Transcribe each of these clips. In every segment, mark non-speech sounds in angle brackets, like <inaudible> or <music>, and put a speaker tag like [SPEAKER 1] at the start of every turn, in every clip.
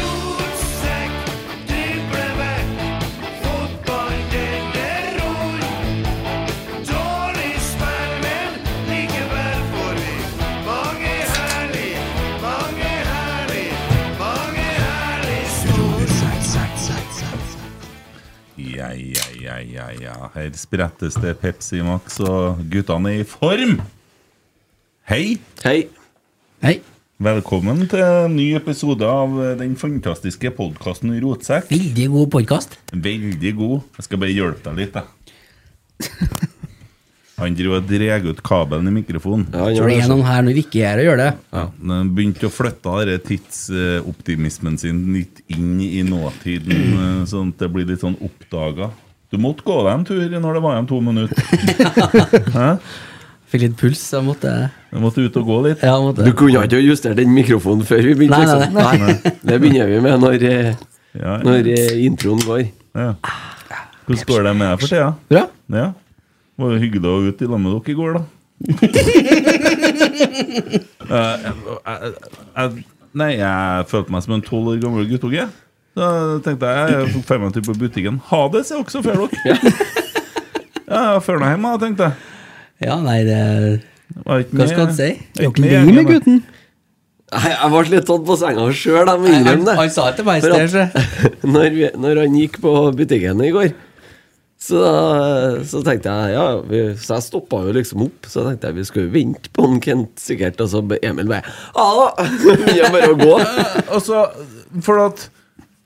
[SPEAKER 1] Rotsekk, driblevekk, fotball, det er ror. Dårlig spill, men likevel får vi mange herlig, mange herlig, mange herlig skår.
[SPEAKER 2] Ja, ja, ja, ja, ja. Her sprettes det Pepsi Max, og guttene er i form! Hei!
[SPEAKER 3] Hei.
[SPEAKER 4] Hei.
[SPEAKER 2] Velkommen til en ny episode av den fantastiske podkasten Rotsekk.
[SPEAKER 4] Veldig god podkast.
[SPEAKER 2] Veldig god. Jeg skal bare hjelpe deg litt, jeg. Han driver og drar ut kabelen i mikrofonen.
[SPEAKER 3] Ja,
[SPEAKER 4] Så
[SPEAKER 3] han
[SPEAKER 4] det
[SPEAKER 3] gjør det. altså.
[SPEAKER 4] er noen her når vi ikke er og gjør det.
[SPEAKER 2] Ja, når han begynte å flytte denne tidsoptimismen sin litt inn i nåtiden, eh, sånn at det blir litt sånn oppdaga. Du måtte gå deg en tur når det var igjen to minutter.
[SPEAKER 4] Fikk litt puls, så jeg måtte
[SPEAKER 2] Du måtte ut og gå litt.
[SPEAKER 4] Ja, jeg måtte.
[SPEAKER 3] Du kunne ikke ha justert den mikrofonen før vi begynte.
[SPEAKER 4] Nei, nei,
[SPEAKER 3] liksom. Nei. Det begynner vi med når, eh,
[SPEAKER 2] Ja,
[SPEAKER 3] når eh, introen går.
[SPEAKER 2] ja. Hvordan går det med deg for tida?
[SPEAKER 4] Bra.
[SPEAKER 2] Ja. Var det hyggelig å være ute i lag med dere i går, da? Eh, jeg, jeg, nei, jeg følte meg som en tolv år gammel guttunge. Da tenkte jeg jeg tok fem minutter på butikken. Ha det, sier dere, så drar dere. Ja, jeg fører meg hjem, da, tenkte jeg.
[SPEAKER 4] Ja, nei, det
[SPEAKER 2] Det var ikke
[SPEAKER 4] Hva
[SPEAKER 2] mye-
[SPEAKER 4] skal han si?
[SPEAKER 2] det var ikke mye jeg-
[SPEAKER 4] gutten.
[SPEAKER 3] Nei, Jeg ble litt tatt på senga sjøl, jeg må
[SPEAKER 4] Han,
[SPEAKER 3] innrømme
[SPEAKER 4] han
[SPEAKER 3] det.
[SPEAKER 4] sa det til meg i sted. så-
[SPEAKER 3] <laughs> Når, vi, når han gikk på butikken i går, så, så tenkte jeg ja, vi, Så jeg stoppa jo liksom opp. Så tenkte jeg vi skulle jo vente på han Kent sikkert, og så Emil bare <laughs> Ja da! Så begynner han bare å gå.
[SPEAKER 2] Eh, Og så, for at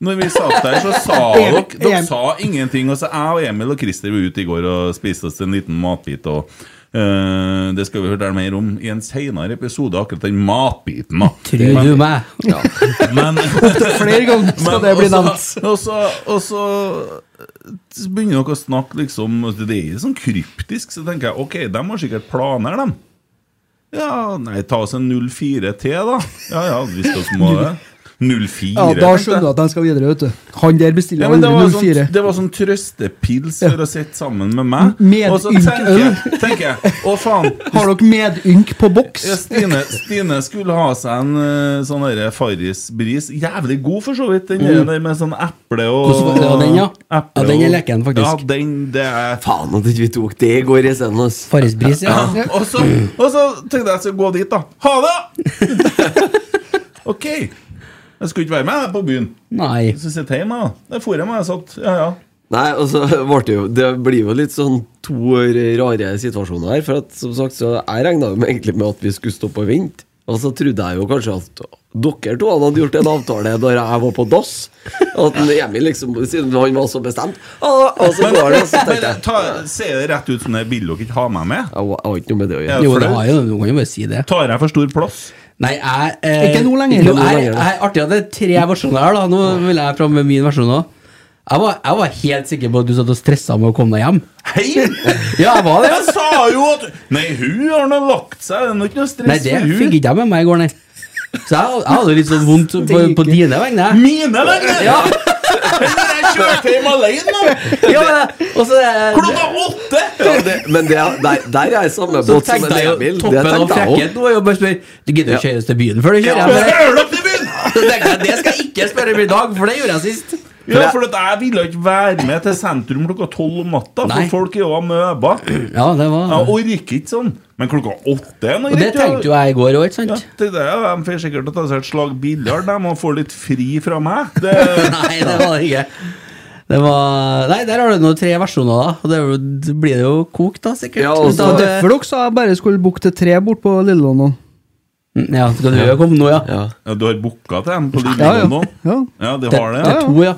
[SPEAKER 2] når vi satt der, så sa dere Dere sa ingenting. Og så jeg og Emil og Christer var ute i går og spiste oss en liten matbit. Og eh, det skal vi fortelle mer om i en seinere episode, akkurat den matbiten. da
[SPEAKER 4] Tror du meg?
[SPEAKER 5] <laughs>
[SPEAKER 2] Men,
[SPEAKER 4] Flere ganger
[SPEAKER 2] men og så- <laughs> Og så, og så eh, så begynner dere å snakke liksom Det er sånn kryptisk, så tenker jeg ok, de har sikkert planer, dem. Ja, nei, ta oss en 04 til, da. Ja ja, hvis dere må det. 04,
[SPEAKER 5] Ja, da
[SPEAKER 2] tenkte jeg.
[SPEAKER 5] skjønner du at de skal videre, vet du. Han der bestiller
[SPEAKER 2] Ja, men det var,
[SPEAKER 5] aldri
[SPEAKER 2] sånn,
[SPEAKER 5] 04.
[SPEAKER 2] det var sånn trøstepils for å sitte sammen med meg.
[SPEAKER 5] Med
[SPEAKER 2] og så
[SPEAKER 5] ynk
[SPEAKER 2] tenker jeg, tenker jeg Å, faen.
[SPEAKER 5] <laughs> Har dere medynk på boks?
[SPEAKER 2] Ja, Stine, Stine skulle ha seg en eh, sånn derre Farris bris. Jævlig god, for så vidt. Den der med sånn eple
[SPEAKER 4] Mm.
[SPEAKER 2] og
[SPEAKER 4] Hvordan var det av den, ja?
[SPEAKER 2] Eple
[SPEAKER 4] Ja, den er
[SPEAKER 2] og-
[SPEAKER 4] leken, faktisk.
[SPEAKER 2] Ja, den, det er
[SPEAKER 3] Faen at ikke vi tok det i går isteden, altså.
[SPEAKER 4] Farrisbris, ja.
[SPEAKER 2] Ja, og, så, og så tenkte jeg jeg skulle gå dit, da. Ha det! <laughs> OK. Jeg skulle ikke være med jeg, på byen.
[SPEAKER 4] Nei.
[SPEAKER 2] Så sitter jeg hjemme, da. Der for jeg meg. Jeg satt Ja, ja.
[SPEAKER 3] Nei, altså, ble det, jo, det blir jo litt sånn to rare situasjoner her. For at, som sagt, så jeg regna jo med- egentlig med at vi skulle stoppe og vente. Og så trodde jeg jo kanskje at dere to hadde gjort en avtale da jeg var på dass. At Emil liksom, siden han var så bestemt «Å», Og så går det, og så
[SPEAKER 2] Men <laughs>
[SPEAKER 3] tenkte jeg
[SPEAKER 2] ta, se det rett ut som det vil dere ikke ha meg med.
[SPEAKER 3] Jeg har jeg har ikke noe med det å
[SPEAKER 2] Ja.
[SPEAKER 3] gjøre.
[SPEAKER 4] Jo, det har jo Du kan jo bare si det.
[SPEAKER 2] Tar jeg for stor plass?
[SPEAKER 4] Nei, jeg eh,
[SPEAKER 5] Ikke nå lenger.
[SPEAKER 4] Jo,
[SPEAKER 3] Ikke nå
[SPEAKER 4] jeg,
[SPEAKER 3] lenger.
[SPEAKER 4] jeg, artig at det er tre versjoner her, da. Nå vil jeg fram med min versjon òg.
[SPEAKER 6] Jeg var, jeg var helt sikker på at du satt og stressa med å komme deg hjem.
[SPEAKER 2] Hei!
[SPEAKER 6] <laughs> Ja, jeg var det.
[SPEAKER 2] Jeg sa jo at Nei, hun har nå lagt seg. Det er nå ikke noe stress
[SPEAKER 6] Nei, det
[SPEAKER 2] for hun.
[SPEAKER 6] fikk ikke jeg med meg i går, nei. Så jeg, jeg hadde litt sånn vondt på, på dine vegne. jeg.
[SPEAKER 2] Mine vegne!
[SPEAKER 6] Ja,
[SPEAKER 2] Jeg kjørte hjem alene! da.
[SPEAKER 6] ja, men, og så eh,
[SPEAKER 2] Klokka åtte!
[SPEAKER 3] Ja, det, men det, er- der, der er jeg i samme
[SPEAKER 6] så
[SPEAKER 3] båt som
[SPEAKER 6] tenkte jeg jo
[SPEAKER 3] Emil. Det
[SPEAKER 6] toppen av
[SPEAKER 3] tenkte jeg
[SPEAKER 6] frekkhet
[SPEAKER 3] også.
[SPEAKER 6] nå er jo bare å spørre Du gidder jo ikke kjøres til byen før du
[SPEAKER 2] Ja,
[SPEAKER 6] kjører hjem?
[SPEAKER 2] men
[SPEAKER 6] eller?
[SPEAKER 3] <laughs>
[SPEAKER 2] Hører dere til byen?
[SPEAKER 6] Så tenkte jeg, Det skal jeg ikke spørre om i dag, for det gjorde jeg sist.
[SPEAKER 2] Ja, for at jeg ville ikke være med til sentrum klokka tolv om natta,
[SPEAKER 6] Nei.
[SPEAKER 2] for folk er jo amøba.
[SPEAKER 6] Ja, det var
[SPEAKER 2] Jeg orker ikke sånn. Men klokka åtte er nå
[SPEAKER 6] Og det
[SPEAKER 2] greit.
[SPEAKER 6] tenkte jo jeg i går òg, ikke
[SPEAKER 2] Ja,
[SPEAKER 6] sant?
[SPEAKER 2] det der, ja, de får sikkert ta seg et slag biljard, de, og få litt fri fra meg. Det,
[SPEAKER 6] <laughs> Nei, det var det ikke. Det var Nei, der har du nå tre versjoner, da. Og det er jo- det blir det jo kokt, da, sikkert.
[SPEAKER 3] Ja, og
[SPEAKER 6] Ut av
[SPEAKER 3] så-
[SPEAKER 6] det-
[SPEAKER 5] Derfor dere sa jeg bare skulle booke til tre bort på Lilleland nå.
[SPEAKER 6] Mm, Ja, så kan du jo komme nå, ja.
[SPEAKER 3] Ja.
[SPEAKER 2] ja, du har booka til dem på
[SPEAKER 5] Ja, ja.
[SPEAKER 2] Lillehammer?
[SPEAKER 5] ja.
[SPEAKER 2] Ja, de
[SPEAKER 6] Til
[SPEAKER 2] har det?
[SPEAKER 6] til
[SPEAKER 2] Ja,
[SPEAKER 6] to, ja.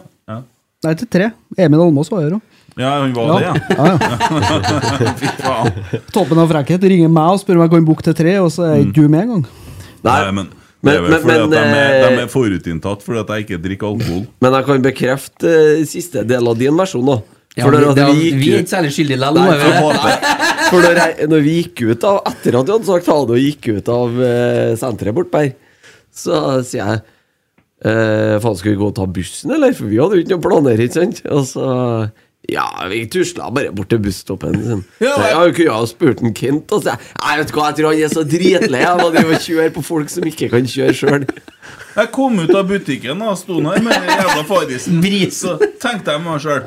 [SPEAKER 5] Nei, til tre. Emil Almås var her òg.
[SPEAKER 2] ja han var det, ja.
[SPEAKER 5] Ja, ja.
[SPEAKER 2] <laughs> Fy faen.
[SPEAKER 5] Toppen av frekkhet ringer meg og spør om jeg kan booke til tre, og så
[SPEAKER 2] Mm.
[SPEAKER 5] er ikke du med engang.
[SPEAKER 3] Nei,
[SPEAKER 2] Nei, men
[SPEAKER 3] men,
[SPEAKER 2] det er vel
[SPEAKER 3] men,
[SPEAKER 2] fordi at de er,
[SPEAKER 3] eh,
[SPEAKER 2] de er forutinntatt fordi at jeg ikke drikker alkohol.
[SPEAKER 3] men jeg kan bekrefte eh, siste del av din versjon, da.
[SPEAKER 6] Ja,
[SPEAKER 3] For
[SPEAKER 6] men
[SPEAKER 3] når
[SPEAKER 6] det,
[SPEAKER 3] at vi
[SPEAKER 6] vi, vi
[SPEAKER 3] gikk
[SPEAKER 6] er ikke særlig skyldige
[SPEAKER 3] Nei,
[SPEAKER 6] likevel.
[SPEAKER 3] for For <laughs> når, jeg, når vi gikk ut av Etter at du hadde sagt ha det og gikk ut av eh, senteret bort der, så sier jeg eh, Faen, skal vi gå og ta bussen, eller? For vi hadde jo ikke noen planer, ikke sant? Og så Ja, vi tusla bare bort til busstoppen. Liksom.
[SPEAKER 2] Ja,
[SPEAKER 3] Så jeg kunne ha spurt en Kent, og så jeg Nei, vet du hva, jeg tror han er så dritlei av å drive og kjøre på folk som ikke kan kjøre sjøl.
[SPEAKER 2] Jeg kom ut av butikken og sto der med den jævla farisen. Så tenkte jeg med meg sjøl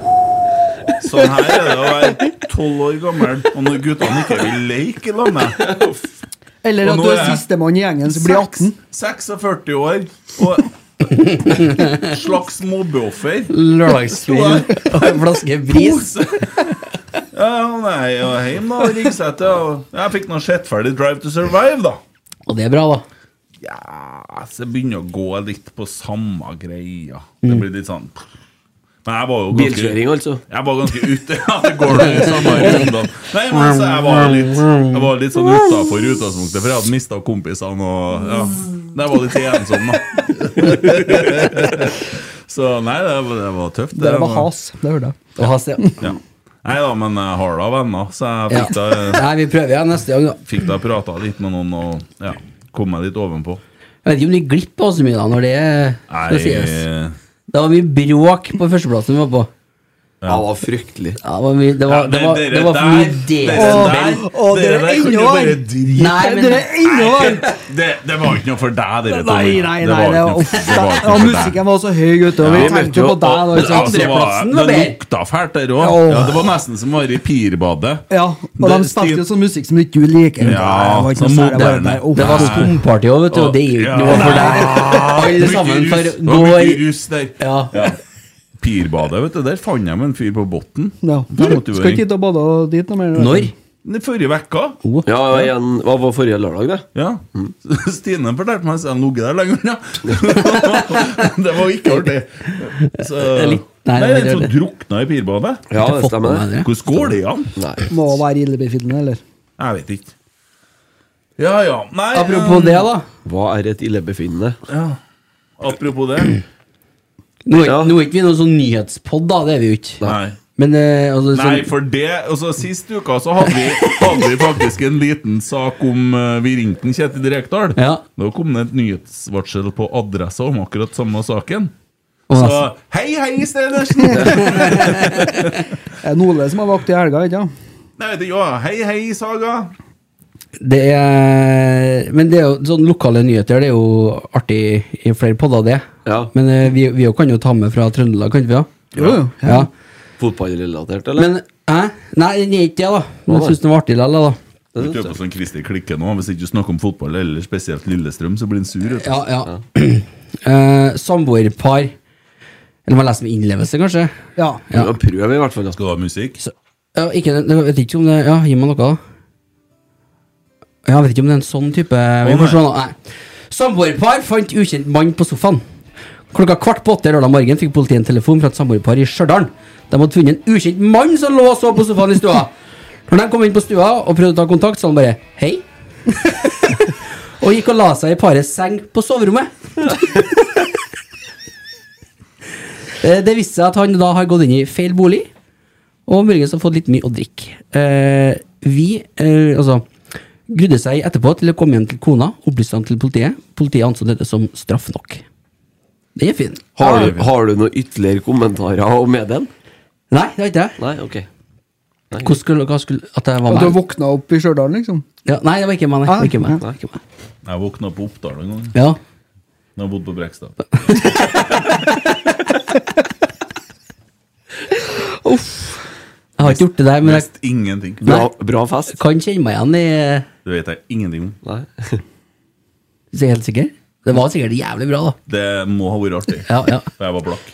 [SPEAKER 2] Sånn her er det å være tolv år gammel, og når guttene ikke vil leke i lag med meg
[SPEAKER 5] Eller
[SPEAKER 2] Og
[SPEAKER 5] at
[SPEAKER 2] nå
[SPEAKER 5] du
[SPEAKER 2] er
[SPEAKER 5] er
[SPEAKER 2] jeg-
[SPEAKER 5] sistemann i gjengen som blir 18.
[SPEAKER 2] Seks- 46 år og slags mobbeoffer.
[SPEAKER 6] Lørdagskveld <laughs> og en flaske
[SPEAKER 5] <laughs>
[SPEAKER 6] bris.
[SPEAKER 2] Ja, nei, og hjem da, og Ringsete. Og jeg fikk nå sett ferdig Drive to Survive, da.
[SPEAKER 6] Og det er bra, da.
[SPEAKER 2] Ja, så jeg begynner å gå litt på samme greia. Det blir litt sånn Men jeg var jo ganske
[SPEAKER 3] Bilkjøring, altså.
[SPEAKER 2] Jeg var ganske ute. <laughs> Ja, det går nå i samme runde. Nei, men altså, jeg var litt, jeg var litt sånn utafor utgangspunktet, for jeg hadde mista kompisene og ja. Jeg var litt ensom, da. <laughs> Så nei, det, var- det var tøft.
[SPEAKER 5] Det var has. Det hørte jeg.
[SPEAKER 6] Og has, ja.
[SPEAKER 2] Ja. Nei da, men jeg har da venner, så jeg
[SPEAKER 6] Ja.
[SPEAKER 2] fikk da,
[SPEAKER 6] Nei, vi prøver igjen neste gang, da.
[SPEAKER 2] fikk da prata litt med noen og ja, kom meg litt ovenpå.
[SPEAKER 6] Jeg vet ikke om du glipper også mye da, når det skal sies.
[SPEAKER 2] Nei,
[SPEAKER 6] Det var mye bråk på førsteplassen vi var på.
[SPEAKER 3] Ja, det var fryktelig.
[SPEAKER 6] Ja, det var mye Det
[SPEAKER 2] Ja,
[SPEAKER 6] var, det
[SPEAKER 2] men
[SPEAKER 6] var,
[SPEAKER 2] dere
[SPEAKER 6] det var for
[SPEAKER 2] der-
[SPEAKER 6] mye
[SPEAKER 2] dere
[SPEAKER 6] decibel.
[SPEAKER 2] der-
[SPEAKER 5] Å,
[SPEAKER 2] dere
[SPEAKER 5] dere
[SPEAKER 2] der kan jo
[SPEAKER 5] ennå
[SPEAKER 2] bare
[SPEAKER 5] er-
[SPEAKER 2] drite
[SPEAKER 6] Nei, men
[SPEAKER 5] Dere er ennå her!
[SPEAKER 2] det, det var ikke noe for deg, dere to.
[SPEAKER 5] Nei, nei,
[SPEAKER 2] Det var
[SPEAKER 5] nei. Det
[SPEAKER 2] ikke
[SPEAKER 5] var
[SPEAKER 2] noe-
[SPEAKER 5] uff,
[SPEAKER 2] det var ikke
[SPEAKER 5] ja,
[SPEAKER 2] noe for deg.
[SPEAKER 5] musikken var så høy, gutter. og Vi
[SPEAKER 3] Ja, vi
[SPEAKER 5] tenkte jo på deg. da,
[SPEAKER 2] og-
[SPEAKER 5] ikke sant?
[SPEAKER 2] altså, var-
[SPEAKER 6] Andreplassen var
[SPEAKER 2] Det
[SPEAKER 6] bedre.
[SPEAKER 2] lukta fælt der òg.
[SPEAKER 5] Åh.
[SPEAKER 2] Ja, det var nesten som å være i pirbadet.
[SPEAKER 5] Ja, og de spilte jo sånn musikk som ikke du liker.
[SPEAKER 2] Ja,
[SPEAKER 5] det var
[SPEAKER 2] så
[SPEAKER 5] ikke noe særlig, bare
[SPEAKER 2] moderne.
[SPEAKER 5] der, uff.
[SPEAKER 6] Det var skumparty òg, vet du, og det er jo ikke noe for deg. Alle sammen for
[SPEAKER 2] Mye
[SPEAKER 6] går
[SPEAKER 2] rus der.
[SPEAKER 6] Ja.
[SPEAKER 2] Pirbadet, vet du. Der fant jeg meg en fyr på Botn.
[SPEAKER 5] Ja. Skal ikke hit og bade dit noe mer?
[SPEAKER 6] Når?
[SPEAKER 2] Forrige uke.
[SPEAKER 3] Ja, igjen, Hva var forrige lørdag, det?
[SPEAKER 2] Ja.
[SPEAKER 6] Mm.
[SPEAKER 2] <laughs> Stine fortalte meg at jeg lå der lenger unna. <laughs> det var ikke artig. Så,
[SPEAKER 6] er litt- nei,
[SPEAKER 2] nei,
[SPEAKER 6] det var
[SPEAKER 2] den som
[SPEAKER 6] litt
[SPEAKER 2] drukna i pirbadet.
[SPEAKER 3] Ja,
[SPEAKER 6] Ikke
[SPEAKER 3] det
[SPEAKER 6] fått med
[SPEAKER 3] stemmer.
[SPEAKER 6] meg det.
[SPEAKER 3] det.
[SPEAKER 2] Hvordan går det an?
[SPEAKER 3] Nei.
[SPEAKER 5] Må være illebefinnende, eller?
[SPEAKER 2] Jeg vet ikke. Ja, ja. Nei,
[SPEAKER 6] Apropos det, da.
[SPEAKER 3] Hva er et illebefinnende?
[SPEAKER 2] Apropos det.
[SPEAKER 6] Nå er,
[SPEAKER 3] Ja.
[SPEAKER 6] nå er ikke vi noen sånn nyhetspod, da. Det er vi jo ikke.
[SPEAKER 2] Nei.
[SPEAKER 6] Men eh, altså, sånn,
[SPEAKER 2] Nei, for det altså, Sist uka så hadde vi, hadde vi faktisk en liten sak om eh, vi ringte en Kjetil Rekdal.
[SPEAKER 6] Ja.
[SPEAKER 2] Da kom det et nyhetsvarsel på adressa om akkurat samme saken.
[SPEAKER 6] Å,
[SPEAKER 2] Så
[SPEAKER 6] altså.
[SPEAKER 2] hei, hei, Stenersen!
[SPEAKER 5] Er det Ole som har vakt i helga, ikke sant?
[SPEAKER 2] Nei, det, ja, hei, hei, Saga.
[SPEAKER 6] Det er, men det er jo sånn lokale nyheter, det er jo artig i flere podder, det.
[SPEAKER 3] Ja.
[SPEAKER 6] Men eh, vi, vi jo kan jo ta med fra Trøndelag, kan vi da?
[SPEAKER 5] Jo, jo.
[SPEAKER 6] Ja.
[SPEAKER 3] Fotballrelatert, eller?
[SPEAKER 6] Men hæ? Nei, den er ikke det, da. Men
[SPEAKER 3] Hva da?
[SPEAKER 6] jeg syns den var artig likevel, da.
[SPEAKER 2] Du kjøper sånn Christer Klikke nå. Hvis ikke du snakker om fotball, eller spesielt Lillestrøm, så blir han sur. vet du.
[SPEAKER 6] Ja, ja. <clears throat> Eh, Samboerpar Eller må jeg lese med innlevelse, kanskje?
[SPEAKER 5] Ja.
[SPEAKER 6] Ja.
[SPEAKER 3] Ja, prøv i hvert fall. da.
[SPEAKER 2] Skal du ha musikk?
[SPEAKER 6] Ja, ikke, jeg vet ikke om det Ja, gi meg noe, da. Ja, Jeg vet ikke om det er en sånn type Vi
[SPEAKER 2] nei.
[SPEAKER 6] får se nå. Nei. Samboerpar fant ukjent mann på sofaen. Klokka kvart på åtte lørdag morgen fikk politiet en telefon fra et samboerpar i Stjørdal. De hadde funnet en ukjent mann som lå og så på sofaen i stua. Når de kom inn på stua og prøvde å ta kontakt, sa han bare 'hei'. og gikk og la seg i parets seng på soverommet. Eh, Det viste seg at han da har gått inn i feil bolig, og muligens har fått litt mye å drikke. Eh, Vi, eh, altså Grudde seg etterpå til å komme hjem til kona, opplyste han til politiet. Politiet anså dette som straff nok. Det er fin.
[SPEAKER 3] Har, har du noen ytterligere kommentarer om medien?
[SPEAKER 6] Nei, det var ikke det.
[SPEAKER 3] Nei, ok.
[SPEAKER 6] Hvordan skulle, hva skulle At jeg var
[SPEAKER 5] At du har
[SPEAKER 6] med?
[SPEAKER 5] våkna opp i Stjørdal, liksom? Ah,
[SPEAKER 6] Ja, nei, det var ikke meg. Nei, det var ikke meg. Det var ikke meg.
[SPEAKER 2] Jeg våkna på Oppdal en gang.
[SPEAKER 6] Ja.
[SPEAKER 2] Når jeg bodde på Brekstad.
[SPEAKER 6] Jeg har ikke gjort det der, men jeg
[SPEAKER 2] Visste ingenting.
[SPEAKER 3] Bra, bra fest?
[SPEAKER 6] kan kjenne meg igjen i
[SPEAKER 2] Det vet jeg ingenting om.
[SPEAKER 3] Nei.
[SPEAKER 6] Hvis jeg er helt sikker. Det var sikkert jævlig bra, da.
[SPEAKER 2] Det må ha vært artig.
[SPEAKER 6] Ja, ja.
[SPEAKER 2] For jeg var blakk.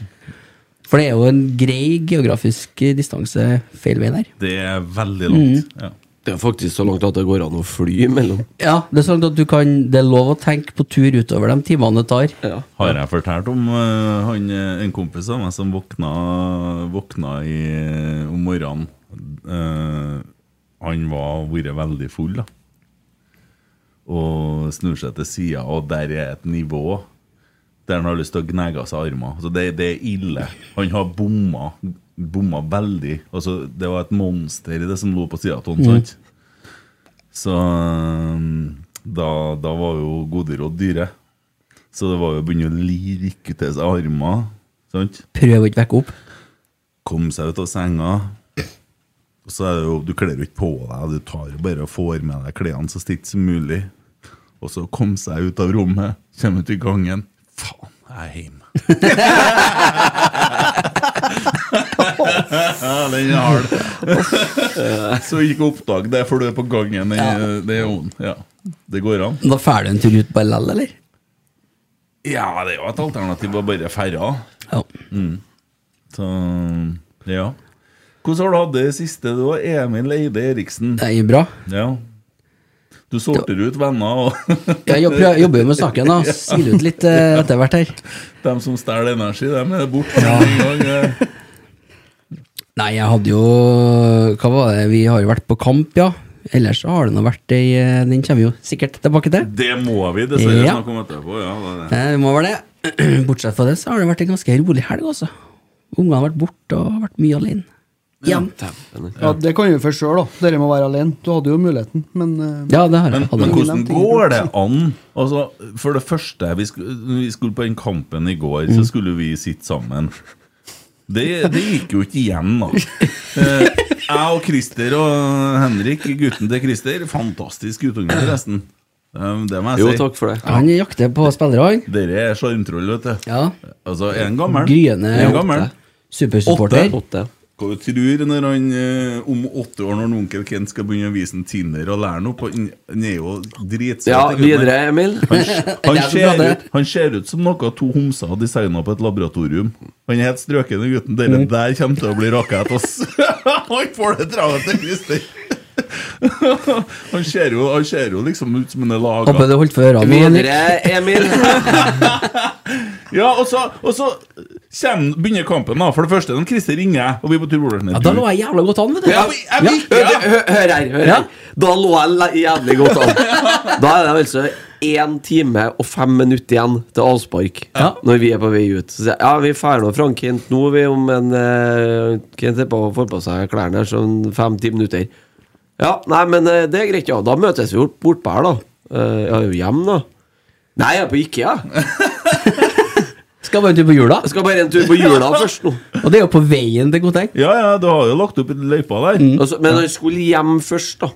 [SPEAKER 6] For det er jo en grei geografisk eh, distanse feil vei der.
[SPEAKER 2] Det er veldig langt.
[SPEAKER 6] Mm.
[SPEAKER 2] Ja.
[SPEAKER 3] Det er faktisk så langt at det går an å fly imellom.
[SPEAKER 6] Ja, det er sånn at du kan Det er lov å tenke på tur utover de timene det tar.
[SPEAKER 3] Ja.
[SPEAKER 2] Har jeg fortalt om eh, han, eh, en kompis av meg som våkna, våkna i, om morgenen Eh, Han var vært veldig full, da. Og snur seg til sida, og der er et nivå der han har lyst til å gnage av seg armer. Altså det, det er ille. Han har bomma, bomma veldig. Altså, det var et monster i det som lå på sida av han. sant? Så um, da, da var jo gode råd dyre. Så det var jo å begynne å lirke til seg armer. Sant?
[SPEAKER 6] Prøv å ikke vekke opp.
[SPEAKER 2] Komme seg ut av senga. Og så er det jo, Du kler jo ikke på deg, du tar jo bare og får med deg klærne så stilt som mulig. Og så komme seg ut av rommet, komme ut i gangen. Faen, jeg er hjemme. <laughs> Ja, den er hard. så ikke oppdag det, for du er på gangen. Den, er- Det er on. Ja. Det går an.
[SPEAKER 6] Da drar du en tur ut på LL, eller?
[SPEAKER 2] Ja, det er jo et alternativ å bare ferde.
[SPEAKER 6] Ja.
[SPEAKER 2] Så, ja. Hvordan har du hatt det i siste? Du var Emil Eide Eriksen.
[SPEAKER 6] Det er bra.
[SPEAKER 2] Ja. Du sorter ut venner og <laughs>
[SPEAKER 6] Jeg jobb- prøv- jobber jo med saken, da. Sil ut litt eh, etter hvert her.
[SPEAKER 2] dem som stjeler energi, dem er borte med en gang. eh.
[SPEAKER 6] Nei, jeg hadde jo Hva var det? Vi har jo vært på kamp, ja. Ellers så har det nå vært ei eh, Den kommer vi jo sikkert tilbake til.
[SPEAKER 2] Det må vi dessverre
[SPEAKER 6] Ja.
[SPEAKER 2] snakke om etterpå. Ja, det er det.
[SPEAKER 6] Eh, Det <clears throat> må være det. Bortsett fra det, så har det vært en ganske rolig helg, altså. Ungene har vært borte og vært mye alene. Igjen.
[SPEAKER 5] Ja, Det kan du først sjøl, da. Dere må være alene. Du hadde jo muligheten, men eh,
[SPEAKER 6] Ja, det har
[SPEAKER 2] Men,
[SPEAKER 6] jeg. Hadde
[SPEAKER 2] men
[SPEAKER 6] jeg.
[SPEAKER 2] hvordan går det an? Altså, for det første, vi skulle, når vi skulle på den kampen i går, så skulle vi sitte sammen. Det, det gikk jo ikke igjen, da. Eh, Jeg og Christer og Henrik, gutten til Christer, fantastisk guttunge, forresten. Eh, Det må jeg
[SPEAKER 3] Jo,
[SPEAKER 2] si.
[SPEAKER 3] takk for det.
[SPEAKER 6] Han jakter på spillere, han.
[SPEAKER 2] Dere er sjarmtroll, vet du.
[SPEAKER 6] Ja.
[SPEAKER 2] Altså, en gammel.
[SPEAKER 6] Gryende
[SPEAKER 2] En gammel.
[SPEAKER 3] åtte.
[SPEAKER 6] Supersupporter.
[SPEAKER 3] Åtte.
[SPEAKER 2] Hva du tror når han eh, om åtte år, når onkel Kent skal begynne å vise en Tinder og lære noe på Han han er jo dritsøt.
[SPEAKER 3] Ja,
[SPEAKER 2] den gutten her.
[SPEAKER 3] videre, Emil.
[SPEAKER 2] Han, han,
[SPEAKER 6] <laughs> Det er så bra,
[SPEAKER 2] ser
[SPEAKER 6] det.
[SPEAKER 2] ut, han ser ut som noe to homser har designa på et laboratorium. Han er helt strøken, den gutten. Dere
[SPEAKER 6] Mm.
[SPEAKER 2] der kommer til å bli rakett, ass. <laughs> han får det travelt, den Christer. <laughs> han, ser jo, han ser jo liksom ut som han er
[SPEAKER 6] Håper
[SPEAKER 2] laga.
[SPEAKER 6] du holdt for ørene. nå, Henrik.
[SPEAKER 3] Videre, Emil.
[SPEAKER 2] Ja, og så, og så kjem- begynner kampen, da. For det første, når Christer ringer, og vi er på tur hvor han er
[SPEAKER 6] Ja, da
[SPEAKER 2] tur.
[SPEAKER 6] lå jeg jævla godt an, vet du.
[SPEAKER 3] Ja,
[SPEAKER 2] jeg vil ikke,
[SPEAKER 3] Hør,
[SPEAKER 2] ja.
[SPEAKER 3] hør, hør her, hør
[SPEAKER 6] Ja.
[SPEAKER 3] her. Da lå jeg le- jævlig godt an. Da er det altså én time og fem minutter igjen til avspark
[SPEAKER 6] Ja.
[SPEAKER 3] når vi er på vei ut. Så sier jeg, ja, vi drar nå fra Kent nå, vi, om en eh, Kent er på å få på seg klærne her sånn fem-ti minutter. Ja, nei, men eh, det er greit, ja. Da møtes vi bort- bortpå her, da. Eh, Jeg er jo hjemme, da. Nei, jeg er på Ikea.
[SPEAKER 6] Skal bare en tur på jula.
[SPEAKER 3] Jeg skal bare en tur på jula først nå.
[SPEAKER 6] Og det er jo på veien til Koteng.
[SPEAKER 2] Ja, ja, du har jo lagt opp i løypa der.
[SPEAKER 6] Mm.
[SPEAKER 3] Altså, men han skulle hjem først, da.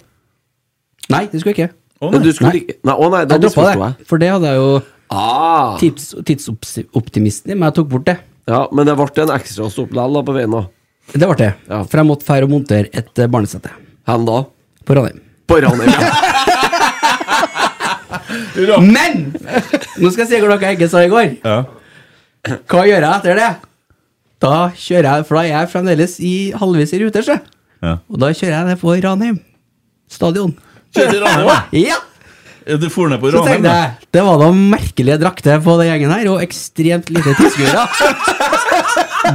[SPEAKER 6] Nei, det skulle jeg ikke.
[SPEAKER 2] Å,
[SPEAKER 3] Men
[SPEAKER 2] nei.
[SPEAKER 3] du skulle
[SPEAKER 6] Nei.
[SPEAKER 3] ikke Nei, å nei, da
[SPEAKER 6] Jeg droppa
[SPEAKER 3] misforsto
[SPEAKER 6] det.
[SPEAKER 3] jeg.
[SPEAKER 6] For det hadde jeg jo
[SPEAKER 3] Ah.
[SPEAKER 6] tids, tidsoptimisten i, men jeg tok bort det.
[SPEAKER 3] Ja, men det ble en ekstra stopp likevel da, på veien da.
[SPEAKER 6] Det ble det.
[SPEAKER 3] Ja.
[SPEAKER 6] For jeg måtte fære og montere et eh, barnesete
[SPEAKER 3] Hen da?
[SPEAKER 6] på Ranheim.
[SPEAKER 3] På Ranheim. ja.
[SPEAKER 6] <laughs> Men! Nå skal jeg si hva dere ikke sa i går.
[SPEAKER 2] Ja.
[SPEAKER 6] Hva gjør jeg etter det? Da kjører jeg, for da er jeg fremdeles i halvvis i rute, sjø.
[SPEAKER 2] Ja.
[SPEAKER 6] Og da kjører jeg ned på Ranheim stadion.
[SPEAKER 2] Kjørte til Ranheim, da?
[SPEAKER 6] Ja!
[SPEAKER 2] Ja, Du for ned på
[SPEAKER 6] Så
[SPEAKER 2] Ranheim,
[SPEAKER 6] tenkte
[SPEAKER 2] da? <laughs>
[SPEAKER 6] jeg, det var da merkelige drakter på den gjengen her, og ekstremt lite tilskuere.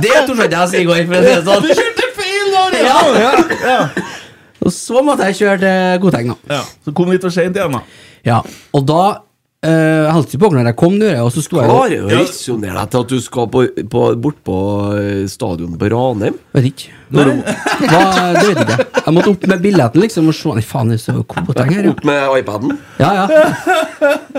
[SPEAKER 6] det torde ikke jeg å si i går, for å si det sånn. Du kjørte feil år, ja! Og så måtte jeg kjøre til Godteng, da.
[SPEAKER 2] Ja. Så kom litt for seint igjen, da.
[SPEAKER 6] Ja, og da
[SPEAKER 4] eh, holdt ikke på når jeg kom, nå, og så sto jeg og
[SPEAKER 3] Klarer du å resonnere deg til at du skal på, på, bort på eh, stadionet på Ranheim?
[SPEAKER 4] Vet ikke. Når, hva, det vet ikke jeg. Jeg måtte opp med billetten liksom og se Nei, faen, det er så kvoteng her, ja.
[SPEAKER 3] Opp med iPaden?
[SPEAKER 4] ja, ja.
[SPEAKER 2] <laughs>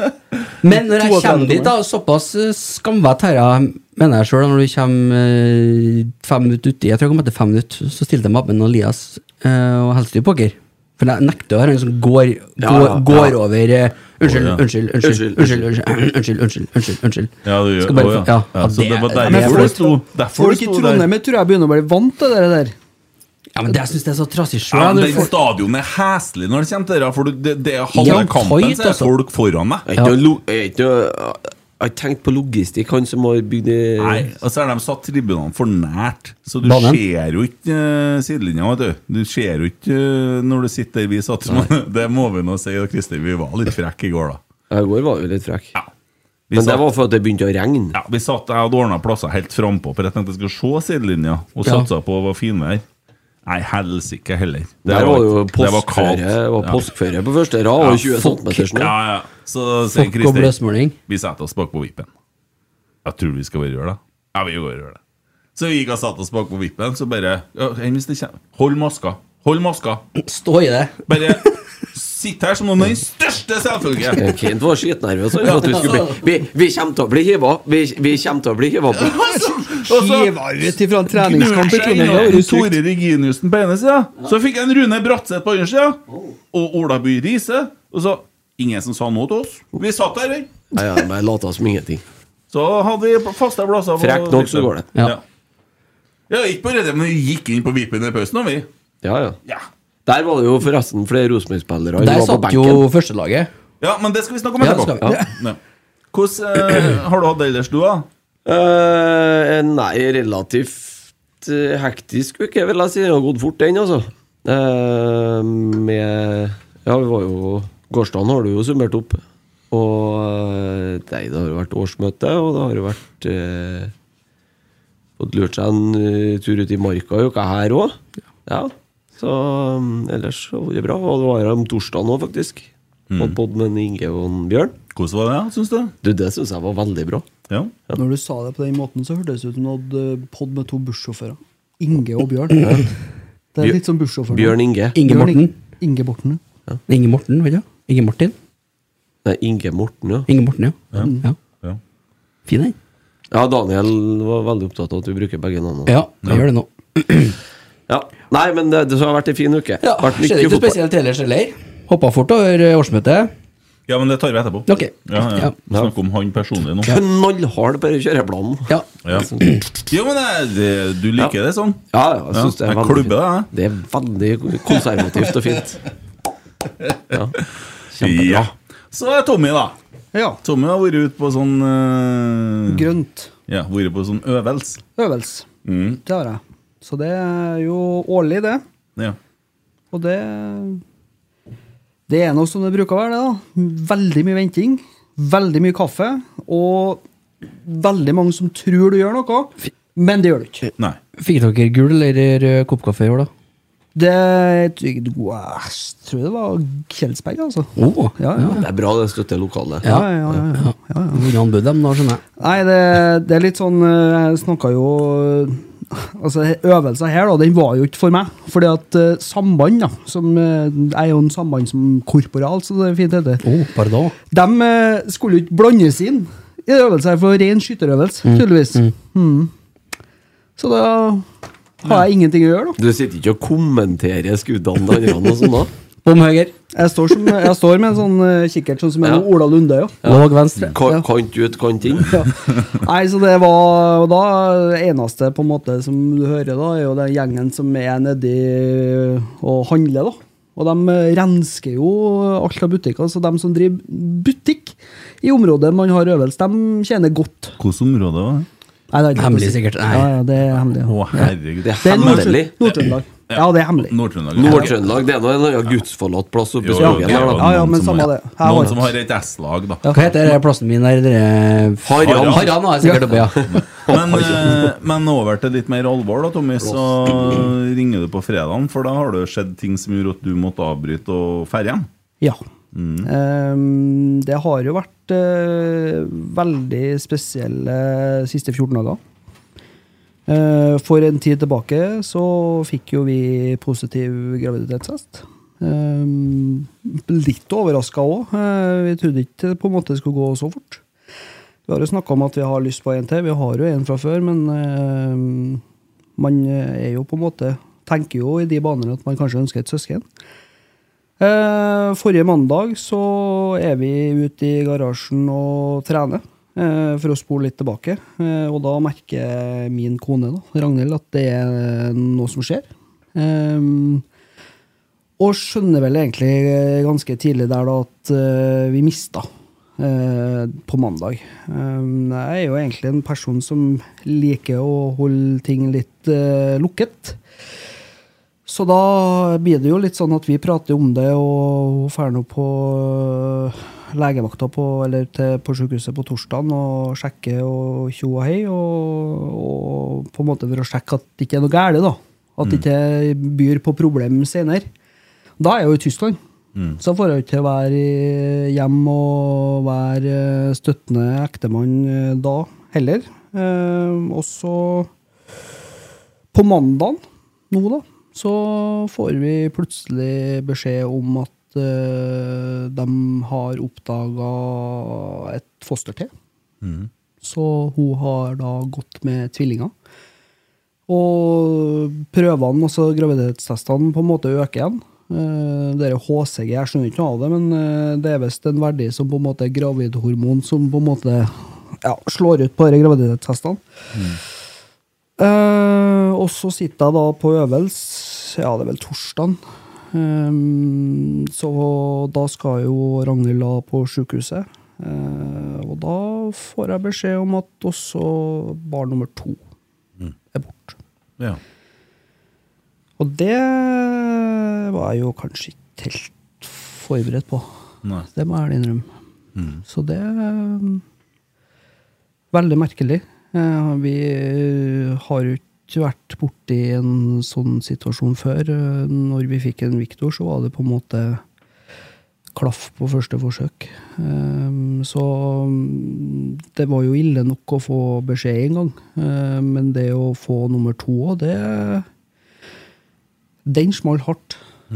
[SPEAKER 4] Men når jeg kommer dit, da, såpass eh, skamvett her, jeg mener jeg sjøl, når du kommer eh, fem minutter uti Jeg tror jeg kom etter fem minutter, så stilte jeg meg opp med en Elias eh, og helste i poker. For jeg nekter å være en som går, går,
[SPEAKER 3] Ja, ja,
[SPEAKER 4] går
[SPEAKER 3] ja.
[SPEAKER 4] over eh, Unnskyld,
[SPEAKER 2] Å, ja.
[SPEAKER 4] unnskyld, unnskyld,
[SPEAKER 3] Unnskyld,
[SPEAKER 4] unnskyld, unnskyld, unnskyld, unnschild, unnskyld, unnskyld.
[SPEAKER 2] Ja, du gjør
[SPEAKER 4] Skal bare få-
[SPEAKER 2] å,
[SPEAKER 4] ja,
[SPEAKER 2] ja. Ja,
[SPEAKER 4] at
[SPEAKER 2] så det var
[SPEAKER 4] det-
[SPEAKER 5] Men
[SPEAKER 2] derfor
[SPEAKER 5] folk-
[SPEAKER 2] det sto derfor det
[SPEAKER 5] Folk i
[SPEAKER 2] sto der.
[SPEAKER 5] Trondheim jeg tror jeg begynner å bli vant til det der.
[SPEAKER 4] Ja, men det jeg syns det er så trassig sjøl.
[SPEAKER 2] Ja, men den stadion er heslig når det kommer til det, for det, det er halve
[SPEAKER 4] Ja,
[SPEAKER 2] kampen,
[SPEAKER 4] tight,
[SPEAKER 2] så er
[SPEAKER 4] altså.
[SPEAKER 2] folk foran deg.
[SPEAKER 3] Jeg har ikke noe lo- jeg har ikke noe- jeg har ikke tenkt på logistikk, han som har bygd det
[SPEAKER 2] Nei, og så er de satt tribunene for nært, så du
[SPEAKER 4] Banen.
[SPEAKER 2] ser jo ikke eh, sidelinja, vet du. Du ser jo ikke eh, når du sitter der vi satt. <laughs> Det må vi nå si, og Kristin, vi var litt frekke i går, da.
[SPEAKER 3] I går var jo litt frekk.
[SPEAKER 2] Ja. Vi
[SPEAKER 3] Men det
[SPEAKER 2] satt-
[SPEAKER 3] var for at det begynte å regne.
[SPEAKER 2] Ja, vi satt, Jeg hadde ordna plasser helt frampå, for jeg tenkte jeg skulle se sidelinja. Og
[SPEAKER 4] Ja.
[SPEAKER 2] satsa på å være finvær. Nei, helsike heller. Det
[SPEAKER 3] Der var jo
[SPEAKER 2] det var kaldt.
[SPEAKER 3] påskeføre var
[SPEAKER 2] Ja.
[SPEAKER 3] påskeføre på første rad og 20
[SPEAKER 4] fuck.
[SPEAKER 3] cm snø.
[SPEAKER 2] Ja, ja. Så sier
[SPEAKER 4] Fuck og
[SPEAKER 2] Kristin
[SPEAKER 4] bløsmåling.
[SPEAKER 2] Vi setter oss bak på vippen. Jeg tror vi skal bare gjøre det. Ja, vi går og gjør det. Så vi gikk og satte oss bak på vippen, så bare ja, enn hvis det kommer. Hold maska! Hold maska!
[SPEAKER 4] Stå i det.
[SPEAKER 2] Bare sitt her som noen av de største selvfølge!
[SPEAKER 3] Kent var skitnervøs han, for at vi skulle
[SPEAKER 4] <laughs>
[SPEAKER 3] bli Vi, vi kommer til å bli hiva! Vi, vi kommer til å bli hiva på.
[SPEAKER 4] Altså,
[SPEAKER 5] Skiva ut ifra en treningskamp i Trondheim. det har vært sykt.
[SPEAKER 2] Tore Reginiussen på ene sida. Så fikk jeg en Rune Bratseth på andre sida. Og Ola By Riise. Og så Ingen som sa noe til oss. Vi satt der, vi.
[SPEAKER 3] Nei, ja, bare lata som ingenting.
[SPEAKER 2] Så hadde vi faste plasser. på
[SPEAKER 3] Frekt nok, så
[SPEAKER 2] vippen.
[SPEAKER 3] går det.
[SPEAKER 4] Ja.
[SPEAKER 2] Ja. ja, ikke bare det, men vi gikk inn på vippen i pausen, og vi.
[SPEAKER 3] Ja, ja.
[SPEAKER 2] Ja.
[SPEAKER 3] Der var det jo forresten flere Rosenborg-spillere.
[SPEAKER 4] Der
[SPEAKER 3] som var på
[SPEAKER 4] satt
[SPEAKER 3] benken.
[SPEAKER 4] jo førstelaget.
[SPEAKER 2] ja, men det skal vi snakke om
[SPEAKER 4] Ja, det
[SPEAKER 2] etterpå.
[SPEAKER 4] skal vi.
[SPEAKER 2] Ja. Hvordan eh, har du hatt det ellers, du, da?
[SPEAKER 3] Eh, nei, relativt eh, hektisk uke, vil jeg si. Det har gått fort, den, altså. Eh, med Ja, vi var jo Gårsdagen har du jo summert opp. Og eh, nei, det har jo vært årsmøte, og det har jo vært eh, Fått lurt seg en eh, tur ut i marka i uka her òg. Ja. Så um, ellers har det vært bra. Og det var her om torsdagen òg, faktisk. Fått podd med Inge og en Bjørn.
[SPEAKER 2] Hvordan var det, syns du?
[SPEAKER 3] Du, det syns jeg var veldig bra.
[SPEAKER 2] Ja.
[SPEAKER 5] Når du sa det på den måten, så hørtes det ut som du hadde eh, podd med to bussjåfører. Inge og Bjørn. Det er litt som bussjåføren.
[SPEAKER 3] Bjørn Inge.
[SPEAKER 4] Inge
[SPEAKER 5] Bjørn
[SPEAKER 4] Morten.
[SPEAKER 5] Ing- Inge Borten.
[SPEAKER 4] Inge Morten, vet du? Inge Martin?
[SPEAKER 3] Nei, Inge Morten, ja.
[SPEAKER 4] Inge Morten, ja. ja.
[SPEAKER 2] Ja.
[SPEAKER 4] Fin den.
[SPEAKER 3] Ja, Daniel var veldig opptatt av at vi bruker begge navnene.
[SPEAKER 4] Ja, jeg gjør det nå.
[SPEAKER 3] Ja. Nei, men det, det har vært en fin uke.
[SPEAKER 4] Ja,
[SPEAKER 3] vært mye
[SPEAKER 4] Skjedde ikke noe
[SPEAKER 3] fotball.
[SPEAKER 4] spesielt ellers heller. Hoppa fort over eh, årsmøtet.
[SPEAKER 2] ja, men det tar vi etterpå.
[SPEAKER 4] Ok.
[SPEAKER 2] Ja, ja.
[SPEAKER 4] Ja.
[SPEAKER 2] Snakke om han personlig nå.
[SPEAKER 3] Knallhard på den kjøreplanen.
[SPEAKER 4] Ja.
[SPEAKER 2] Ja. Jo, men det, det, du liker det sånn?
[SPEAKER 3] Ja, ja, jeg synes det
[SPEAKER 2] Ja,
[SPEAKER 3] er
[SPEAKER 2] jeg
[SPEAKER 3] veldig
[SPEAKER 2] klubber
[SPEAKER 3] fint. Det er veldig konservativt og fint. Ja. Kjempebra.
[SPEAKER 2] Ja. Så er Tommy, da.
[SPEAKER 5] Ja.
[SPEAKER 2] Tommy har vært ute på sånn eh,
[SPEAKER 5] Grønt.
[SPEAKER 2] Ja, vært på sånn øvelse.
[SPEAKER 5] Øvelse.
[SPEAKER 4] Mm.
[SPEAKER 5] Det har jeg. Så det er jo årlig, det.
[SPEAKER 2] Ja.
[SPEAKER 5] Og det Det er noe som det bruker å være, det. da. Veldig mye venting. Veldig mye kaffe. Og veldig mange som tror du gjør noe, men det gjør du ikke.
[SPEAKER 2] Nei.
[SPEAKER 4] Fikk dere gul eller rød koppkaffe i år, da?
[SPEAKER 5] Det jeg tror jeg det var Kjeldsberg, altså.
[SPEAKER 4] Oh,
[SPEAKER 5] Ja, ja.
[SPEAKER 3] Det er bra det støtter lokalet.
[SPEAKER 5] Ja, ja, ja, ja. ja, ja.
[SPEAKER 4] Vunnet anbud, dem, da, skjønner jeg.
[SPEAKER 5] Nei, det, det er litt sånn eh, Jeg snakka jo eh, Altså, øvelsen her, da, den var jo ikke for meg. Fordi at eh, samband, da som, eh, Jeg er jo en samband som korporal, så det er fint heter.
[SPEAKER 4] Oh, pardon.
[SPEAKER 5] De eh, skulle jo ikke blandes inn i den øvelsen her, for ren skytterøvelse, tydeligvis. Mm. Så da har jeg ingenting å gjøre, da.
[SPEAKER 3] Du sitter ikke og kommenterer skuddene til andre og sånn da?
[SPEAKER 4] Bom høyre.
[SPEAKER 5] Jeg står, som, jeg står med en sånn eh, kikkert, sånn som en
[SPEAKER 3] Ja.
[SPEAKER 5] Ola Lunde, ja.
[SPEAKER 4] Låg venstre.
[SPEAKER 3] Ka- Kant ut, kant inn.
[SPEAKER 5] Ja. Nei, så det var Og da eneste på en måte som du hører, da, er jo den gjengen som er nedi og handler, da. Og de rensker jo alt av butikker, så de som driver butikk i området man har øvelse, de tjener godt.
[SPEAKER 2] Hvilket område var det?
[SPEAKER 5] Nei, det er ikke
[SPEAKER 4] Hemmelig
[SPEAKER 5] å si.
[SPEAKER 4] sikkert, nei.
[SPEAKER 5] Ja, ja, det er hemmelig.
[SPEAKER 2] Å,
[SPEAKER 5] Ja.
[SPEAKER 2] herregud.
[SPEAKER 3] Det er
[SPEAKER 5] Det er Nord-
[SPEAKER 3] hemmelig.
[SPEAKER 5] Nord-Trøndelag. Ja, det er hemmelig.
[SPEAKER 2] Nord-Trøndelag.
[SPEAKER 3] Nord-Trøndelag, det er nå en eller annen gudsforlatt plass oppe i
[SPEAKER 2] Jo, jo,
[SPEAKER 3] skogen
[SPEAKER 2] det er
[SPEAKER 3] her,
[SPEAKER 2] jo
[SPEAKER 3] da.
[SPEAKER 5] Ja, ja,
[SPEAKER 2] noen
[SPEAKER 5] men
[SPEAKER 2] som
[SPEAKER 5] samme
[SPEAKER 2] har-
[SPEAKER 5] det. Her var
[SPEAKER 2] Noen
[SPEAKER 5] det.
[SPEAKER 2] som har et S-lag, da.
[SPEAKER 4] Hva heter det plassen min der dere
[SPEAKER 3] Harran.
[SPEAKER 4] Harran har jeg sikkert
[SPEAKER 6] <laughs>
[SPEAKER 4] oppe, ja.
[SPEAKER 2] <laughs> Men, eh, men over til litt mer alvor, da, Tommy. Så ringer du på fredagen, for da har det jo skjedd ting som gjorde at du måtte avbryte og ferje hjem.
[SPEAKER 5] Ja. Eh, det har jo vært eh, veldig spesielle siste 14 dager. Eh, for en tid tilbake så fikk jo vi positiv graviditetstest. Eh, litt overraska òg. vi trodde ikke det på en måte skulle gå så fort. Vi har jo snakka om at vi har lyst på en til. Vi har jo en fra før, men eh, man eh, er jo på en måte Tenker jo i de baner at man kanskje ønsker et søsken. Eh, forrige mandag så er vi ute i garasjen og trener, eh, for å spole litt tilbake. Eh, og da merker min kone, da, Ragnhild, at det er noe som skjer. Eh, og skjønner vel egentlig eh, ganske tidlig der da at eh, vi mista eh, på mandag. Eh, jeg er jo egentlig en person som liker å holde ting litt eh, lukket. Så da blir det jo litt sånn at vi prater om det, og hun drar nå på eh, legevakta på, eller til, på sykehuset på torsdagen og sjekker og tjo og hei, og, og på en måte for å sjekke at det ikke er noe galt, da. At det ikke byr på problem senere. Da er jeg jo i Tyskland. Så får jeg jo ikke være i- hjem og være eh, støttende ektemann eh, da heller. Eh, og så på mandagen nå, da, så får vi plutselig beskjed om at eh, de har oppdaga et foster til. Så hun har da gått med tvillinger. Og prøvene, altså graviditetstestene, på en måte øker igjen. Eh, Det er HCG, jeg skjønner ikke noe av det, men eh, det er visst en verdi som på en måte er gravidhormon som på en måte ja, slår ut på disse graviditetstestene. Eh, og så sitter jeg da på øvelse, ja, det er vel torsdagen. Ehm, så da skal jo Ragnhild da på sykehuset. Eh, og da får jeg beskjed om at også barn nummer to er borte.
[SPEAKER 2] Ja.
[SPEAKER 5] Og det var jeg jo kanskje ikke helt forberedt på.
[SPEAKER 2] Nei.
[SPEAKER 5] Det må jeg ærlig innrømme. Så det er veldig merkelig. Eh, Vi har jo ikke vært borti en sånn situasjon før. Eh, Når vi fikk en Viktor, så var det på en måte klaff på første forsøk. Eh, Så mm, det var jo ille nok å få beskjed én gang, Eh, men det å få nummer to òg, det den smalt hardt. Eh,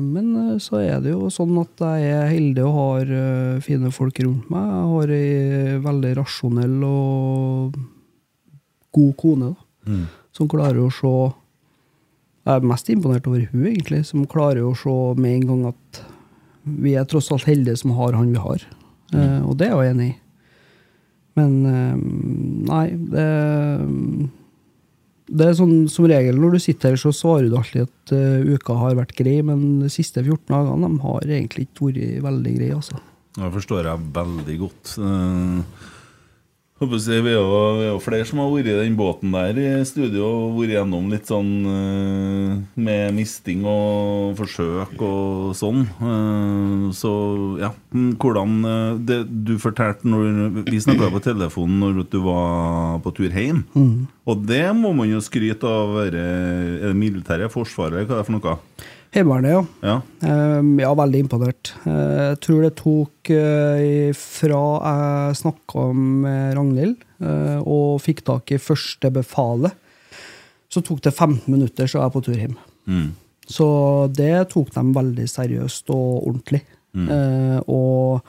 [SPEAKER 5] Men eh, så er det jo sånn at jeg er heldig og har eh, fine folk rundt meg. Jeg har ei veldig rasjonell og god kone da,
[SPEAKER 2] Mm.
[SPEAKER 5] som klarer å se Jeg er mest imponert over hun egentlig, som klarer å se med en gang at vi er tross alt heldige som har han vi har. Eh, Og det er jeg enig i. Men eh, nei, det det er sånn, Som regel når du sitter her, så svarer du alltid at eh, uka har vært grei, men de siste 14 dagene de har egentlig ikke vært veldig greie. altså.
[SPEAKER 2] Det forstår jeg veldig godt. Eh, håper å si, vi er jo vi er jo flere som har vært i den båten der i studio og vært gjennom litt sånn eh, med misting og forsøk og sånn. Eh, så ja, Mm, hvordan eh, det, Du fortalte når Vi snakka på telefonen når du var på tur hjem. Og det må man jo skryte av. Er det militæret? Forsvaret? Hva er det for noe?
[SPEAKER 5] Heimevernet, ja.
[SPEAKER 2] Ja.
[SPEAKER 5] Um, ja, veldig imponert. Eh, Jeg tror det tok eh, fra jeg snakka med Ragnhild eh, og fikk tak i første befalet, så tok det 15 minutter, så er jeg på tur hjem. Så det tok dem veldig seriøst og ordentlig. Eh, og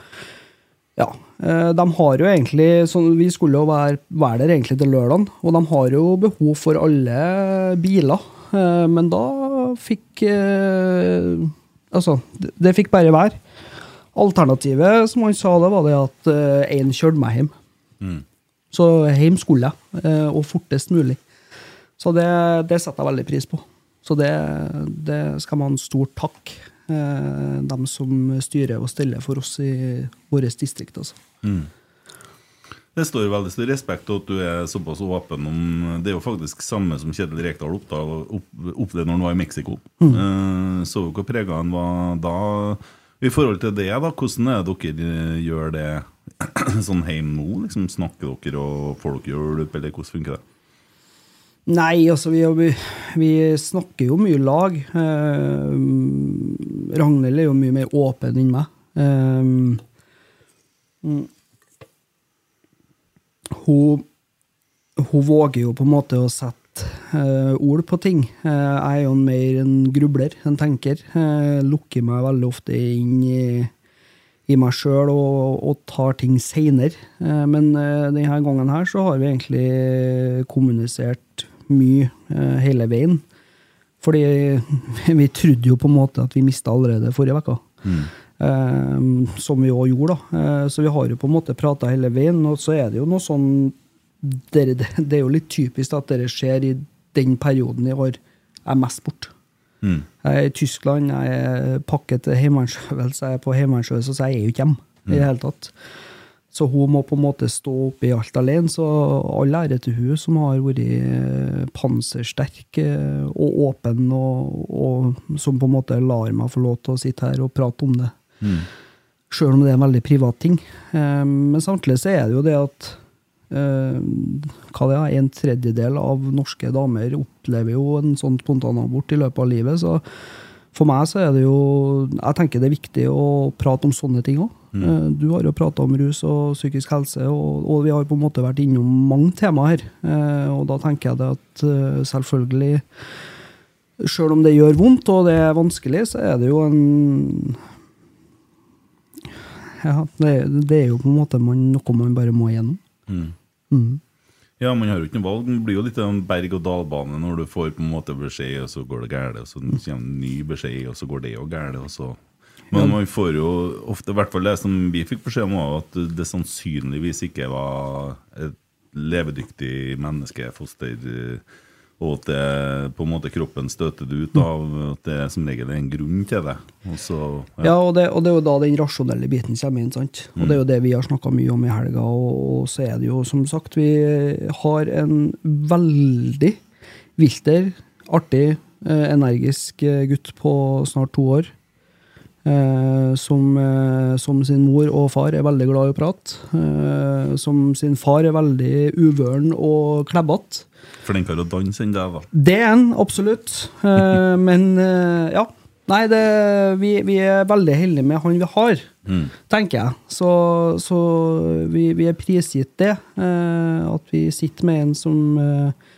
[SPEAKER 5] ja, eh, de har jo egentlig sånn- Vi skulle jo være, være der egentlig til lørdagen, og de har jo behov for alle biler. Eh, men da fikk eh, Altså, det, det fikk bare være. Alternativet, som han sa, det var det at én kjørte meg hjem. Så hjem skulle jeg, eh, og fortest mulig. Så det, det setter jeg veldig pris på. Så det, det skal man stor takk eh, dem som styrer og steller for oss i vårt distrikt. Altså.
[SPEAKER 2] Det står veldig stor respekt av at du er såpass åpen om Det er jo faktisk samme som Kjetil Rekdal oppda- opp- opplevde når han var i Mexico. Eh, så jo hvor prega han var da. I forhold til det, da, hvordan er det dere eh, gjør det <clears throat> sånn hjemme nå? Liksom, snakker dere og får dere hjelp, eller hvordan funker det?
[SPEAKER 5] Nei, altså vi, vi, vi snakker jo mye lag. Eh, Ragnhild er jo mye mer åpen enn meg. Ehm, mm. hun, hun våger jo på en måte å sette eh, ord på ting. Eh, jeg er jo en mer en grubler, en tenker. Eh, lukker meg veldig ofte inn i, i meg sjøl og, og tar ting seinere. men eh, denne gangen her så har vi egentlig kommunisert mye eh, hele veien. Fordi <laughs> vi trodde jo på en måte at vi mista allerede forrige uke. Eh, som vi òg gjorde, da. Eh, så vi har jo på en måte prata hele veien. Og så er det jo noe sånn Det, det, det er jo litt typisk at det skjer i den perioden i år jeg er mest borte. Jeg er i Tyskland, jeg er pakket til heimevernsøvelse, jeg er på heimevernsøvelse, så jeg er jo ikke hjemme i det hele tatt. Så hun må på en måte stå oppe i alt alene, så all ære til hun som har vært eh, pansersterk eh, og åpen, og, og som på en måte lar meg få lov til å sitte her og prate om det. Sjøl om det er en veldig privat ting. Eh, Men samtidig så er det jo det at eh, hva det er, en tredjedel av norske damer opplever jo en sånn spontanabort i løpet av livet. Så for meg så er det jo Jeg tenker det er viktig å prate om sånne ting òg. Du har jo prata om rus og psykisk helse, og, og vi har på en måte vært innom mange temaer. Eh, Og da tenker jeg det at eh, selvfølgelig Sjøl om det gjør vondt og det er vanskelig, så er det jo en ja, det, det er jo på en måte man, noe man bare må igjennom.
[SPEAKER 2] Ja, man har jo ikke noe valg. Det blir jo litt en berg-og-dal-bane når du får på en måte beskjed, og så går det gærent, og så kommer en ny beskjed, og så går det jo gærent, og så Men man får jo ofte, i hvert fall det som vi fikk beskjed om, var at det sannsynligvis ikke var et levedyktig menneskefoster. Og at det, på en måte kroppen støter det ut av at det som regel er en grunn til det. Og så, ja.
[SPEAKER 5] Ja, og det, og det er jo da den rasjonelle biten kommer inn. sant? Og det er jo det vi har snakka mye om i helga. Og, og så er det jo, som sagt, vi eh, har en veldig vilter, artig, eh, energisk eh, gutt på snart to år. Eh, som, eh, som sin mor og far er veldig glad i å prate. Eh, som sin far er veldig uvøren og klebbete.
[SPEAKER 2] Flinkere å danse enn deg, da.
[SPEAKER 5] Det er en, absolutt. Eh, men eh, ja. Nei, det, vi, vi er veldig heldige med han vi har,
[SPEAKER 2] Mm.
[SPEAKER 5] tenker jeg. Så, så vi, vi er prisgitt det. eh, at vi sitter med en som eh,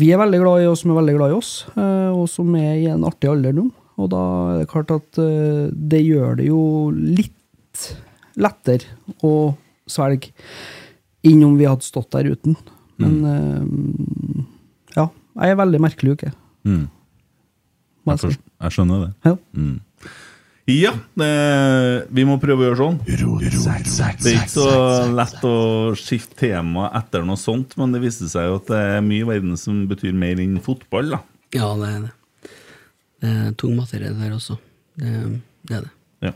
[SPEAKER 5] vi er veldig glad i, og som er veldig glad i oss. eh, og som er i en artig alder nå. Og da er det klart at eh, det gjør det jo litt lettere å svelge enn om vi hadde stått der uten. Men eh, ja, jeg er veldig merkelig uke.
[SPEAKER 2] Mm. Jeg,
[SPEAKER 5] må jeg si.
[SPEAKER 2] forst- jeg skjønner det.
[SPEAKER 5] Ja.
[SPEAKER 2] Mm. Ja, det, vi må prøve å gjøre sånn. Det er ikke så lett å skifte tema etter noe sånt, men det viste seg jo at det er mye i verden som betyr mer enn fotball, da.
[SPEAKER 6] Ja, det er det. Det er tung materie der også. Det, det er det.
[SPEAKER 2] Ja.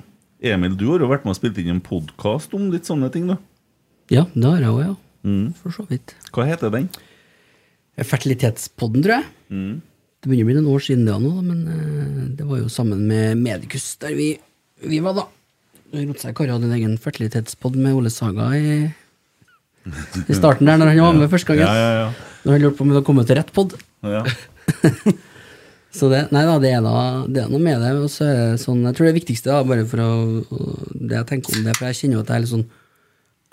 [SPEAKER 2] Emil, du har jo vært med og spilt inn en podkast om litt sånne ting, da. Mm.
[SPEAKER 6] Ja, det har jeg òg, ja. For så vidt.
[SPEAKER 2] Hva heter den?
[SPEAKER 6] Fertilitetspodden, tror jeg. Det begynner å bli noen år siden det nå, da, men eh, det var jo sammen med Medikus, der vi, vi var, da. Rotsekk Kari hadde en egen fertilitetspod med Ole Saga i, i starten der, når han var med første gangen.
[SPEAKER 2] Ja, ja,
[SPEAKER 6] Når han lurte på om det hadde kommet til rett pod.
[SPEAKER 2] ja. ja.
[SPEAKER 6] Så det, nei da, det er, da, det er noe med det. Og så er det sånn, jeg tror det viktigste, da, bare for å, å- det jeg tenker om det, for jeg kjenner jo at jeg er litt sånn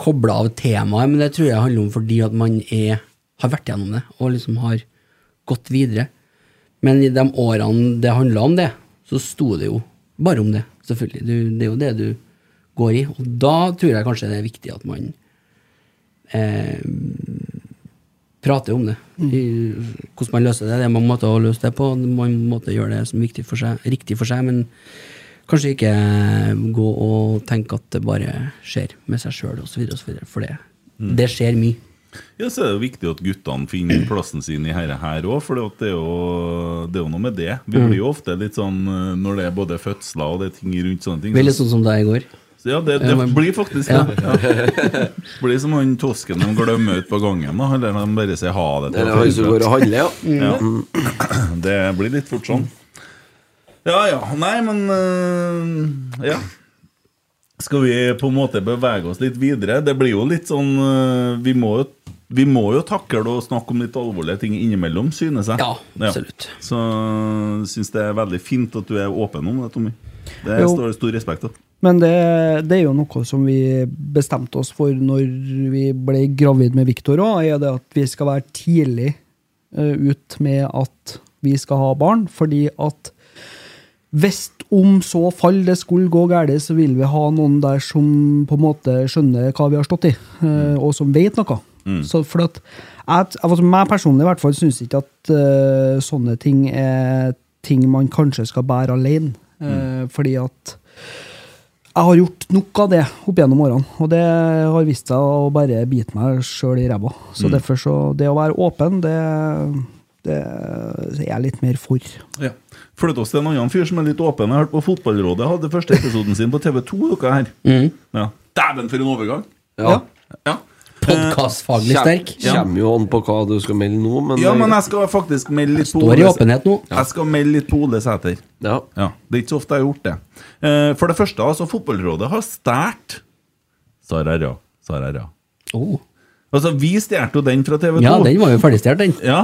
[SPEAKER 6] kobla av temaet, men det tror jeg handler om fordi at man er, har vært gjennom det, og liksom har gått videre. Men i de årene det handla om det, så sto det jo bare om det, selvfølgelig. Du, det er jo det du går i. Og da tror jeg kanskje det er viktig at man eh, prater om det. I- Hvordan man løser det. Det er mange måter å løse det på. Man måtte gjøre det som er viktig for seg, riktig for seg, men kanskje ikke gå og tenke at det bare skjer med seg sjøl osv., for det,
[SPEAKER 2] Mm.
[SPEAKER 6] det skjer mye.
[SPEAKER 2] Ja, så er det jo viktig at guttene
[SPEAKER 6] <clears throat>
[SPEAKER 2] finner plassen sin i herre her òg, for det er, jo, det er jo noe med det.
[SPEAKER 6] Mm.
[SPEAKER 2] Vi blir jo ofte litt sånn eh, når det er både fødsler og det er ting rundt sånne ting.
[SPEAKER 6] Det er litt
[SPEAKER 2] så-
[SPEAKER 6] sånn som deg i går.
[SPEAKER 2] så ja, det,
[SPEAKER 6] Ja,
[SPEAKER 2] det
[SPEAKER 6] men-
[SPEAKER 2] blir faktisk
[SPEAKER 6] Ja.
[SPEAKER 2] det. Ja. Blir som han tosken de glemmer ut på gangen, da. Eller de bare sier ha det. til
[SPEAKER 3] Eller han som går og handler, ja.
[SPEAKER 6] Mm.
[SPEAKER 2] Ja. Det blir litt fort sånn. Ja ja. Nei, men øh, Ja. Skal vi på en måte bevege oss litt videre? Det blir jo litt sånn øh, Vi må jo, vi må jo takle og snakke om litt alvorlige ting innimellom, synes jeg.
[SPEAKER 6] Ja, absolutt.
[SPEAKER 2] Så syns det er veldig fint at du er åpen om det, Tommy. Det
[SPEAKER 5] Jo.
[SPEAKER 2] står det stor respekt av.
[SPEAKER 5] Men det, det er jo noe som vi bestemte oss for når vi ble gravid med Viktor òg, er det at vi skal være tidlig eh, ut med at vi skal ha barn, fordi at hvis om så fall det skulle gå galt, så vil vi ha noen der som på en måte skjønner hva vi har stått i, eh, og som vet noe.
[SPEAKER 6] Mm.
[SPEAKER 5] Så for at jeg, altså meg personlig i hvert fall syns ikke at eh, sånne ting er ting man kanskje skal bære alene. eh, Fordi at jeg har gjort nok av det opp gjennom årene, og det har vist seg å bare bite meg sjøl i ræva. Så derfor så Det å være åpen, det, det er jeg litt mer for.
[SPEAKER 2] Ja. Flytt oss til en annen fyr som er litt åpen. Jeg hørte på Fotballrådet hadde første episoden sin på TV2. dere her ja. Dæven, for en overgang!
[SPEAKER 3] Ja.
[SPEAKER 2] Ja.
[SPEAKER 6] Podkastfaglig sterk.
[SPEAKER 3] Kommer jo an på hva du skal melde nå, men eh,
[SPEAKER 2] ja, men jeg skal faktisk melde litt på
[SPEAKER 6] Står i
[SPEAKER 2] Ole-
[SPEAKER 6] åpenhet nå.
[SPEAKER 2] Jeg skal melde litt på Ole Sæter.
[SPEAKER 3] ja.
[SPEAKER 2] Ja, det er ikke så ofte jeg har gjort det. Eh, For det første, altså, Fotballrådet har stjålet Sarara. Sarara.
[SPEAKER 6] Oh.
[SPEAKER 2] Altså, vi stjal jo den fra TV2.
[SPEAKER 6] Ja, den var jo ferdigstjålet, den.
[SPEAKER 2] Ja.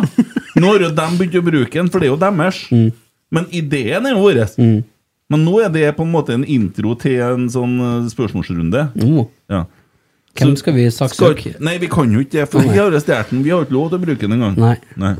[SPEAKER 2] Nå har jo de begynt å bruke den, for det er jo deres.
[SPEAKER 6] Mm.
[SPEAKER 2] Men ideen er jo vår. Men nå er det på en måte en intro til en sånn eh, spørsmålsrunde.
[SPEAKER 6] Oh.
[SPEAKER 2] Ja.
[SPEAKER 6] Hvem
[SPEAKER 2] Så-
[SPEAKER 6] skal vi
[SPEAKER 2] Skal,
[SPEAKER 6] saksøke?
[SPEAKER 2] nei, vi kan jo ikke det, for vi har jo stjålet den. Vi har jo ikke lov til å bruke den engang.
[SPEAKER 6] Nei.
[SPEAKER 2] Nei.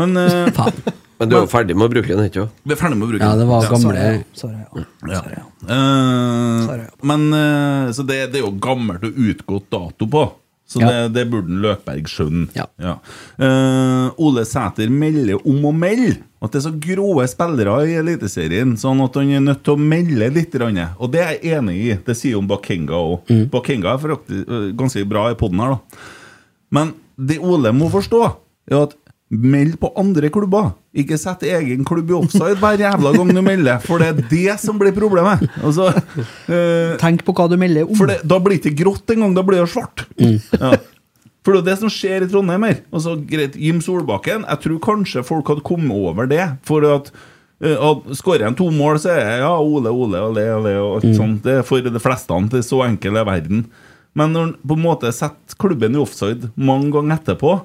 [SPEAKER 2] Men eh,
[SPEAKER 6] Faen.
[SPEAKER 3] Men du er jo ferdig med å bruke den, ikke sant?
[SPEAKER 2] vi er ferdig med å bruke
[SPEAKER 6] Ja, det
[SPEAKER 2] den.
[SPEAKER 6] var gamle
[SPEAKER 5] Sorry, ja.
[SPEAKER 2] Ja.
[SPEAKER 5] Sorry, ja.
[SPEAKER 2] Eh,
[SPEAKER 5] Sorry, ja.
[SPEAKER 2] men eh, Så det, det er jo gammelt og utgått dato på. Så
[SPEAKER 6] Ja.
[SPEAKER 2] det, det burde en Løkberg skjønne.
[SPEAKER 6] Ja.
[SPEAKER 2] Eh, Ole Sæter melder om å melde at det er så grove spillere i Eliteserien, sånn at han er nødt til å melde litt. grann. Og det er jeg enig i. Det sier jo Bakenga òg. Bakenga er faktisk, eh, ganske bra i poden her, da. Men det Ole må forstå, er at meld på andre klubber. Ikke sett egen klubb i offside hver jævla gang du melder, for det er det som blir problemet. Altså, eh,
[SPEAKER 5] Tenk på hva du melder om.
[SPEAKER 2] for det, da blir det ikke grått engang, da blir det svart. Ja. For det er det som skjer i Trondheim her. Altså, greit, Jim Solbakken, jeg tror kanskje folk hadde kommet over det. For at eh, at skårer han to mål, så er det ja, Ole, Ole, Ole, Ole og alt sånt. Det er for de fleste han til så enkel er verden. Men når han på en måte setter klubben i offside mange ganger etterpå,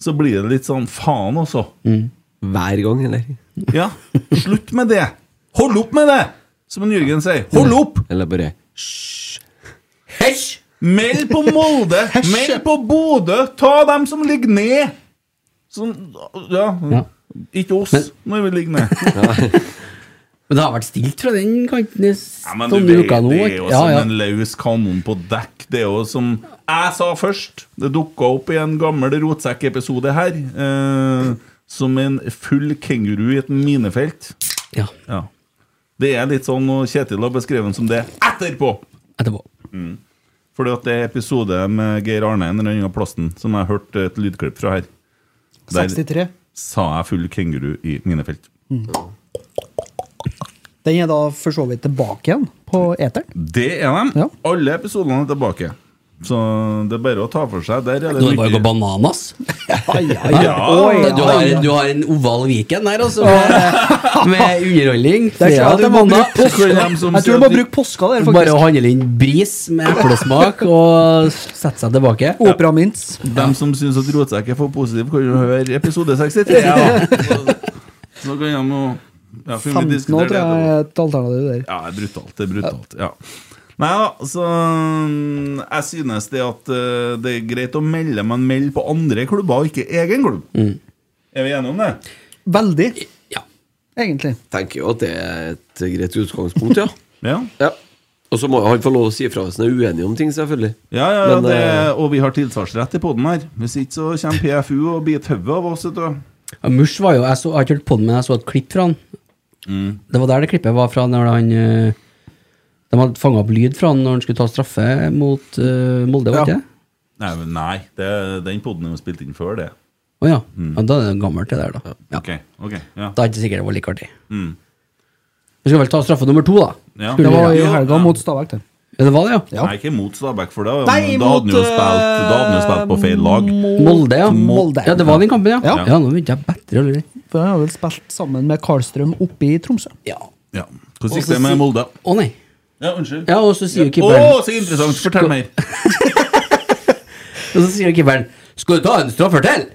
[SPEAKER 2] så blir det litt sånn faen, altså.
[SPEAKER 3] Hver gang, eller?
[SPEAKER 2] Ja, slutt med det! Hold opp med det! Som en Jørgen sier. Hold opp!
[SPEAKER 3] Eller bare
[SPEAKER 2] Meld på Molde! Meld på Bodø! Ta dem som ligger ned! Sånn Ja.
[SPEAKER 6] Ja.
[SPEAKER 2] Ikke oss når vi ligger
[SPEAKER 6] <laughs>
[SPEAKER 2] ned.
[SPEAKER 6] Men det har vært stilt fra den kanten i
[SPEAKER 2] Ja, men du
[SPEAKER 6] sånne
[SPEAKER 2] vet,
[SPEAKER 6] uker nå.
[SPEAKER 2] det er
[SPEAKER 6] ikke?
[SPEAKER 2] jo
[SPEAKER 6] Ja,
[SPEAKER 2] som
[SPEAKER 6] ja.
[SPEAKER 2] en løs kanon på dekk. Det er jo som jeg sa først. Det dukka opp i en gammel rotsekkepisode her. Eh, som en full kenguru i et minefelt.
[SPEAKER 6] ja.
[SPEAKER 2] Ja. Det er litt sånn, og Kjetil har beskrevet den som det etterpå.
[SPEAKER 6] Etterpå.
[SPEAKER 2] Fordi at det er episode med Geir Arne en eller annen plassen som jeg har hørt et lydklipp fra her. Der-
[SPEAKER 5] 63.
[SPEAKER 2] sa jeg full kenguru i minefelt.
[SPEAKER 5] Den er da for så vidt tilbake igjen på eteren.
[SPEAKER 2] Det er dem.
[SPEAKER 5] Ja.
[SPEAKER 2] Alle episodene er tilbake. Så det er bare å ta for seg. Der er
[SPEAKER 6] Nå
[SPEAKER 2] det
[SPEAKER 6] er det bare å gå
[SPEAKER 2] mye
[SPEAKER 5] <laughs>
[SPEAKER 6] bananas.
[SPEAKER 5] Ai, ai,
[SPEAKER 2] Ja.
[SPEAKER 5] oi,
[SPEAKER 6] Du har,
[SPEAKER 5] ai, ai.
[SPEAKER 6] du har en oval weekend der, altså. Med, med underholdning.
[SPEAKER 5] Det er klart
[SPEAKER 6] Fredag
[SPEAKER 5] jeg
[SPEAKER 6] til
[SPEAKER 5] må
[SPEAKER 6] mandag.
[SPEAKER 5] bruke påska.
[SPEAKER 2] Hvor er dem som
[SPEAKER 5] Jeg tror
[SPEAKER 2] sier
[SPEAKER 5] du må
[SPEAKER 2] at de-
[SPEAKER 5] bruke påska der,
[SPEAKER 6] Bare å
[SPEAKER 5] faktisk.
[SPEAKER 6] handle inn bris med eplesmak og sette seg tilbake.
[SPEAKER 5] Opera Mints.
[SPEAKER 2] Dem som syns at rotsekk er for positiv, kan jo høre episode 63. Ja. Så kan jeg må ja, for vi
[SPEAKER 5] 15
[SPEAKER 2] diskuterer
[SPEAKER 5] år
[SPEAKER 2] det
[SPEAKER 5] tror jeg
[SPEAKER 2] etterpå.
[SPEAKER 5] er et alternativ der.
[SPEAKER 2] Ja, det er brutalt. Det er brutalt. Ja. Nei da, så mm, jeg synes det at eh, det er greit å melde, men meld på andre klubber, og ikke egen klubb.
[SPEAKER 6] Mm.
[SPEAKER 2] Er vi enige om det?
[SPEAKER 5] Veldig,
[SPEAKER 6] Ja.
[SPEAKER 5] egentlig.
[SPEAKER 3] Tenker jo at det er et greit
[SPEAKER 2] <laughs>
[SPEAKER 3] utgangspunkt, ja.
[SPEAKER 2] Ja.
[SPEAKER 3] ja. Og så må jo han få lov å si fra hvis han er uenig om ting, selvfølgelig.
[SPEAKER 2] Ja, ja, ja
[SPEAKER 3] Men,
[SPEAKER 2] det,
[SPEAKER 3] eh,
[SPEAKER 2] og vi har tilsvarsrett i poden her. Hvis ikke så kommer PFU og biter hodet av oss. vet du.
[SPEAKER 6] Ja, Mush var jo Jeg, så, jeg har ikke hørt på den, men jeg så et klipp fra han.
[SPEAKER 2] Mm.
[SPEAKER 6] Det var der det klippet var fra når han eh, De hadde fanga opp lyd fra han når han skulle ta straffe mot eh, Molde, var
[SPEAKER 5] Ja.
[SPEAKER 6] ikke det?
[SPEAKER 2] Nei, men nei det, den poden er jo spilt inn før det.
[SPEAKER 6] Å ja. ja. Da er det gammelt, det der, da. Ja.
[SPEAKER 2] Mm. Ok, ok, ja.
[SPEAKER 6] Da er det ikke sikkert det var like artig. Vi skal vel ta straffe nummer to, da.
[SPEAKER 2] Ja.
[SPEAKER 6] Skulle
[SPEAKER 5] Det var i
[SPEAKER 2] Ja,
[SPEAKER 5] helga
[SPEAKER 2] ja.
[SPEAKER 5] mot Stabæk, det.
[SPEAKER 6] Ja, det var det, ja.
[SPEAKER 5] Ja.
[SPEAKER 2] Nei, ikke mot Stabæk, for da,
[SPEAKER 5] Nei,
[SPEAKER 2] da hadde han jo
[SPEAKER 5] mot,
[SPEAKER 2] spilt, da hadde han jo spilt på feil lag.
[SPEAKER 6] Molde, ja.
[SPEAKER 5] Molde.
[SPEAKER 6] Ja, det var den kampen, ja.
[SPEAKER 5] Ja.
[SPEAKER 6] Ja, nå begynte jeg bedre allerede.
[SPEAKER 5] For han har vel spilt sammen med Karlstrøm oppe i Tromsø.
[SPEAKER 6] Ja.
[SPEAKER 2] Ja. Hvordan
[SPEAKER 6] Og
[SPEAKER 2] gikk
[SPEAKER 6] så
[SPEAKER 2] det med
[SPEAKER 6] si-
[SPEAKER 2] Molde?
[SPEAKER 6] Å nei.
[SPEAKER 2] Ja, unnskyld.
[SPEAKER 6] Ja, og så sier jo
[SPEAKER 2] Å,
[SPEAKER 6] keeperen
[SPEAKER 2] så interessant! Fortell mer.
[SPEAKER 6] Og så sier jo keeperen 'Skal du ta en straffer til?'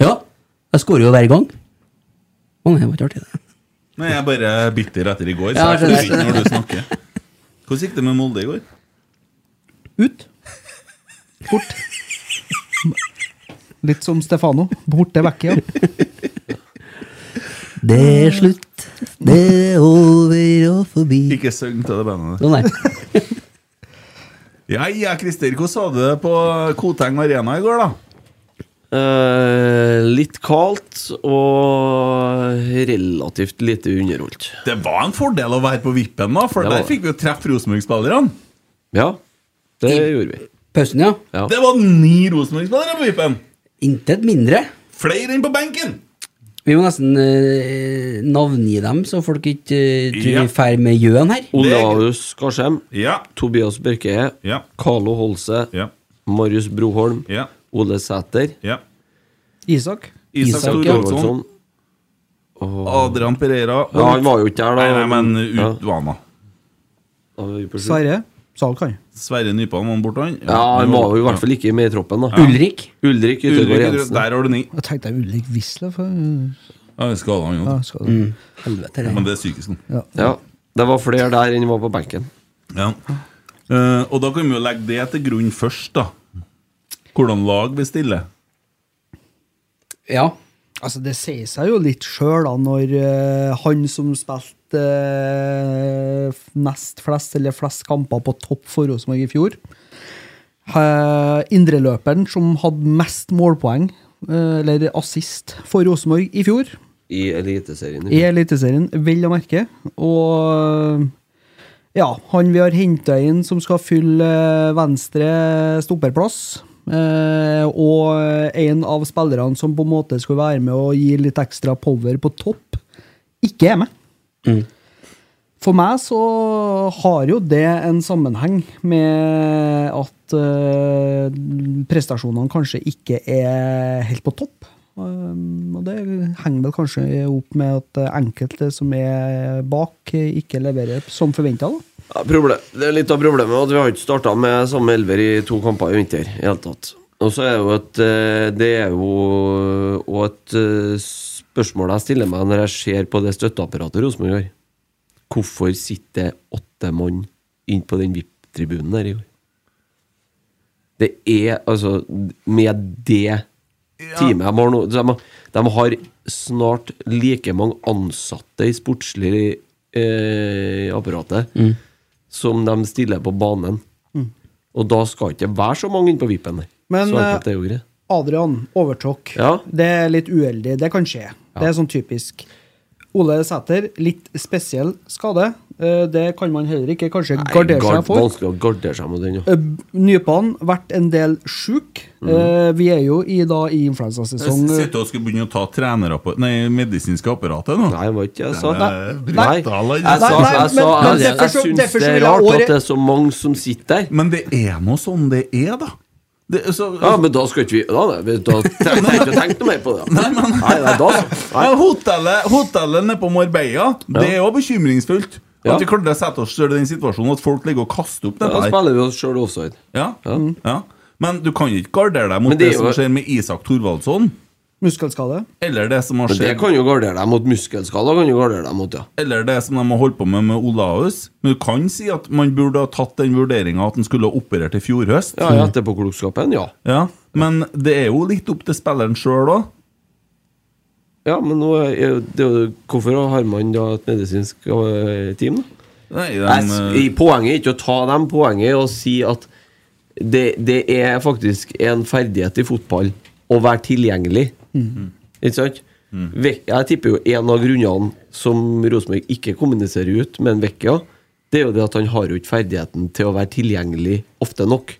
[SPEAKER 6] Ja. Jeg skårer jo hver gang. Å nei, det var ikke artig, det.
[SPEAKER 2] Nei, jeg er bare bitter etter i går, så
[SPEAKER 6] Ja,
[SPEAKER 2] jeg forstår
[SPEAKER 6] skjønner.
[SPEAKER 2] ikke når du snakker. Hvordan gikk det med Molde i går?
[SPEAKER 5] Ut. Bort. Litt som Stefano. Borte vekk, ja.
[SPEAKER 6] Det er slutt, det er over og forbi.
[SPEAKER 2] Ikke syng til det bandet.
[SPEAKER 6] Å nei.
[SPEAKER 2] Ja, ja, Christer, hvordan sa du det på Koteng Arena i går, da?
[SPEAKER 3] Eh, litt kaldt og relativt lite underholdt.
[SPEAKER 2] Det var en fordel å være på vippen, da, for
[SPEAKER 3] Det var
[SPEAKER 2] der
[SPEAKER 3] det.
[SPEAKER 2] fikk vi jo treffe Rosenborg-spillerne.
[SPEAKER 3] Ja, det gjorde vi.
[SPEAKER 6] Pausen, ja.
[SPEAKER 3] Ja.
[SPEAKER 2] Det var ni Rosenborg-spillere på vippen!
[SPEAKER 6] Intet mindre.
[SPEAKER 2] Flere enn på benken!
[SPEAKER 6] Vi må nesten eh, navngi dem, så folk ikke eh, tror
[SPEAKER 2] Ja.
[SPEAKER 6] vi drar med gjøen her.
[SPEAKER 3] Olaus Skarsheim,
[SPEAKER 2] Ja.
[SPEAKER 3] Tobias Børkeie,
[SPEAKER 2] Ja.
[SPEAKER 3] Carlo Holse,
[SPEAKER 2] Ja.
[SPEAKER 3] Marius Broholm,
[SPEAKER 2] Ja.
[SPEAKER 3] Ole Sæter,
[SPEAKER 2] ja.
[SPEAKER 5] Isak.
[SPEAKER 2] Isak
[SPEAKER 6] Isak, ja.
[SPEAKER 2] Thorvaldsson,
[SPEAKER 3] Thorvaldsson
[SPEAKER 2] Adrian Pereira og-
[SPEAKER 3] Ja, han var jo ikke der, da.
[SPEAKER 2] Nei, nei, men
[SPEAKER 3] Ja,
[SPEAKER 2] utvana.
[SPEAKER 3] da var vi på slutt.
[SPEAKER 5] Sverre. Salk, han.
[SPEAKER 2] Sverre Nypan var borte, han.
[SPEAKER 3] ja, han var jo i hvert fall ikke med i troppen, da.
[SPEAKER 6] Ulrik.
[SPEAKER 3] Ulrik Yttergård
[SPEAKER 2] Ulrik,
[SPEAKER 3] Jensen.
[SPEAKER 2] Der har du ni.
[SPEAKER 5] Jeg tenkte jeg Ulrik Wisle. for-
[SPEAKER 2] Ja, vi skal ha han,
[SPEAKER 5] Ja,
[SPEAKER 2] jo.
[SPEAKER 5] skal
[SPEAKER 6] Mm.
[SPEAKER 5] du.
[SPEAKER 6] Helvete, det.
[SPEAKER 2] Men det er psykisk. nå.
[SPEAKER 3] Ja, det var flere der enn var på benken.
[SPEAKER 2] Ja. Eh, og da kan vi jo legge det til grunn først, da. Hvordan lag vi stiller.
[SPEAKER 6] Ja.
[SPEAKER 5] Altså, det sier seg jo litt sjøl, da, når eh, han som spilte eh, f- nest flest, eller flest kamper på topp for Rosenborg i fjor eh, Indreløperen som hadde mest målpoeng, eh, eller assist, for Rosenborg i fjor,
[SPEAKER 3] I Eliteserien.
[SPEAKER 5] i Eliteserien, vel å merke. Og ja, han vi har henta inn som skal fylle eh, venstre stopperplass. Eh, og en av spillerne som på en måte skulle være med og gi litt ekstra power på topp, ikke er med. For meg så har jo det en sammenheng med at eh, prestasjonene kanskje ikke er helt på topp. Um, og det henger vel kanskje opp med at eh, enkelte som er bak, eh, ikke leverer som forventa.
[SPEAKER 3] Ja, proble- det er litt av problemet at vi har ikke starta med samme elver i to kamper i vinter. i hele tatt. Og så er jo et, eh, Det er jo og et eh, spørsmål jeg stiller meg når jeg ser på det støtteapparatet Rosenborg har. Hvorfor sitter åtte mann inn på den VIP-tribunen der i år? Det er altså Med det teamet de har nå de, de har snart like mange ansatte i sportslig eh, apparatet
[SPEAKER 5] Mm.
[SPEAKER 3] som de stiller på banen. Og da skal ikke det være så mange inne på vippen der.
[SPEAKER 5] Men, eh,
[SPEAKER 3] så enkelt er jo greit.
[SPEAKER 5] Adrian overtok.
[SPEAKER 3] Ja.
[SPEAKER 5] Det er litt uheldig. Det kan skje. Det er sånn typisk. Ole Sæter, litt spesiell skade. Eh, Det kan man heller ikke kanskje
[SPEAKER 3] Nei,
[SPEAKER 5] gardere
[SPEAKER 3] gard-
[SPEAKER 5] seg for.
[SPEAKER 3] Vanskelig å gardere seg mot den. Ja.
[SPEAKER 5] Eh, Nypan vært en del sjuk. Eh, Vi er jo i, da, i influensasesong.
[SPEAKER 3] sånn, eh,
[SPEAKER 2] Jeg sitter og skal begynne å ta trenere på Nei, medisinske apparatet nå.
[SPEAKER 3] <laughs> Nei, det var ikke jeg sa.
[SPEAKER 2] Nei,
[SPEAKER 3] Nei,
[SPEAKER 2] nei,
[SPEAKER 3] jeg sa,
[SPEAKER 2] nei,
[SPEAKER 3] jeg, sa,
[SPEAKER 5] nei,
[SPEAKER 3] jeg,
[SPEAKER 5] men- men
[SPEAKER 3] jeg,
[SPEAKER 5] derfor så-
[SPEAKER 3] syns
[SPEAKER 5] derfor så
[SPEAKER 3] det er
[SPEAKER 5] vil jeg
[SPEAKER 3] rart
[SPEAKER 5] året-
[SPEAKER 3] at det er så mange som sitter der.
[SPEAKER 2] Men det er nå sånn det er, da. Det, er så,
[SPEAKER 3] Ja, men da skal ikke vi Da, da, da trenger jeg ikke å tenke noe mer på det. Nei, nei, da, nei.
[SPEAKER 2] Ja, hotellet, hotellet nede på Marbella, det er jo bekymringsfullt.
[SPEAKER 3] Ja.
[SPEAKER 2] At vi klarte å sette oss selv i den situasjonen at folk ligger og kaster opp
[SPEAKER 3] Da
[SPEAKER 2] dette her.
[SPEAKER 3] spiller vi oss sjøl offside.
[SPEAKER 2] Ja, ja. Men du kan ikke gardere deg mot det,
[SPEAKER 3] Men det er
[SPEAKER 2] som
[SPEAKER 3] jo-
[SPEAKER 2] skjer med Isak Thorvaldsson,
[SPEAKER 5] Muskelskade.
[SPEAKER 2] eller det som har
[SPEAKER 3] Men det
[SPEAKER 2] skjedd
[SPEAKER 3] kan jo gardere deg mot muskelskader. kan jo gardere deg mot, ja.
[SPEAKER 2] Eller det som de har holdt på med med Olaus. Men du kan si at man burde ha tatt den vurderinga at han skulle ha operert i fjor høst.
[SPEAKER 3] Ja, ja Etterpåklokskapen, ja.
[SPEAKER 2] Ja, Men det er jo litt opp til spilleren sjøl òg.
[SPEAKER 3] Ja, men nå er jo- det er jo, hvorfor har man da et medisinsk eh, team, da? Nei,
[SPEAKER 2] eh,
[SPEAKER 3] s- i- poenget er ikke å ta dem, poenget er å si at det, det er faktisk en ferdighet i fotball å være tilgjengelig. Ikke sant? Vek, jeg tipper jo en av grunnene som Rosenborg ikke kommuniserer ut med en Vekka, det er jo det at han har jo ikke ferdigheten til å være tilgjengelig ofte nok.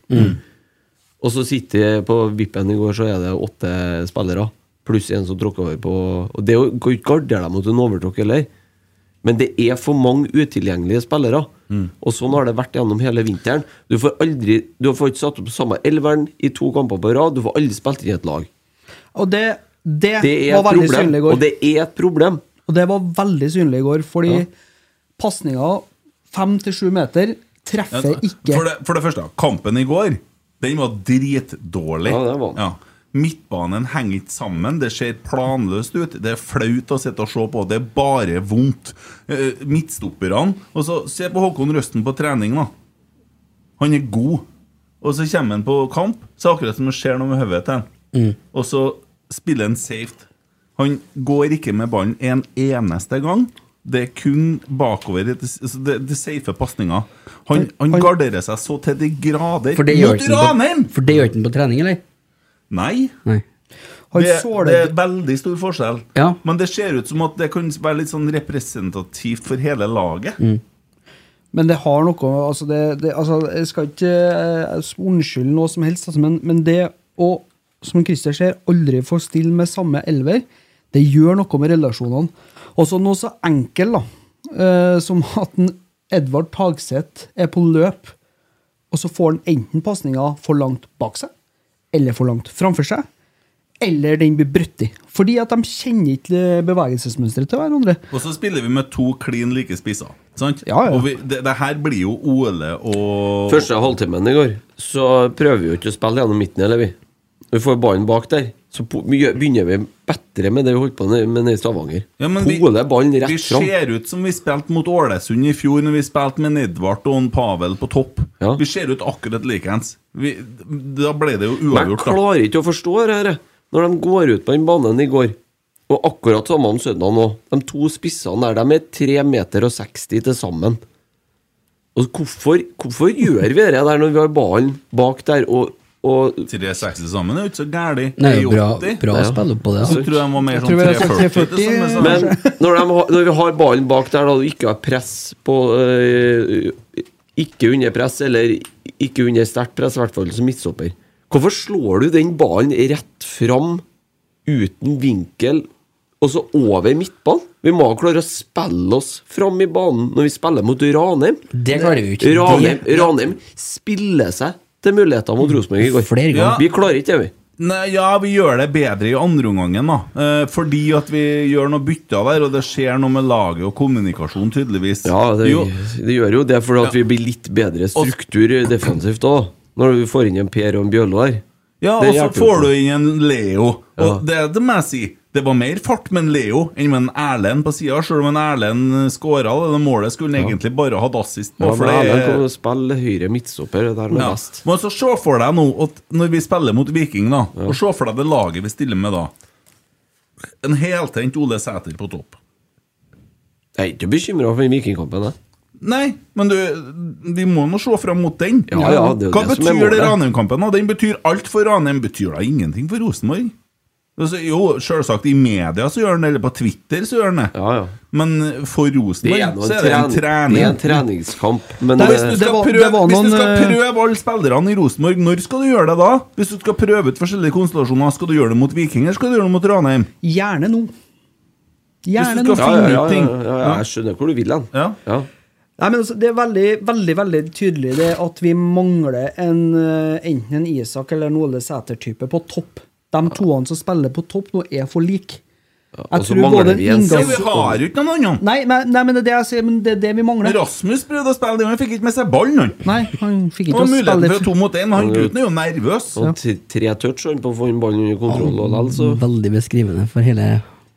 [SPEAKER 3] Og så sitter jeg på vippen i går, så er det åtte spillere. Pluss en som tråkker over på Og det er jo- kan jo ikke gardere deg mot en overtråkk heller. Men det er for mange utilgjengelige spillere. Og sånn har det vært gjennom hele vinteren. Du får aldri Du får ikke satt opp samme elveren i to kamper på rad. Du får aldri spilt inn i et lag.
[SPEAKER 5] Og det, det,
[SPEAKER 3] Det er et
[SPEAKER 5] var veldig
[SPEAKER 3] problem.
[SPEAKER 5] synlig i
[SPEAKER 3] Og
[SPEAKER 5] går.
[SPEAKER 3] det er et problem.
[SPEAKER 5] Og det var veldig synlig i går, fordi
[SPEAKER 3] Ja.
[SPEAKER 5] pasninga fem til sju meter treffer ikke.
[SPEAKER 2] For det, for det første, kampen i går, den var dritdårlig.
[SPEAKER 3] Ja, det var den.
[SPEAKER 2] Ja. Midtbanen henger ikke sammen. Det ser planløst ut. Det er flaut å sitte og se på. Det er bare vondt. Eh, Midtstopperne Og så Se på Håkon Røsten på trening, da. Han er god. Og så kommer han på kamp, så er det akkurat som det skjer noe med hodet til han. Og så spiller han safe. Han går ikke med ballen en eneste gang. Det er kun bakover. Det, altså, det, det er safe pasninger. Han, han garderer seg så til de grader.
[SPEAKER 6] For det gjør
[SPEAKER 2] Mot
[SPEAKER 6] ikke han
[SPEAKER 2] Ranheim!
[SPEAKER 6] på- for det gjør ikke han på trening, eller?
[SPEAKER 2] Nei.
[SPEAKER 6] Nei.
[SPEAKER 5] Han
[SPEAKER 2] Det,
[SPEAKER 5] såler-
[SPEAKER 2] det er veldig stor forskjell.
[SPEAKER 6] Ja.
[SPEAKER 2] Men det ser ut som at det kan være litt sånn representativt for hele laget.
[SPEAKER 5] Men det har noe altså det, det, altså Jeg skal ikke eh, unnskylde noe som helst, altså, men, men det å, som Christer ser, aldri få stille med samme elver, det gjør noe med relasjonene. Og så noe så enkelt da, eh, som at en Edvard Tagseth er på løp, og så får han enten pasninga for langt bak seg, eller for langt framfor seg, eller den blir brutt i. Fordi at de kjenner ikke bevegelsesmønsteret til hverandre.
[SPEAKER 2] Og så spiller vi med to klin like spisser. Sant?
[SPEAKER 5] Ja, ja.
[SPEAKER 2] Og vi, det, det her blir jo Ole og
[SPEAKER 3] Første halvtimen i går Så prøver vi jo ikke å spille gjennom midten Eller vi Vi får ballen bak der Så po- vi gjør- begynner vi bedre med det vi holdt på med med nede i Stavanger
[SPEAKER 2] Ja, men vi-
[SPEAKER 3] Pole ballen
[SPEAKER 2] Vi
[SPEAKER 3] rett fram
[SPEAKER 2] ser ut som vi spilte mot Ålesund i fjor, når vi spilte med Edvard og en Pavel på topp.
[SPEAKER 3] Ja.
[SPEAKER 2] Vi ser ut akkurat likeens. Vi- Da ble det jo
[SPEAKER 3] Men jeg
[SPEAKER 2] uavgjort, da.
[SPEAKER 3] klarer ikke å forstå det her jeg. Når de går ut på den banen i går Og akkurat samme om søndag nå De to spissene der De er 3 meter og 60 til sammen Og hvorfor, hvorfor gjør vi det der Når vi har ballen bak der Og, og
[SPEAKER 2] 360 sammen er jo ikke så gærlig.
[SPEAKER 6] Nei, det er jo bra,
[SPEAKER 2] 80.
[SPEAKER 6] bra å spille opp på det.
[SPEAKER 2] Så
[SPEAKER 6] Da.
[SPEAKER 2] tror jeg de var mer
[SPEAKER 5] tror
[SPEAKER 2] sånn
[SPEAKER 5] jeg det er
[SPEAKER 2] 340.
[SPEAKER 5] 340,
[SPEAKER 2] til sammen,
[SPEAKER 3] Men når, de har, når vi har ballen bak der, da du ikke har press på eh, Ikke under press, eller ikke under sterkt press, i hvert fall som midtstopper Hvorfor slår du den ballen rett fram uten vinkel, og så over midtbanen? Vi må klare å spille oss fram i banen når vi spiller mot Ranheim.
[SPEAKER 6] Det klarer vi jo ikke.
[SPEAKER 3] Ranheim,
[SPEAKER 6] Det-
[SPEAKER 3] Ranheim spiller seg til muligheter mot Rosenborg i går.
[SPEAKER 6] Flere ganger.
[SPEAKER 2] Ja.
[SPEAKER 3] Vi klarer ikke det, vi.
[SPEAKER 2] Nei, ja, vi gjør det bedre i andre omgangen, da. Eh, fordi at vi gjør noe bytter der, og det skjer noe med laget og kommunikasjon, tydeligvis.
[SPEAKER 3] Ja, det,
[SPEAKER 2] Jo,
[SPEAKER 3] det gjør jo det, for at vi blir litt bedre struktur defensivt òg. Når vi får inn en Per og en Bjøllo her.
[SPEAKER 2] ja
[SPEAKER 3] det
[SPEAKER 2] og så
[SPEAKER 3] hjelper jo
[SPEAKER 2] får
[SPEAKER 3] på.
[SPEAKER 2] du inn en Leo. Og
[SPEAKER 3] Ja.
[SPEAKER 2] det, det må jeg si. Det var mer fart med en Leo enn med en Erlend på sida, sjøl om en Erlend skåra. Det målet skulle han egentlig bare hatt assist på.
[SPEAKER 3] Ja,
[SPEAKER 2] for
[SPEAKER 3] men
[SPEAKER 2] det er-
[SPEAKER 3] Erlend kan jo spille høyre midtstopper, det der er
[SPEAKER 2] Ja.
[SPEAKER 3] best.
[SPEAKER 2] Men så se for deg nå at når vi spiller mot Viking, da, og se for deg det laget vi stiller med da. En heltent Ole Sæter på topp.
[SPEAKER 3] Jeg er ikke bekymra for den vikingkampen, jeg.
[SPEAKER 2] Nei, men du, vi må nå se fram mot den.
[SPEAKER 3] Ja, ja, det er jo
[SPEAKER 2] Hva
[SPEAKER 3] det som er
[SPEAKER 2] betyr det
[SPEAKER 3] målet.
[SPEAKER 2] Ranheim-kampen? da? Den betyr alt for Ranheim. Betyr da ingenting for Rosenborg? Altså, jo, selvsagt, i media så gjør den det, eller på Twitter så gjør den det.
[SPEAKER 3] Ja, ja.
[SPEAKER 2] Men for
[SPEAKER 3] Det
[SPEAKER 2] Rosenborg
[SPEAKER 3] er, noe
[SPEAKER 2] så er det en
[SPEAKER 3] tren-
[SPEAKER 2] trening.
[SPEAKER 3] det er en treningskamp, men
[SPEAKER 2] Hvis du
[SPEAKER 3] eh,
[SPEAKER 2] skal,
[SPEAKER 5] var-
[SPEAKER 2] prøve,
[SPEAKER 5] det var
[SPEAKER 2] hvis du
[SPEAKER 5] noen,
[SPEAKER 2] skal
[SPEAKER 5] eh,
[SPEAKER 2] prøve alle spillerne i Rosenborg, når skal du gjøre det da? Hvis du skal prøve ut forskjellige konstellasjoner, skal du gjøre det mot Viking eller skal du gjøre det mot Ranheim?
[SPEAKER 5] Gjerne nå.
[SPEAKER 2] Hvis
[SPEAKER 5] Gjerne
[SPEAKER 2] du
[SPEAKER 5] nå.
[SPEAKER 2] skal
[SPEAKER 3] ja, ja,
[SPEAKER 2] finne ut
[SPEAKER 3] ja, ja,
[SPEAKER 2] ting.
[SPEAKER 3] ja, ja, jeg skjønner hvor du vil hen.
[SPEAKER 2] Ja.
[SPEAKER 3] Ja.
[SPEAKER 5] Nei, men altså, Det er veldig veldig, veldig tydelig det at vi mangler en, eh, enten en Isak eller en Ole Sæter-type på topp. De toene som spiller på topp nå, er for like. Jeg
[SPEAKER 3] og så
[SPEAKER 5] tror
[SPEAKER 3] mangler
[SPEAKER 5] både
[SPEAKER 3] vi en sånn
[SPEAKER 2] Ja,
[SPEAKER 5] inngangs-
[SPEAKER 2] vi har jo ikke noen annen.
[SPEAKER 5] Nei, nei, nei, men det er det jeg sier, men det er det vi mangler.
[SPEAKER 2] Rasmus prøvde å spille, det, men han fikk ikke med seg ballen. han.
[SPEAKER 5] Nei, han fikk
[SPEAKER 2] Det
[SPEAKER 5] ikke å
[SPEAKER 2] var muligheten
[SPEAKER 5] spille
[SPEAKER 2] for to mot én. Han gutten er jo nervøs.
[SPEAKER 3] Og t- sånn tre touch han på å få inn ballen under kontroll og likevel, så
[SPEAKER 6] Veldig beskrivende for hele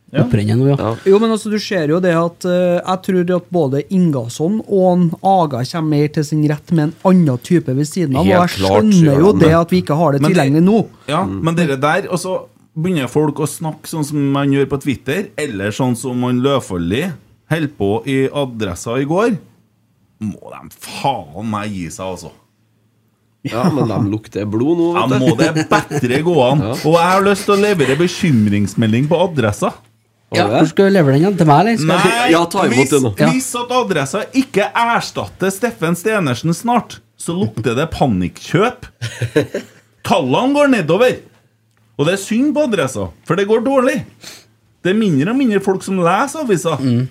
[SPEAKER 2] Ja.
[SPEAKER 6] opprennet nå, ja.
[SPEAKER 3] Ja.
[SPEAKER 5] Jo, men altså, du ser jo det at eh, jeg tror at både Ingasson og en Aga kommer mer til sin rett med en annen type ved siden av. Og
[SPEAKER 3] Helt
[SPEAKER 5] jeg
[SPEAKER 3] klart, gjør
[SPEAKER 5] skjønner jo
[SPEAKER 3] han det.
[SPEAKER 5] det at vi ikke har det
[SPEAKER 2] Men det-
[SPEAKER 5] tilgjengelig nå.
[SPEAKER 2] Ja, men dere der Og så begynner folk å snakke sånn som man gjør på Twitter Eller sånn som man løvfølge Held på i adressa i går Må de faen meg gi seg altså
[SPEAKER 3] Ja, men de lukter blod nå,
[SPEAKER 2] Ja,
[SPEAKER 3] vet
[SPEAKER 2] må det bedre gå an Og jeg har lyst til å levere bekymringsmelding på adressa
[SPEAKER 6] ja. Hvor skal du levere den igjen? Til meg, eller? Skal jeg-
[SPEAKER 2] Nei,
[SPEAKER 3] Ja, ta imot
[SPEAKER 2] hvis,
[SPEAKER 3] det nå.
[SPEAKER 6] Ja.
[SPEAKER 2] hvis at adressa ikke erstatter Steffen Stenersen snart Så lukter det panikkjøp Tallene går nedover Og det er synd på adressa For det går dårlig Det er mindre og mindre folk som leser avisa
[SPEAKER 3] Mm.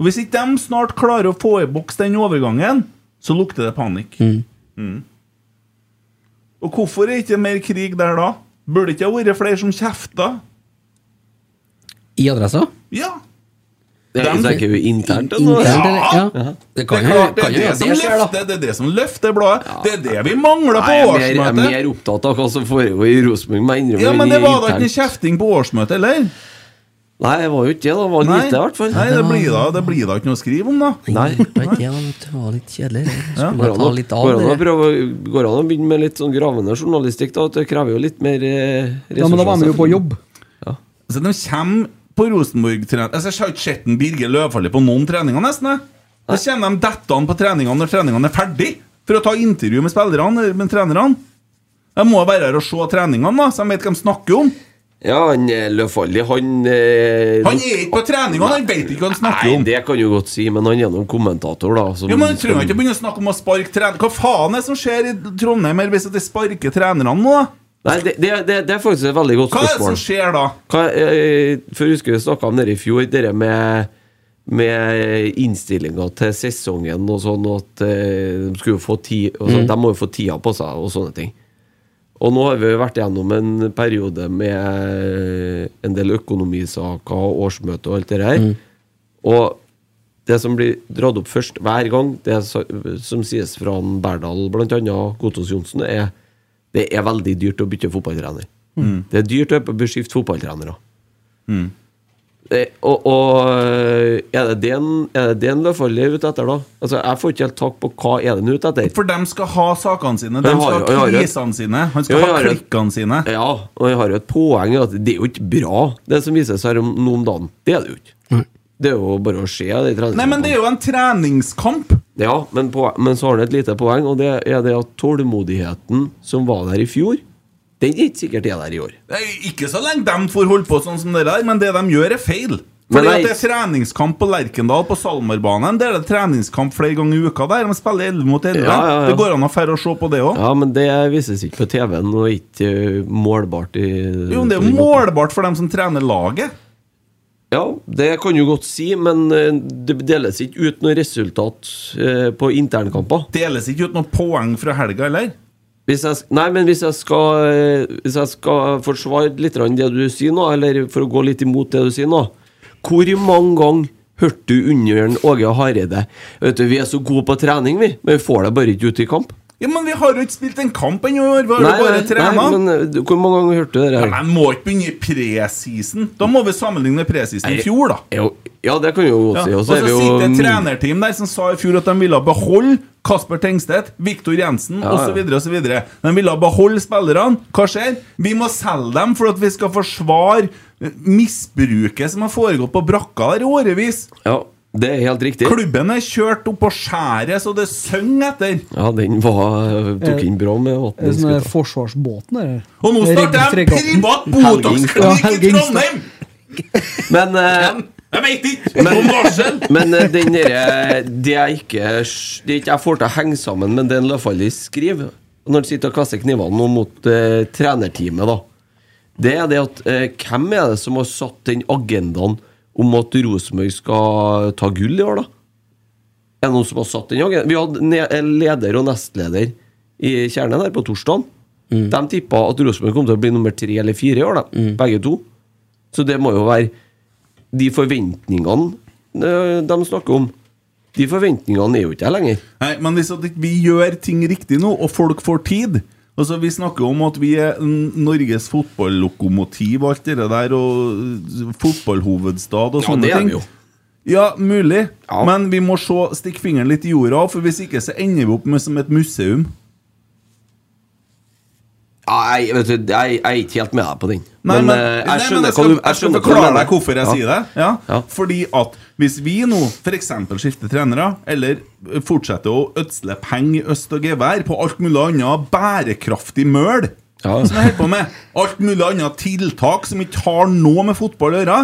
[SPEAKER 2] Og hvis ikke de snart klarer å få i boks den overgangen Så lukter det panikk Mm. Og hvorfor er det ikke mer krig der da? Burde det ikke ha vært flere som kjefter?
[SPEAKER 6] I adressa?
[SPEAKER 2] Ja
[SPEAKER 3] Det er
[SPEAKER 2] Dem-
[SPEAKER 3] ikke jo internt,
[SPEAKER 6] Internt,
[SPEAKER 3] altså.
[SPEAKER 6] eller? Ja. Det
[SPEAKER 2] Det
[SPEAKER 6] kan
[SPEAKER 2] er
[SPEAKER 6] jo
[SPEAKER 2] klart, det
[SPEAKER 6] kan
[SPEAKER 2] er
[SPEAKER 6] jo
[SPEAKER 2] det
[SPEAKER 6] at
[SPEAKER 2] som
[SPEAKER 6] det skjer, da.
[SPEAKER 2] løfter Det er det som løfter bladet. Det er det vi mangler på
[SPEAKER 3] Nei, jeg er mer, jeg er
[SPEAKER 2] årsmøtet.
[SPEAKER 3] mer opptatt av hva som foregår i Rosenborg, må jeg innrømme.
[SPEAKER 2] Ja, Men
[SPEAKER 3] enn
[SPEAKER 2] det
[SPEAKER 3] i
[SPEAKER 2] var da ikke
[SPEAKER 3] internt.
[SPEAKER 2] noe kjefting på årsmøtet, eller?
[SPEAKER 3] Nei, det var jo ikke det. da. Det var
[SPEAKER 2] Nei,
[SPEAKER 3] lite, i hvert fall.
[SPEAKER 2] Nei, det blir da det blir da ikke noe å skrive om, da.
[SPEAKER 5] <laughs>
[SPEAKER 3] Nei.
[SPEAKER 6] Det var ikke det, da, vet du. Det var litt kjedelig. Jeg Skulle
[SPEAKER 3] Går
[SPEAKER 6] bare
[SPEAKER 3] an,
[SPEAKER 6] ta
[SPEAKER 3] å-
[SPEAKER 6] litt av
[SPEAKER 3] går, an å
[SPEAKER 6] det.
[SPEAKER 3] prøve- går an å begynne med litt sånn gravende journalistikk? da at Det krever jo litt mer eh, ressurser.
[SPEAKER 5] Ja, men da var vi jo på jobb.
[SPEAKER 2] Altså, de kommer på Rosenborg-trening altså, Jeg har ikke sett en Birger Løvfallet på noen treninger, nesten. jeg. Da kommer de dettende på treningene når treningene er ferdig for å ta intervju med spillerne eller med trenerne. De må være her og se treningene, da, så de vet hva de snakker om.
[SPEAKER 3] Ja, han eh, Løfaldli, han eh,
[SPEAKER 2] Han er ikke på treningene, han vet ikke hva han snakker
[SPEAKER 3] Nei,
[SPEAKER 2] om.
[SPEAKER 3] det kan du godt si, men han er noen kommentator, da. Som,
[SPEAKER 2] Jo, men Du trenger ikke begynne å snakke om å sparke trening Hva faen er det som skjer i Trondheim her hvis de sparker trenerne nå, da?
[SPEAKER 3] Nei, det, det, det, det er faktisk et veldig godt
[SPEAKER 2] Hva er det som
[SPEAKER 3] spørsmål.
[SPEAKER 2] skjer da?
[SPEAKER 3] Hva, eh, for jeg husker vi snakka om dere i fjor, dere med, med innstillinga til sesongen og sånn, og at eh, de, skulle jo få ti, og sånn, de må jo få tida på seg og sånne ting. Og nå har vi jo vært gjennom en periode med eh, en del økonomisaker og årsmøte og alt det der. Og det som blir dratt opp først hver gang, det sa- som sies fra han Berdal bl.a., Gotos Johnsen, er det er veldig dyrt å bytte fotballtrener. Det er dyrt å beskifte fotballtrenere. Det- Og, og er det det en, er det det en Løfaldli er ute etter, da? Altså, Jeg får ikke helt tak på hva er den er ute etter.
[SPEAKER 2] For de skal ha sakene sine, de
[SPEAKER 3] Jeg har
[SPEAKER 2] skal
[SPEAKER 3] jo- jeg
[SPEAKER 2] ha
[SPEAKER 3] har jo-
[SPEAKER 2] krisene sine, han skal
[SPEAKER 3] Jo, jeg
[SPEAKER 2] ha
[SPEAKER 3] har jo-
[SPEAKER 2] klikkene sine.
[SPEAKER 3] Ja, og jeg har jo et poeng i at det er jo ikke bra, det som vises her om noen dagen. Det er det jo ikke. Det er jo bare å se. De
[SPEAKER 2] Nei, men det er jo en treningskamp.
[SPEAKER 3] Ja, men, poe- men så har han et lite poeng, og det er det at tålmodigheten som var der i fjor, den er ikke sikkert er der i år.
[SPEAKER 2] Nei, Ikke så lenge de får holde på sånn som det der, men det de gjør, er feil. Fordi
[SPEAKER 3] Men nei-
[SPEAKER 2] at Det er treningskamp på Lerkendal, på Salmarbanen. Det er det treningskamp flere ganger i uka der. De spiller 11 mot 11.
[SPEAKER 3] Ja, ja, ja.
[SPEAKER 2] Det går an å færre å se på det òg.
[SPEAKER 3] Ja, men det vises ikke på TV-en og ikke eh, målbart i
[SPEAKER 2] Jo, men Det er jo målbart for dem som trener laget.
[SPEAKER 3] Ja, det kan du godt si, men eh, det deles ikke ut noe resultat eh, på internkamper.
[SPEAKER 2] Deles ikke ut noen poeng fra helga, eller?
[SPEAKER 3] Hvis jeg, nei, men hvis jeg skal, eh, hvis jeg skal forsvare litt grann det du sier nå, eller for å gå litt imot det du sier nå Hvor mange ganger hørte du under en Åge Hareide Vet du, Vi er så gode på trening, vi, men vi får det bare ikke ut i kamp.
[SPEAKER 2] Ja, Men vi har jo ikke spilt en kamp ennå i år! Vi har jo bare trena.
[SPEAKER 3] men eh, du- Hvor mange ganger hørte du det
[SPEAKER 2] Ja,
[SPEAKER 3] her?
[SPEAKER 2] men jeg må ikke begynne i preseason. Da må vi sammenligne preseason i fjor, da.
[SPEAKER 3] Jo, Ja, det kan du jo godt
[SPEAKER 2] Ja.
[SPEAKER 3] si.
[SPEAKER 2] Og
[SPEAKER 3] Og
[SPEAKER 2] så
[SPEAKER 3] så er vi jo
[SPEAKER 2] sitter et trenerteam der som sa i fjor at de ville beholde Kasper Tengstedt, Viktor Jensen
[SPEAKER 3] Ja, ja.
[SPEAKER 2] osv. osv. De ville beholde spillerne. Hva skjer? Vi må selge dem for at vi skal forsvare eh, misbruket som har foregått på brakka der i årevis.
[SPEAKER 3] Ja, det er helt riktig.
[SPEAKER 2] Klubben er kjørt opp på skjæret så det synger etter.
[SPEAKER 3] Ja, den var, tok inn bra med
[SPEAKER 5] Det er sånn der
[SPEAKER 3] vannet.
[SPEAKER 5] forsvarsbåten der.
[SPEAKER 2] Og nå starter de
[SPEAKER 5] Rigg- Trekanten.
[SPEAKER 2] privat
[SPEAKER 5] Ja,
[SPEAKER 2] Botox-klinikk i
[SPEAKER 5] Helge Ingstad.
[SPEAKER 2] Trondheim!
[SPEAKER 3] Men eh,
[SPEAKER 2] Jeg veit ikke! Noen varsel!
[SPEAKER 3] Men eh, den derre Det jeg ikke Det jeg ikke jeg får til å henge sammen med det Løfaldli skriver når han sitter og kaster knivene nå mot eh, trenerteamet, da, det er det at eh, hvem er det som har satt den agendaen om at Rosenborg skal ta gull i år, da? Er det noen som har satt den agendaen? Vi hadde ne en leder og nestleder i kjernen her på torsdag. De tippa at Rosenborg kom til å bli nummer tre eller fire i år, da. begge to. Så det må jo være de forventningene eh, de snakker om, de forventningene er jo ikke her lenger.
[SPEAKER 2] Nei, men hvis at vi gjør ting riktig nå, og folk får tid Altså, Vi snakker om at vi er mm, Norges fotballokomotiv og alt det der, og mm, fotballhovedstad og sånne ting. Ja, mulig,
[SPEAKER 3] Ja.
[SPEAKER 2] men vi må se, stikke fingeren litt i jorda, for hvis ikke så ender vi opp med som et museum.
[SPEAKER 3] Ja, jeg, vet du, jeg, jeg er ikke helt med deg på den.
[SPEAKER 2] Nei, men,
[SPEAKER 3] eh,
[SPEAKER 2] nei,
[SPEAKER 3] jeg skjønner
[SPEAKER 2] men jeg
[SPEAKER 3] hva
[SPEAKER 2] skal,
[SPEAKER 3] du
[SPEAKER 2] jeg skal
[SPEAKER 3] skjønner hva du
[SPEAKER 2] forklare
[SPEAKER 3] mener.
[SPEAKER 2] deg hvorfor jeg
[SPEAKER 3] Ja.
[SPEAKER 2] sier det. Ja.
[SPEAKER 3] Ja.
[SPEAKER 2] Fordi at hvis vi nå f.eks. skifter trenere, eller eh, fortsetter å ødsle penger i øst og gevær på alt mulig annet bærekraftig møl
[SPEAKER 3] Ja.
[SPEAKER 2] Som jeg holder på med Alt mulig annet tiltak som ikke har noe med fotball å gjøre,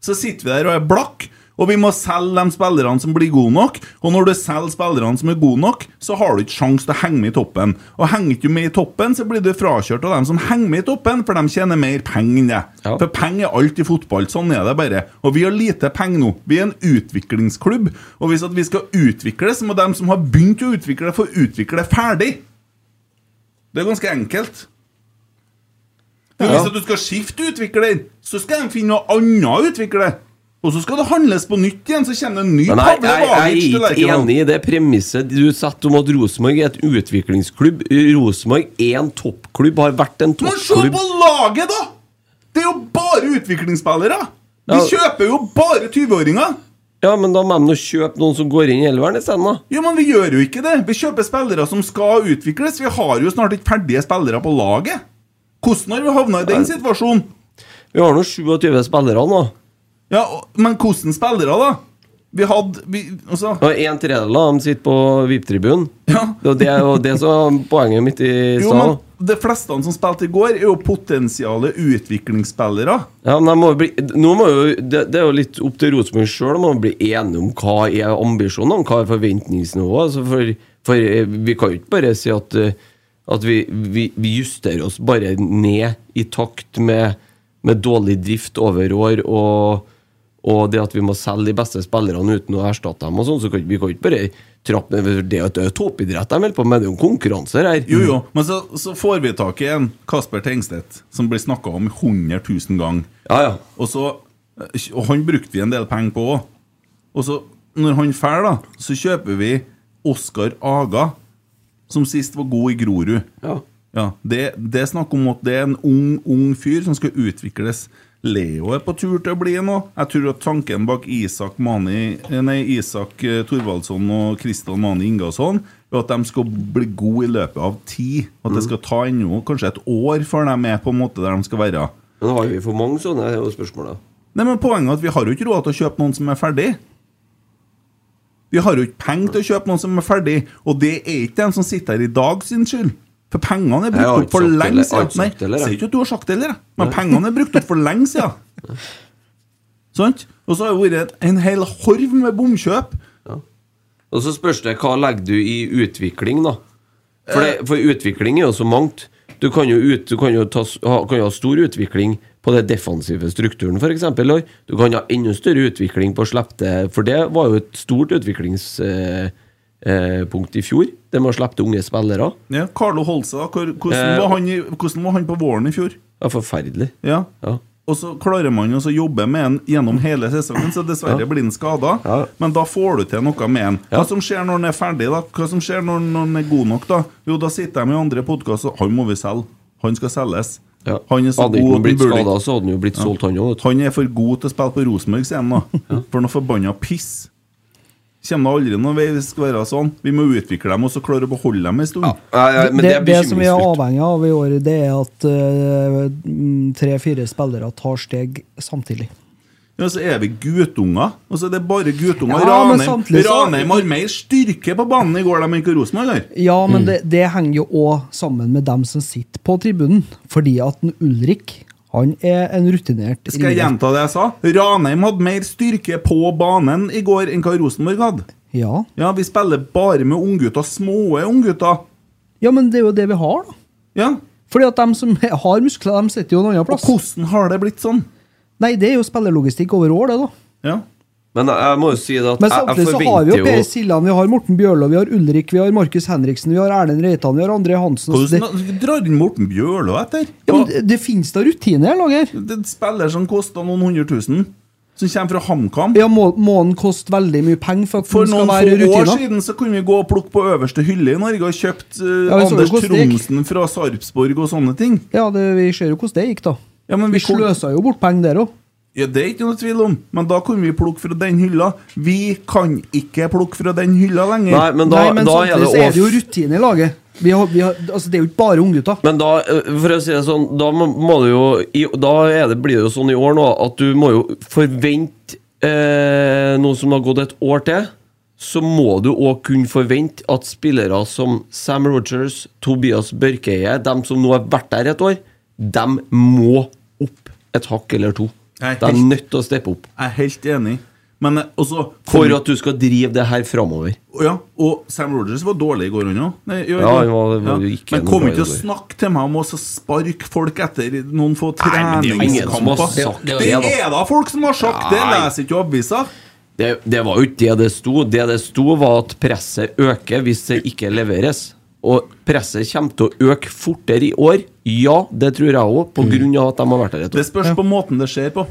[SPEAKER 2] så sitter vi der og er blakk. Og vi må selge de spillerne som blir gode nok. Og når du selger spillerne som er gode nok, så har du ikke sjanse til å henge med i toppen. Og henger ikke du med i toppen, så blir du frakjørt av dem som henger med i toppen, for de tjener mer penger enn deg.
[SPEAKER 3] Ja.
[SPEAKER 2] For penger er alt i fotball. Sånn er det bare. Og vi har lite penger nå. Vi er en utviklingsklubb. Og hvis at vi skal utvikle, så må de som har begynt å utvikle, få utvikle ferdig. Det er ganske enkelt. For Hvis at du skal skifte utvikler, så skal de finne noe annet å utvikle. Og så skal det handles på nytt igjen, så kommer det en ny
[SPEAKER 3] Men jeg, jeg, jeg
[SPEAKER 2] Pavlovagic til
[SPEAKER 3] er ikke
[SPEAKER 2] Lerkendal.
[SPEAKER 3] enig i det premisset du setter om at Rosenborg er et utviklingsklubb. Rosenborg er en toppklubb, har vært en
[SPEAKER 2] Men se
[SPEAKER 3] toppklubb.
[SPEAKER 2] på laget, da! Det er jo bare utviklingsspillere! Vi
[SPEAKER 3] Ja.
[SPEAKER 2] kjøper jo bare 20-åringer!
[SPEAKER 3] Ja, men da må de nå kjøpe noen som går inn i elveren isteden, da.
[SPEAKER 2] Jo, men vi gjør jo ikke det. Vi kjøper spillere som skal utvikles. Vi har jo snart ikke ferdige spillere på laget. Hvordan har vi havna i den situasjonen?
[SPEAKER 3] Vi har nå 27 spillere nå.
[SPEAKER 2] Ja, og- Men hvordan spillere, da? Vi hadde vi, altså,
[SPEAKER 3] Og en tredjedel av dem sitter på VIP-tribunen.
[SPEAKER 2] Ja.
[SPEAKER 3] Det er jo det, og det som er poenget mitt i
[SPEAKER 2] Jo,
[SPEAKER 3] stad.
[SPEAKER 2] men de fleste som spilte i går, er jo potensiale utviklingsspillere.
[SPEAKER 3] Ja, men de må jo bli, nå må jo, det, det er jo litt opp til Rosenborg sjøl å bli enige om hva er ambisjonene, hva er forventningsnivået. Altså for, for eh, vi kan jo ikke bare si at, eh, at vi, vi, vi justerer oss bare ned i takt med, med dårlig drift over år og, og det at vi må selge de beste spillerne uten å erstatte dem. og sånn, så kan, Vi kan jo ikke bare trappe ned. for Det er jo det er jo toppidrett de holder på med, det er jo en konkurranse her.
[SPEAKER 2] Jo, jo, men så, så får vi tak i en Kasper Tengstedt, som blir snakka om 100 000 ganger.
[SPEAKER 3] Ja, ja.
[SPEAKER 2] Og så Og han brukte vi en del penger på òg. Og så, når han drar, da, så kjøper vi Oskar Aga, som sist var god i Grorud.
[SPEAKER 3] Ja.
[SPEAKER 2] Ja, det, det er snakk om at det er en ung, ung fyr som skal utvikles. Leo er på tur til å bli noe. Jeg tror at tanken bak Isak, Mani, nei, Isak eh, Thorvaldsson og Kristian Mani Ingasson er at de skal bli gode i løpet av tid. At det skal ta ennå kanskje et år før de er på en måte der de skal være.
[SPEAKER 3] Men har vi for mange sånne, er jo spørsmålet.
[SPEAKER 2] Nei, men Poenget er at vi har jo ikke råd til å kjøpe noen som er ferdig. Vi har jo ikke penger til å kjøpe noen som er ferdig, og det er ikke dem som sitter her i dag sin skyld. For pengene er
[SPEAKER 3] Jeg har
[SPEAKER 2] brukt opp
[SPEAKER 3] ikke
[SPEAKER 2] for
[SPEAKER 3] sagt det,
[SPEAKER 2] lenge
[SPEAKER 3] jeg har
[SPEAKER 2] siden.
[SPEAKER 3] ikke
[SPEAKER 2] Nei,
[SPEAKER 3] sagt det, eller?
[SPEAKER 2] sier ikke at du har sagt det heller, jeg. men pengene er brukt opp for lenge
[SPEAKER 3] <laughs>
[SPEAKER 2] siden. Sant? Og så har det vært en hel horv med bomkjøp.
[SPEAKER 3] Og så spørs det hva legger du i utvikling, da. For, det, for utvikling er jo så mangt. Du kan jo, ut, du kan jo, ta, s- ha, kan jo ha stor utvikling på den defensive strukturen, f.eks. Du kan ha enda større utvikling på å slippe til For det var jo et stort utviklingspunkt eh, punkt i fjor, det med å slippe til unge spillere.
[SPEAKER 2] Ja, Carlo Holsa, hvor- hvordan
[SPEAKER 3] Eh,
[SPEAKER 2] var, han, i- hvordan var han på våren i fjor?
[SPEAKER 3] Det er forferdelig.
[SPEAKER 2] Ja.
[SPEAKER 3] Ja.
[SPEAKER 2] Og så klarer man jo å jobbe med en gjennom hele sesongen, så dessverre blir den skada.
[SPEAKER 3] Ja.
[SPEAKER 2] Men da får du til noe med den. Hva
[SPEAKER 3] Ja.
[SPEAKER 2] som skjer når den er ferdig, da? Hva som skjer når, når den er god nok, da? Jo, da sitter de i andre podkaster Han må vi selge. Han skal selges.
[SPEAKER 3] Ja.
[SPEAKER 2] Han er så god
[SPEAKER 3] hadde
[SPEAKER 2] at
[SPEAKER 3] ikke han
[SPEAKER 2] den
[SPEAKER 3] blitt altså.
[SPEAKER 2] burde
[SPEAKER 3] skada,
[SPEAKER 2] ikke
[SPEAKER 3] så hadde han jo blitt solgt, han òg.
[SPEAKER 2] Han er for god til å spille på Rosenborg scenen nå.
[SPEAKER 3] <laughs>
[SPEAKER 2] For noe forbanna piss. Kommer det aldri noen vei hvis det skal være sånn? Vi må utvikle dem og så klare å beholde dem en stund.
[SPEAKER 5] Det, det, som vi er avhengig av i år, det er at eh, tre-fire spillere tar steg samtidig.
[SPEAKER 2] Ja, så er vi guttunger. Og så er det bare guttunger.
[SPEAKER 5] Ja, men
[SPEAKER 2] Ranheim,
[SPEAKER 5] samtidig så-
[SPEAKER 2] Ranheim har mer styrke på banen i går de enn hva Rosenborg har.
[SPEAKER 5] Ja, men det, det henger jo òg sammen med dem som sitter på tribunen. Fordi at en Ulrik han er en rutinert
[SPEAKER 2] Skal jeg
[SPEAKER 5] rider.
[SPEAKER 2] gjenta det jeg sa? Ranheim hadde mer styrke på banen i går enn hva Rosenborg hadde.
[SPEAKER 5] Ja.
[SPEAKER 2] Ja, vi spiller bare med unggutter. Små unggutter.
[SPEAKER 5] ja, men det er jo det vi har, da.
[SPEAKER 2] Ja.
[SPEAKER 5] Fordi at dem som <laughs> har muskler, de sitter jo en annen
[SPEAKER 2] Og
[SPEAKER 5] plass.
[SPEAKER 2] hvordan har det blitt sånn?
[SPEAKER 5] Nei, det er jo spillerlogistikk over år, det, da.
[SPEAKER 2] Ja.
[SPEAKER 3] Men eh, jeg, jeg må jo si det at
[SPEAKER 5] Men
[SPEAKER 3] jeg,
[SPEAKER 5] samtidig
[SPEAKER 3] jeg
[SPEAKER 5] så har vi
[SPEAKER 3] forventer
[SPEAKER 5] jo Per
[SPEAKER 3] jo
[SPEAKER 5] Siljan, vi har Morten Bjørlo, vi har Ulrik, vi har Markus Henriksen, vi har Erlend Reitan, vi har André Hansen. så Det,
[SPEAKER 2] Hvordan du drar inn Morten Bjørlo etter?
[SPEAKER 5] ja, men det, det finnes da rutiner, lager.
[SPEAKER 2] Det er en spiller som kosta noen hundre tusen, som kommer fra HamKam.
[SPEAKER 5] Ja, må, må den koste veldig mye penger for at
[SPEAKER 2] For
[SPEAKER 5] den skal
[SPEAKER 2] noen få
[SPEAKER 5] være
[SPEAKER 2] år
[SPEAKER 5] rutiner?
[SPEAKER 2] siden så kunne vi gå og plukke på øverste hylle i Norge og kjøpt eh,
[SPEAKER 5] Ja, vi så jo
[SPEAKER 2] Anders
[SPEAKER 5] hvordan det gikk.
[SPEAKER 2] Tronsen fra Sarpsborg og sånne ting.
[SPEAKER 5] Ja, det, vi ser jo hvordan det gikk, da.
[SPEAKER 2] Ja, men
[SPEAKER 5] Vi
[SPEAKER 2] vi kom-
[SPEAKER 5] sløsa jo bort penger der òg.
[SPEAKER 2] Ja, Det er ikke noe tvil om, men da kunne vi plukke fra den hylla. Vi kan ikke plukke fra den hylla lenger.
[SPEAKER 3] Nei, men da,
[SPEAKER 5] Nei, men
[SPEAKER 3] da er
[SPEAKER 5] samtidig
[SPEAKER 3] det
[SPEAKER 5] så er det jo
[SPEAKER 3] off.
[SPEAKER 5] rutine i laget. Vi har, vi har, altså, det er jo ikke bare unggutter.
[SPEAKER 3] Men da, eh, for å si det sånn, da må, må du jo i, Da er det, blir det jo sånn i år nå at du må jo forvente eh, noe som har gått et år til. Så må du òg kunne forvente at spillere som Sam Rogers, Tobias Børkeie, dem som nå har vært der et år, dem må opp et hakk eller to.
[SPEAKER 2] Nei,
[SPEAKER 3] De er
[SPEAKER 2] helt-
[SPEAKER 3] nødt til å steppe opp
[SPEAKER 2] Jeg er helt enig. Men eh, også
[SPEAKER 3] for at du skal drive det her framover.
[SPEAKER 2] ja, Og Sam Rogers var dårlig i går, han òg.
[SPEAKER 3] Ja, han var- var jo ikke
[SPEAKER 2] Men
[SPEAKER 3] noe
[SPEAKER 2] kom
[SPEAKER 3] bra i
[SPEAKER 2] ikke og
[SPEAKER 3] går.
[SPEAKER 2] snakk til meg om å så sparke folk etter noen få
[SPEAKER 3] Nei, men det er jo ingen som har
[SPEAKER 2] treningskamper.
[SPEAKER 3] sagt
[SPEAKER 2] Det,
[SPEAKER 3] det, da.
[SPEAKER 2] er da folk som har sagt det!
[SPEAKER 3] Nei.
[SPEAKER 2] Leser ikke aviser.
[SPEAKER 3] Det, det var jo ikke det det sto. Det det sto, var at presset øker hvis det ikke leveres. Og presset kommer til å
[SPEAKER 2] Mm.
[SPEAKER 3] øke fortere i år. Ja, det tror jeg òg, pga. at de har vært der et
[SPEAKER 2] Det
[SPEAKER 3] år.
[SPEAKER 2] spørs på måten det skjer på.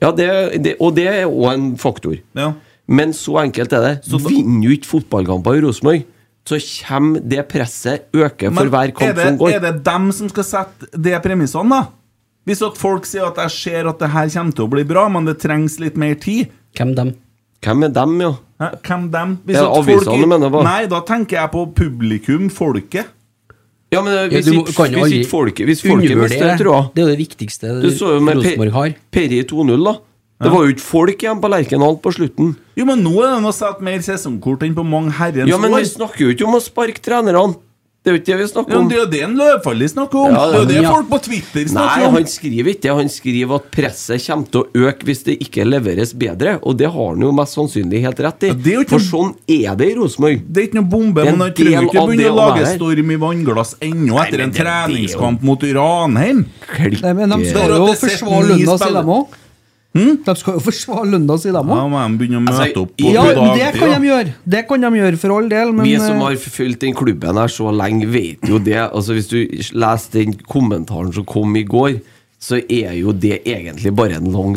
[SPEAKER 3] Ja, det, det, og det er òg en faktor.
[SPEAKER 2] Ja.
[SPEAKER 3] Men så enkelt er det. Vinner du ikke fotballkamper i Rosenborg, så kommer det presset øker for
[SPEAKER 2] Men
[SPEAKER 3] hver kamp
[SPEAKER 2] er det,
[SPEAKER 3] som går.
[SPEAKER 2] Er det dem som skal sette de premissene, da? Hvis at folk sier at jeg ser at det her kommer til å bli bra, men det trengs litt mer tid
[SPEAKER 6] Hvem dem?
[SPEAKER 3] Hvem er dem, ja?
[SPEAKER 2] Hæ? Hvem dem? Hvis
[SPEAKER 3] Ja,
[SPEAKER 2] at folk
[SPEAKER 3] avisene
[SPEAKER 2] i-
[SPEAKER 3] mener jeg på.
[SPEAKER 2] Nei, da tenker jeg på publikum, folket.
[SPEAKER 3] Ja, men eh, hvis,
[SPEAKER 6] du må-
[SPEAKER 3] ikke,
[SPEAKER 6] kan jo
[SPEAKER 3] hvis
[SPEAKER 6] aldri
[SPEAKER 3] ikke folket Hvis folket
[SPEAKER 6] undervurdere
[SPEAKER 3] mister trua
[SPEAKER 6] Det er jo det viktigste
[SPEAKER 3] Du så jo med Per-
[SPEAKER 6] Rosenborg har.
[SPEAKER 3] Perry 2-0, da. Det var jo ikke folk igjen på Lerkendal på slutten.
[SPEAKER 2] Jo, men nå er det noe å sette mer sesongkort enn på mange herrens
[SPEAKER 3] Ja, men vi
[SPEAKER 2] år.
[SPEAKER 3] snakker jo ikke om å sparke trenerne. Det er jo ikke det vi
[SPEAKER 2] Ja,
[SPEAKER 3] snakker
[SPEAKER 2] men
[SPEAKER 3] om.
[SPEAKER 2] det er jo det en Løvfalli snakker om.
[SPEAKER 3] Ja,
[SPEAKER 2] det er jo det
[SPEAKER 6] ja.
[SPEAKER 2] folk på Twitter
[SPEAKER 3] Nei,
[SPEAKER 2] snakker om.
[SPEAKER 3] han skriver ikke det. Han skriver at presset kommer til å øke hvis det ikke leveres bedre, og det har han jo mest sannsynlig helt rett i.
[SPEAKER 2] Ja, det er jo ikke-
[SPEAKER 3] For sånn er det i Rosenborg.
[SPEAKER 2] Det er ikke noe bombe,
[SPEAKER 3] Det er
[SPEAKER 2] men
[SPEAKER 3] en
[SPEAKER 2] han trenger
[SPEAKER 3] del
[SPEAKER 2] ikke å
[SPEAKER 3] av
[SPEAKER 2] begynne
[SPEAKER 3] det
[SPEAKER 2] å
[SPEAKER 3] å
[SPEAKER 2] lage
[SPEAKER 3] være her.
[SPEAKER 2] storm i vannglass ennå etter
[SPEAKER 3] men
[SPEAKER 2] en
[SPEAKER 3] det- det er jo-
[SPEAKER 2] treningskamp mot Ranheim.
[SPEAKER 5] Nei, men de
[SPEAKER 2] Det
[SPEAKER 5] skal
[SPEAKER 2] er at
[SPEAKER 5] jo
[SPEAKER 2] det sitter
[SPEAKER 5] forsvare
[SPEAKER 2] ni
[SPEAKER 5] lønna si,
[SPEAKER 2] spillere.
[SPEAKER 5] dem òg.
[SPEAKER 6] Hm?
[SPEAKER 5] De skal jo forsvare lønna si, dem
[SPEAKER 2] Da
[SPEAKER 5] òg.
[SPEAKER 2] må de begynne å møte
[SPEAKER 3] Altså,
[SPEAKER 2] opp
[SPEAKER 3] i-
[SPEAKER 2] på
[SPEAKER 5] Ja,
[SPEAKER 3] på
[SPEAKER 5] det
[SPEAKER 2] dagtid,
[SPEAKER 5] kan
[SPEAKER 2] da.
[SPEAKER 5] de gjøre, det kan de gjøre for all del, men
[SPEAKER 3] Vi som
[SPEAKER 5] eh,
[SPEAKER 3] har fulgt den klubben her så lenge, vet jo det. Altså Hvis du leser den kommentaren som kom i går, så er jo det egentlig bare en lang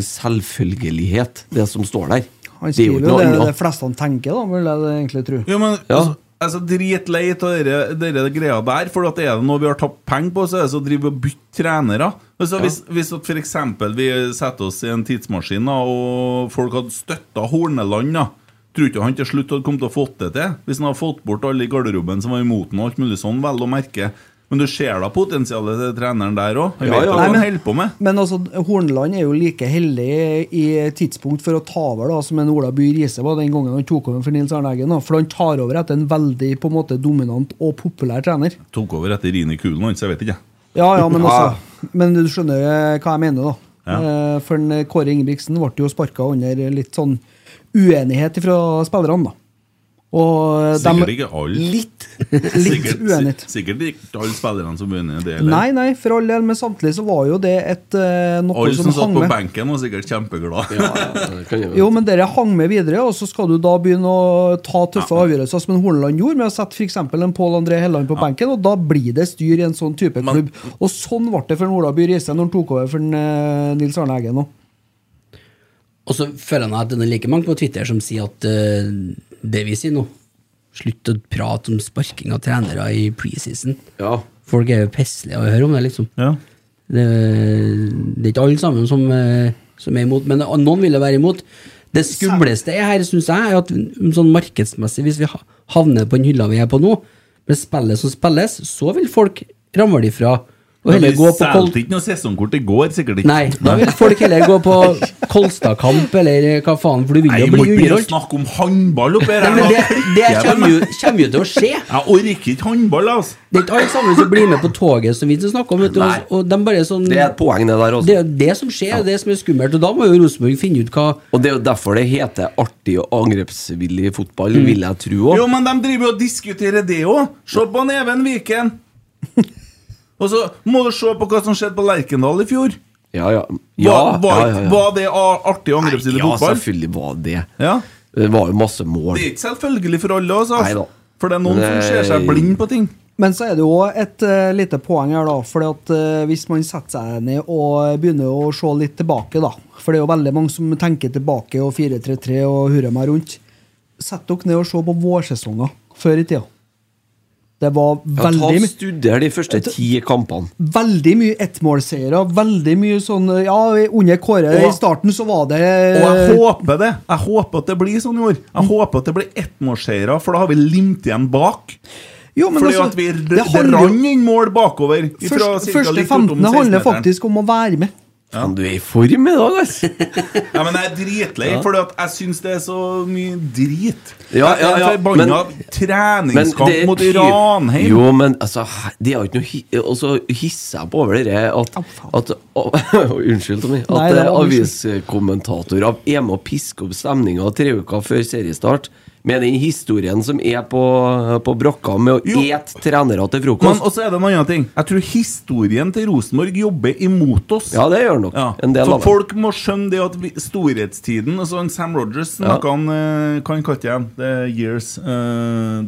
[SPEAKER 3] selvfølgelighet, det som står der.
[SPEAKER 5] han
[SPEAKER 3] Det er jo ikke
[SPEAKER 5] skriver jo
[SPEAKER 3] noe
[SPEAKER 5] det det
[SPEAKER 3] annet.
[SPEAKER 5] fleste han tenker, da, vil jeg egentlig tro.
[SPEAKER 2] Jo, men
[SPEAKER 3] Ja.
[SPEAKER 2] altså, altså, dritlei av dere, dere greia der. For at er det noe vi har tapt penger på, så er det så å drive og bytte trenere. Altså, Hvis, hvis at for eksempel vi setter oss i en tidsmaskin, da, og folk hadde støtta Horneland da, Tror ikke han til slutt hadde kommet til å fått det til? Hvis han hadde fått bort alle i garderoben som var imot ham, og alt mulig sånn, vel å merke. Men du ser da potensialet til treneren der òg. Han
[SPEAKER 3] Ja,
[SPEAKER 2] vet da
[SPEAKER 3] ja. Nei,
[SPEAKER 2] hva han
[SPEAKER 5] men-
[SPEAKER 2] holder på med.
[SPEAKER 5] Men altså, Hornland er jo like heldig i tidspunkt for å ta over da, som en Ola By Riise var den gangen han tok over for Nils Arne Eggen. da. For han tar over etter en veldig på en måte dominant og populær trener.
[SPEAKER 2] Tok over etter Rini Kulen hans, jeg vet ikke.
[SPEAKER 5] Ja, ja, men altså Men du skjønner eh, hva jeg mener, da. Eh, For en, eh, Kåre Ingebrigtsen ble jo sparka under litt sånn uenighet fra spillerne, da. Og eh,
[SPEAKER 2] Sikkert
[SPEAKER 5] de
[SPEAKER 2] ikke alle.
[SPEAKER 5] Litt, litt
[SPEAKER 2] Sikkert-
[SPEAKER 5] uenighet.
[SPEAKER 2] Sikkert ikke alle spillerne som begynner i det. eller?
[SPEAKER 5] Nei, nei, for all del, men samtidig så var jo det et eh, noe
[SPEAKER 2] Alle som
[SPEAKER 5] som
[SPEAKER 2] satt
[SPEAKER 5] hang
[SPEAKER 2] på
[SPEAKER 5] med.
[SPEAKER 2] benken var sikkert kjempeglad. <laughs>
[SPEAKER 5] Jo, men dere hang med videre, og så skal du da begynne å ta tøffe avgjørelser, som en Horneland gjorde, med å sette f.eks. en Pål André Helland på benken, og da blir det styr i en sånn type klubb. Og sånn ble det for en Ola By Riise når han tok over for en, eh, Nils Arne Eggen nå.
[SPEAKER 6] Og så føler jeg at det er like mange på Twitter som sier at eh, det vi sier nå Slutt å prate om sparking av trenere i preseason.
[SPEAKER 3] Ja.
[SPEAKER 6] Folk er jo pisselige å høre om det, liksom.
[SPEAKER 2] Ja.
[SPEAKER 6] Det, det er ikke alle sammen som, eh, som er imot, men noen vil jo være imot. Det skumleste er her, syns jeg, er at sånn markedsmessig, hvis vi ha- havner på den hylla vi er på nå, med spillet som spilles, så vil folk ramle ifra og heller gå på Col-
[SPEAKER 2] solgte ikke noe sesongkort i går, sikkert ikke.
[SPEAKER 6] Nei, da vil folk heller gå på Kolstadkamp eller hva faen, for du vil
[SPEAKER 2] Nei,
[SPEAKER 6] jo
[SPEAKER 2] jeg må
[SPEAKER 6] bli
[SPEAKER 2] ikke begynne å
[SPEAKER 6] underholdt.
[SPEAKER 2] snakke om håndball oppi her!
[SPEAKER 6] Nei, men det,
[SPEAKER 2] da klikker
[SPEAKER 6] det
[SPEAKER 2] jeg på
[SPEAKER 6] kommer, jo,
[SPEAKER 2] meg.
[SPEAKER 6] kommer jo til å skje.
[SPEAKER 2] Jeg orker ikke håndball, altså!
[SPEAKER 6] Det er ikke alle sammen som blir med på toget som vi ikke snakker om. Vet du,
[SPEAKER 3] Nei.
[SPEAKER 6] og de bare er sånn,
[SPEAKER 3] Det er et poeng, det der også.
[SPEAKER 6] Det er jo det som skjer, det er det som er skummelt. Og da må jo Rosenborg finne ut hva
[SPEAKER 3] Og det er jo derfor det heter artig og angrepsvillig fotball, vil jeg tro
[SPEAKER 2] Mm. Jo,
[SPEAKER 3] òg.
[SPEAKER 2] men de driver jo og diskuterer det òg! Se på han Even Viken! <laughs> Og så må du se på hva som skjedde på Lerkendal i fjor.
[SPEAKER 3] Ja, ja. Ja,
[SPEAKER 2] Var, var,
[SPEAKER 3] ja, ja, ja.
[SPEAKER 2] var det a- artig angrepsside
[SPEAKER 3] Nei, altså, ja,
[SPEAKER 2] fotball?
[SPEAKER 3] selvfølgelig var det.
[SPEAKER 2] Ja.
[SPEAKER 3] Det var jo masse mål.
[SPEAKER 2] Det er ikke selvfølgelig for alle, altså.
[SPEAKER 3] Neida.
[SPEAKER 2] For det er noen som ser
[SPEAKER 3] Nei.
[SPEAKER 2] seg blind på ting.
[SPEAKER 5] Men så er det jo et eh, lite poeng her, da. For hvis man setter seg ned og begynner å se litt tilbake, da. For det er jo veldig mange som tenker tilbake og 4-3-3 og hurrer meg rundt. Sett dere ned og se på vårsesonger før i tida. Det var
[SPEAKER 3] Ja, ta
[SPEAKER 5] veldig
[SPEAKER 3] og
[SPEAKER 5] mye
[SPEAKER 3] Studer de første ti kampene.
[SPEAKER 5] Veldig mye ettmålseiere. Veldig mye sånn Ja, under Kåre
[SPEAKER 2] Og-
[SPEAKER 5] i starten så var det
[SPEAKER 2] Og
[SPEAKER 5] Eh,
[SPEAKER 2] jeg håper det. Jeg håper at det blir sånn i år. Jeg håper at det blir ettmålseiere, for da har vi limt igjen bak.
[SPEAKER 5] jo, men
[SPEAKER 2] Fordi
[SPEAKER 5] altså,
[SPEAKER 2] at vi det,
[SPEAKER 5] det handler jo-
[SPEAKER 2] rann inn mål bakover. ifra cirka
[SPEAKER 5] Først- Første
[SPEAKER 2] litt utom
[SPEAKER 5] 15 handler
[SPEAKER 2] 16-meteren.
[SPEAKER 5] faktisk om å være med.
[SPEAKER 3] Men du er i form i dag, altså!
[SPEAKER 2] <laughs> Ja, men jeg er dritlei, for jeg syns det er så mye drit.
[SPEAKER 3] Ja, ja, ja,
[SPEAKER 2] Jeg er forbanna
[SPEAKER 3] men- Men
[SPEAKER 2] treningskamp
[SPEAKER 3] det er
[SPEAKER 2] mot
[SPEAKER 3] ty-
[SPEAKER 2] Ranheim.
[SPEAKER 3] Jo, men altså he- Det er jo ikke noe hi Og så hisser jeg på over det der at,
[SPEAKER 5] Å, faen.
[SPEAKER 3] at å, <laughs> Unnskyld, Tommy. At
[SPEAKER 5] Nei, det
[SPEAKER 3] eh,
[SPEAKER 5] var
[SPEAKER 3] aviskommentatorer er med å piske opp stemninga tre uker før seriestart. Med den historien som er på, på brakka med å
[SPEAKER 2] Jo.
[SPEAKER 3] ete trenere til
[SPEAKER 2] Men
[SPEAKER 3] frokost.
[SPEAKER 2] og så er det en annen ting. Jeg tror historien til Rosenborg jobber imot oss.
[SPEAKER 3] ja, det gjør nok
[SPEAKER 2] Ja.
[SPEAKER 3] en del
[SPEAKER 2] så
[SPEAKER 3] av dem.
[SPEAKER 2] folk må skjønne det at vi, storhetstiden altså en Sam Rogers ja. kan, kan kalle igjen The years eh,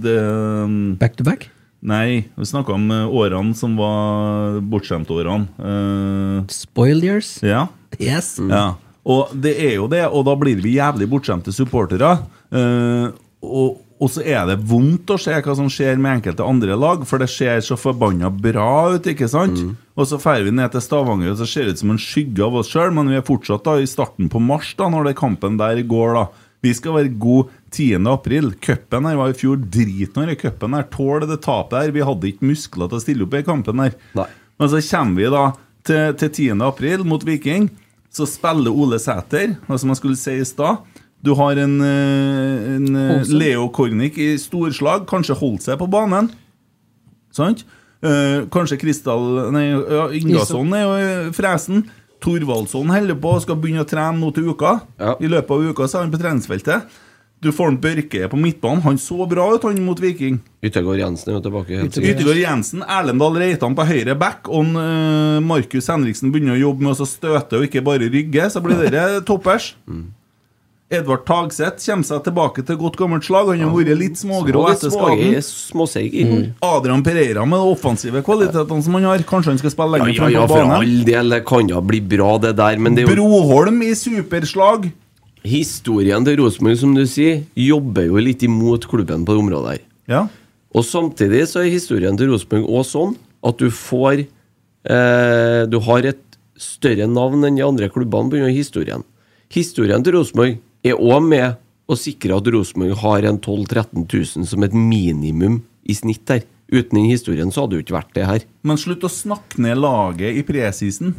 [SPEAKER 2] the, um,
[SPEAKER 6] Back to back?
[SPEAKER 2] Nei, vi snakka om eh, årene som var bortskjemte årene. Eh,
[SPEAKER 6] Spoilers?
[SPEAKER 2] ja.
[SPEAKER 5] Mm.
[SPEAKER 6] Yes.
[SPEAKER 2] ja. Og det er jo det, og da blir vi jævlig bortskjemte supportere. Eh, og, og så er det vondt å se hva som skjer med enkelte andre lag, for det ser så forbanna bra ut, ikke sant? Og så drar vi ned til Stavanger, og så ser det ut som en skygge av oss sjøl, men vi er fortsatt da i starten på mars, da, når det kampen der går, da. Vi skal være gode 10. april. Cupen her var i fjor dritnår. Cupen her tåler det tapet her. Vi hadde ikke muskler til å stille opp i kampen her.
[SPEAKER 3] Nei.
[SPEAKER 2] Men så kommer vi da til, til 10. april mot Viking. Så spiller Ole Sæter, og som jeg skulle si i stad. Du har en, eh, en eh,
[SPEAKER 5] Holse.
[SPEAKER 2] Leo Kornic i storslag, kanskje holdt seg på banen. Sant? Eh, kanskje Kristal Nei, ja, Ingasson er jo eh, fresen. Thorvaldsson holder på og skal begynne å trene nå til uka.
[SPEAKER 3] Ja.
[SPEAKER 2] I løpet av uka så er han på treningsfeltet. Du får en Børke på midtbanen. Han så bra ut, han mot Viking.
[SPEAKER 3] Yttergård Jensen er jo tilbake. helt sikkert.
[SPEAKER 2] Yttergård Jensen, Erlendal Reitan på høyre back og en, eh, Markus Henriksen begynner å jobbe med å støte og ikke bare rygge, så blir
[SPEAKER 3] <laughs>
[SPEAKER 2] dere toppers. Edvard Tagseth kommer seg tilbake til godt gammelt slag. Han har vært litt smågrå
[SPEAKER 3] Litt
[SPEAKER 2] etter
[SPEAKER 3] smågreier,
[SPEAKER 2] skaden.
[SPEAKER 3] Småseig. Mm.
[SPEAKER 2] Adrian Pereira med de offensive kvalitetene som han har. Kanskje han skal spille
[SPEAKER 3] Ja,
[SPEAKER 2] lenger
[SPEAKER 3] ja,
[SPEAKER 2] frem
[SPEAKER 3] ja,
[SPEAKER 2] på
[SPEAKER 3] for
[SPEAKER 2] banen.
[SPEAKER 3] all del, det kan jo bli bra, det der, men det er jo
[SPEAKER 2] Broholm i superslag.
[SPEAKER 3] historien til Rosenborg, som du sier, jobber jo litt imot klubben på det området her.
[SPEAKER 2] Ja.
[SPEAKER 3] Og samtidig så er historien til Rosenborg også sånn at du får eh, Du har et større navn enn de andre klubbene pga. historien. Historien til Rosenborg er òg med å sikre at Rosenborg har en 12 000-13 000 som et minimum i snitt her. Uten den historien så hadde det jo ikke vært det her.
[SPEAKER 2] Men slutt å snakke ned laget i presisen.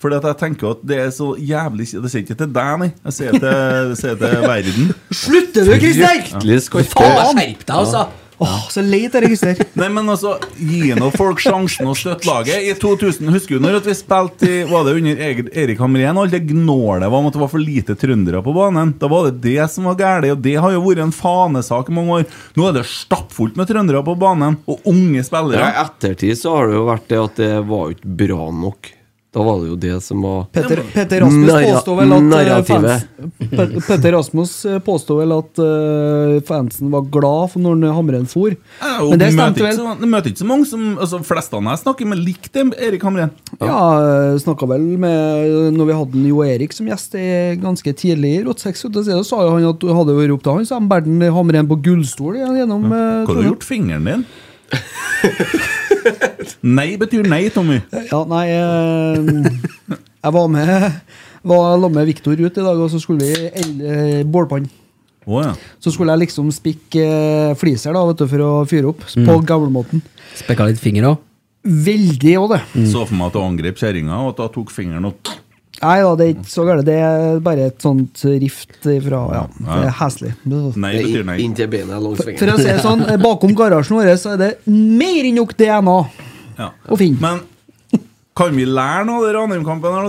[SPEAKER 2] Fordi at jeg tenker at det er så jævlig kj- Det sier ikke til deg, nei. Jeg sier til,
[SPEAKER 3] <laughs>
[SPEAKER 2] jeg sier til verden.
[SPEAKER 5] Slutter du, Christer?!
[SPEAKER 3] Fryktelig skarpe.
[SPEAKER 6] Faen, skjerp deg, altså!
[SPEAKER 5] Åh, så leit det er, Christer.
[SPEAKER 2] Nei, men altså, gi nå folk sjansen å støtte laget. I 2000, husker du når at vi spilte i Var det under Eger- Erik Hamrén? Alt det gnålet var om at det var for lite trøndere på banen. Da var det det som var galt, og det har jo vært en fanesak i mange år. Nå er det stappfullt med trøndere på banen, og unge
[SPEAKER 3] Ja,
[SPEAKER 2] spillere.
[SPEAKER 3] I ettertid så har det jo vært det at det var jo ikke bra nok. Da var det jo det som var
[SPEAKER 5] Petter, Petter Rasmus
[SPEAKER 3] Narra-
[SPEAKER 5] påstår vel at eh,
[SPEAKER 3] narrativet.
[SPEAKER 5] fans, Pe- Petter Rasmus eh, påstår vel at eh, fansen var glad for når han Hamren for.
[SPEAKER 2] Ja, og
[SPEAKER 5] Men det
[SPEAKER 2] du møter
[SPEAKER 5] stemte
[SPEAKER 2] ikke
[SPEAKER 5] vel.
[SPEAKER 2] så- Du møter ikke så mange som altså, Flestene jeg snakker med, likte Erik Hamrén.
[SPEAKER 5] Ja, eh, snakka vel med eh, Når vi hadde en Jo Erik som gjest eh, ganske tidlig i Rotsex, så sa jo han at du hadde jo ropt til han, så han bærer den Hamren på gullstol igjen gjennom
[SPEAKER 2] Hva
[SPEAKER 5] eh,
[SPEAKER 2] har du
[SPEAKER 5] Trondheim.
[SPEAKER 2] gjort fingeren
[SPEAKER 5] <laughs>
[SPEAKER 2] din? nei betyr nei, Tommy.
[SPEAKER 5] Ja, nei eh, Jeg var med Var sammen med Viktor ut i dag, og så skulle vi el- eh, bålpann.
[SPEAKER 2] Å ja.
[SPEAKER 5] Så skulle jeg liksom spikke eh, fliser da, vet du, for å fyre opp, på gamlemåten.
[SPEAKER 6] Mm. Spekka litt finger òg.
[SPEAKER 5] Veldig òg, det.
[SPEAKER 2] Så for meg at du angrep kjerringa, og at hun tok fingeren og
[SPEAKER 5] Nei da, det er ikke så galt. Det er bare et sånt rift fra Ja, Mm. det er heslig.
[SPEAKER 2] Nei betyr nei.
[SPEAKER 3] Inntil beinet er langs
[SPEAKER 5] For å si det sånn, eh, bakom garasjen vår så er det mer enn nok DNA
[SPEAKER 2] Ja.
[SPEAKER 5] å finne.
[SPEAKER 2] Men kan vi lære noe av den Ranheim-kampen? her nå?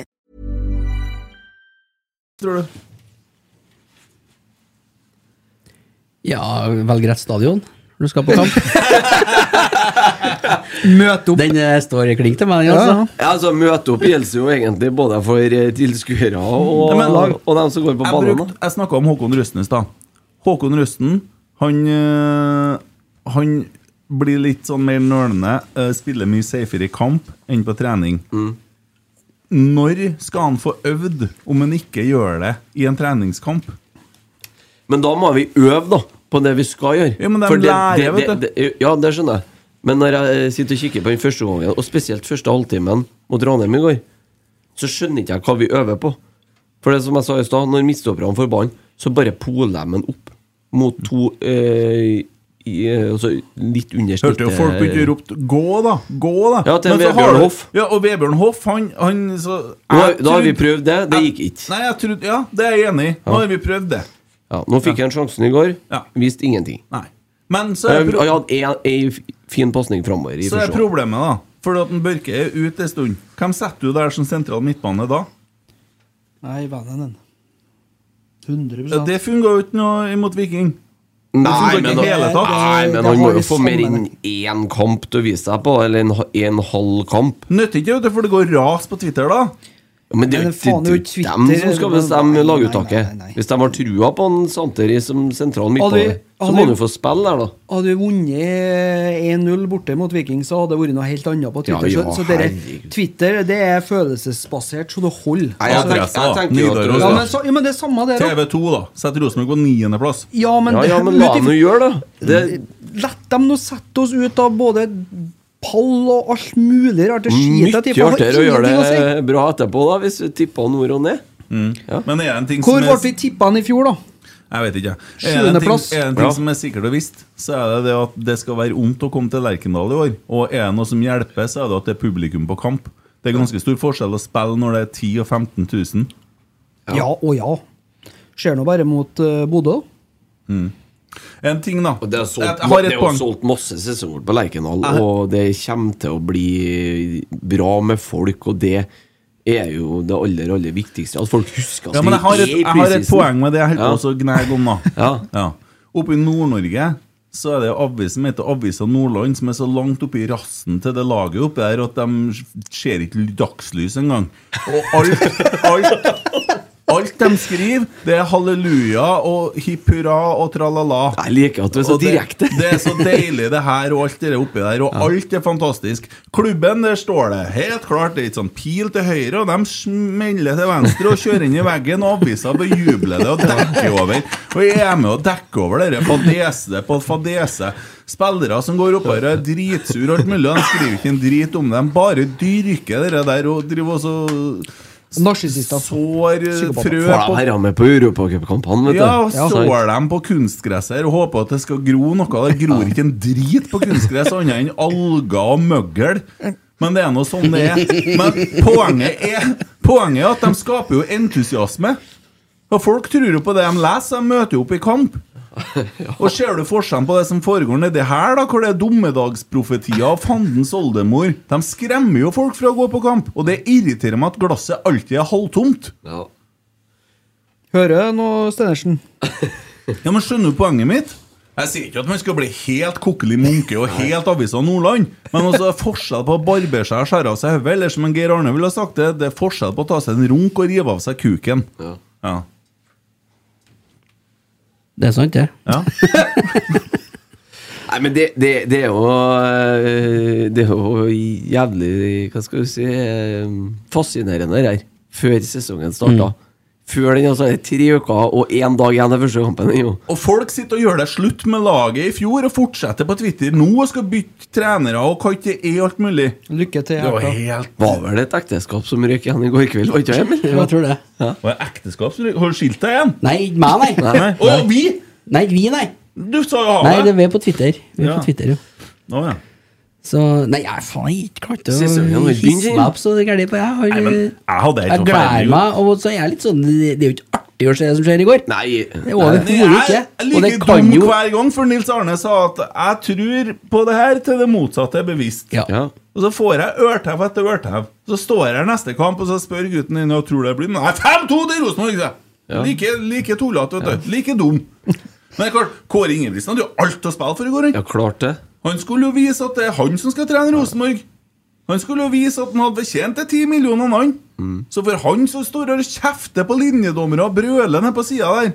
[SPEAKER 2] Tror du?
[SPEAKER 6] Ja, velg rett stadion når du skal på kamp.
[SPEAKER 4] Møte
[SPEAKER 6] opp. Den eh, står i klink til meg, den,
[SPEAKER 3] <laughs> Ja,
[SPEAKER 6] altså.
[SPEAKER 3] altså Møte opp gjelder jo egentlig både for eh, tilskuere og,
[SPEAKER 2] Nei, men-
[SPEAKER 3] og, og dem som går på
[SPEAKER 2] Jeg,
[SPEAKER 3] banen.
[SPEAKER 2] brukte- jeg snakka om Håkon Rusten i stad. Håkon Rusten, han øh, Han blir litt sånn mer nølende. øh, Spiller mye safere i kamp enn på trening.
[SPEAKER 3] Mm.
[SPEAKER 2] Når skal han få øvd om han ikke gjør det i en treningskamp?
[SPEAKER 3] Men da må vi øve da på det vi skal gjøre.
[SPEAKER 2] Ja, men de
[SPEAKER 3] For
[SPEAKER 2] lærer, vet du.
[SPEAKER 3] det, ja, det skjønner jeg. Men når jeg eh, sitter og kikker på den første gangen, og spesielt første halvtimen mot Ranheim i går, så skjønner ikke jeg hva vi øver på. For det som jeg sa i stad, når mistopperne får ballen, så bare poler de den opp mot to eh, i, eh, altså litt under snittet.
[SPEAKER 2] Hørte jo folk begynte å rope 'gå, da', 'gå, da'.
[SPEAKER 3] Ja, til
[SPEAKER 2] Men så har
[SPEAKER 3] Vebjørn
[SPEAKER 2] du-
[SPEAKER 3] Hoff.
[SPEAKER 2] Ja, og Vebjørn Hoff, han, han så,
[SPEAKER 3] Nå har-
[SPEAKER 2] jeg
[SPEAKER 3] da har vi
[SPEAKER 2] trodde-
[SPEAKER 3] prøvd det, det gikk ikke.
[SPEAKER 2] Nei, jeg trodde, ja, det er jeg enig i. Nå
[SPEAKER 3] Ja.
[SPEAKER 2] har vi prøvd det.
[SPEAKER 3] Ja, nå fikk jeg en sjansen i går, viste ingenting.
[SPEAKER 2] Men så er,
[SPEAKER 3] Jeg,
[SPEAKER 2] pro
[SPEAKER 3] jeg hadde en- en fin pasning framover.
[SPEAKER 2] så er problemet, da Fordi at den Børke er ute en stund. Hvem setter du der som sentral midtbane da?
[SPEAKER 5] Nei, vennen din. 100
[SPEAKER 2] Ja, Det funka jo ikke noe imot Viking. Det
[SPEAKER 3] Nei,
[SPEAKER 2] funka
[SPEAKER 3] men,
[SPEAKER 2] ikke i hele tatt.
[SPEAKER 3] nei, men han må jo få mer enn én kamp til å vise seg på, eller en, ha- en halv kamp.
[SPEAKER 2] Nytter ikke, vet du, for det går ras på Twitter, da.
[SPEAKER 3] Ja, men det er
[SPEAKER 2] Men
[SPEAKER 3] jo
[SPEAKER 2] faen, det er jo
[SPEAKER 3] ikke
[SPEAKER 2] Twitter,
[SPEAKER 3] dem som skal
[SPEAKER 2] det-
[SPEAKER 3] bestemme
[SPEAKER 2] nei,
[SPEAKER 3] laguttaket. Hvis de har trua på han Santeri som sentral midtbane,
[SPEAKER 5] Hadde vi-
[SPEAKER 3] så må
[SPEAKER 5] hadde vi-
[SPEAKER 3] han jo få spille der, da.
[SPEAKER 5] Hadde vi vunnet 1-0 borte mot Viking, så hadde det vært noe helt annet på Twitter.
[SPEAKER 3] Ja, ja,
[SPEAKER 5] så- så dere,
[SPEAKER 3] herregud.
[SPEAKER 5] Twitter det er følelsesbasert, så det holder. Altså,
[SPEAKER 2] Nei, jeg
[SPEAKER 3] Altså,
[SPEAKER 2] tenker- jeg tenker jo at-
[SPEAKER 5] ja, men, så, ja, men det er samme det, da.
[SPEAKER 2] TV2, da. Setter Rosenborg på niendeplass.
[SPEAKER 5] Ja, men Ja, det- ja, men la uti- han jo
[SPEAKER 3] gjøre det.
[SPEAKER 5] La dem nå sette oss ut av både pall og alt mulig rart. Det skiter
[SPEAKER 3] Mye
[SPEAKER 5] jeg i. for jeg har
[SPEAKER 3] artigere å gjøre
[SPEAKER 5] ingenting å
[SPEAKER 3] det
[SPEAKER 5] si.
[SPEAKER 3] bra etterpå, da, hvis vi tippa nord og ned.
[SPEAKER 2] Men er det en ting
[SPEAKER 5] Hvor
[SPEAKER 2] som
[SPEAKER 5] ble
[SPEAKER 2] er
[SPEAKER 5] vi tippa i fjor, da?
[SPEAKER 2] Jeg vet ikke. jeg. Er det en ting,
[SPEAKER 5] Sjuendeplass.
[SPEAKER 2] er det en ting
[SPEAKER 5] Ja.
[SPEAKER 2] som er sikkert og visst, så er det det at det skal være ondt å komme til Lerkendal i år. Og er det noe som hjelper, så er det at det er publikum på kamp. Det er ganske stor forskjell å spille når det er 10 000 og 15 000.
[SPEAKER 5] Ja og ja. Ser nå bare mot eh, Bodø.
[SPEAKER 2] Mm. En ting, da.
[SPEAKER 3] Det er
[SPEAKER 2] Jeg-
[SPEAKER 3] solgt,
[SPEAKER 2] jeg har et
[SPEAKER 3] det er jo
[SPEAKER 2] poeng.
[SPEAKER 3] solgt masse sesongkort på Lerkendal,
[SPEAKER 2] Jeg-
[SPEAKER 3] og det kommer til å bli bra med folk, og det er jo det aller, aller viktigste. At folk husker at
[SPEAKER 2] Ja, men jeg har,
[SPEAKER 3] vi
[SPEAKER 2] et,
[SPEAKER 3] er i
[SPEAKER 2] jeg har et
[SPEAKER 3] preseason.
[SPEAKER 2] poeng med det jeg holder
[SPEAKER 3] Ja.
[SPEAKER 2] på også å gnage om,
[SPEAKER 3] <laughs>
[SPEAKER 2] da. Ja. Oppe i Nord-Norge så er det avisen som heter Avisa Nordland, som er så langt oppi rassen til det laget oppe der at de ser ikke dagslys engang. Og alt, <laughs> alt, alt de skriver, det er halleluja og hipp hurra og tralala.
[SPEAKER 3] Jeg liker at du er så
[SPEAKER 2] Og det-
[SPEAKER 3] direkte.
[SPEAKER 2] Det er så deilig, det her og alt det der oppi der, og alt er fantastisk. Klubben, der står det helt klart det er et sånn pil til høyre, og de smeller til venstre og kjører inn i veggen, og avisa bejubler det og dekker over. Og jeg er med og dekker over dere fadese på fadese. Spillere som går oppover og er dritsure og alt mulig, og de skriver ikke en drit om dem, bare dyrker dere der og driver også Sår eh,
[SPEAKER 3] Får
[SPEAKER 2] frø
[SPEAKER 3] de herre med på Europacup-kampene, sånn, vet du.
[SPEAKER 2] ja, og
[SPEAKER 3] Sant?
[SPEAKER 2] sår dem på kunstgress her og håper at det skal gro noe. Det gror ikke en drit på kunstgress annet enn alger og møggel. Men det er nå sånn det er. Men poenget er, poenget er at de skaper jo entusiasme. Og folk tror jo på det de leser, de møter jo opp i kamp. Og ser du forskjellen på det som foregår nedi her, da, hvor det er dommedagsprofetier og fandens oldemor? De skremmer jo folk fra å gå på kamp, og det irriterer meg at glasset alltid er halvtomt.
[SPEAKER 3] Ja.
[SPEAKER 5] Hører nå, Stenersen.
[SPEAKER 2] Ja, men skjønner du poenget mitt? Jeg sier ikke at man skal bli helt kokkelig munke og helt avisa av Nordland, men også er forskjell på å barbere seg og skjære av seg hodet, eller som en Geir Arne ville ha sagt det, det er forskjell på å ta seg en runk og rive av seg kuken. Ja. ja.
[SPEAKER 6] Det er sant, det.
[SPEAKER 3] Nei, men det, det, det er jo eh, Det er jo jævlig Hva skal du si eh, Fascinerende det her Før sesongen
[SPEAKER 6] Mm.
[SPEAKER 3] starta. Før den altså er det tre uker og én dag igjen til første kampen. Jo.
[SPEAKER 2] Og folk sitter og gjør det slutt med laget i fjor og fortsetter på Twitter nå og skal bytte trenere og hva ikke er alt mulig.
[SPEAKER 5] Lykke til.
[SPEAKER 2] Det var
[SPEAKER 5] Hjerta.
[SPEAKER 2] helt
[SPEAKER 3] Var vel et ekteskap som røk igjen i går kveld? Var ikke det, Emil?
[SPEAKER 6] Jeg tror det.
[SPEAKER 3] Ja.
[SPEAKER 2] Var det ekteskap? som røk? Har du skilt deg igjen?
[SPEAKER 6] Nei, ikke meg, nei.
[SPEAKER 2] Nei. Å, ja, vi?
[SPEAKER 6] Nei, ikke vi, nei.
[SPEAKER 2] Du sa jo ha
[SPEAKER 6] Nei, det
[SPEAKER 2] det.
[SPEAKER 6] er vi på Twitter. Vi er
[SPEAKER 2] Ja.
[SPEAKER 6] på Twitter, jo.
[SPEAKER 2] Å, ja.
[SPEAKER 6] Så Nei, jeg faen jeg ikke klarte
[SPEAKER 3] Sesongen
[SPEAKER 6] å
[SPEAKER 3] har begynt,
[SPEAKER 6] hisse
[SPEAKER 3] ikke?
[SPEAKER 6] meg opp så det gærent på. Jeg har
[SPEAKER 2] Nei, men jeg hadde helt
[SPEAKER 6] Jeg gleder
[SPEAKER 2] forferdelig gjort.
[SPEAKER 6] meg, og så er jeg litt sånn Det det er jo ikke artig å se det som skjer i går.
[SPEAKER 3] Nei.
[SPEAKER 6] Det var det
[SPEAKER 2] Nei,
[SPEAKER 6] overhodet
[SPEAKER 2] jeg
[SPEAKER 6] ikke.
[SPEAKER 2] er
[SPEAKER 6] Og det
[SPEAKER 2] like
[SPEAKER 6] kan
[SPEAKER 2] dum
[SPEAKER 6] jo
[SPEAKER 2] hver gang, for Nils Arne sa at 'jeg tror på det her til det motsatte er bevisst'.
[SPEAKER 3] Ja.
[SPEAKER 2] Og så får jeg ørtev etter ørtev. Så står jeg her neste kamp og så spør gutten din og tror det blir Nei, 5-2 til Rosenborg! sier jeg.
[SPEAKER 3] Ja.
[SPEAKER 6] <laughs>
[SPEAKER 2] Like, like tullete, vet du. Like dum. Men det er klart, Kåre Ingebrigtsen hadde jo alt å spille for i går. Han.
[SPEAKER 3] Ja, klart det.
[SPEAKER 2] Han skulle jo vise at det er han som skal trene Rosenborg. Han skulle jo vise at han hadde fortjent de ti millionene, han.
[SPEAKER 5] Mm.
[SPEAKER 2] Så for han som står og kjefter på linjedommere og brøler ned på sida der,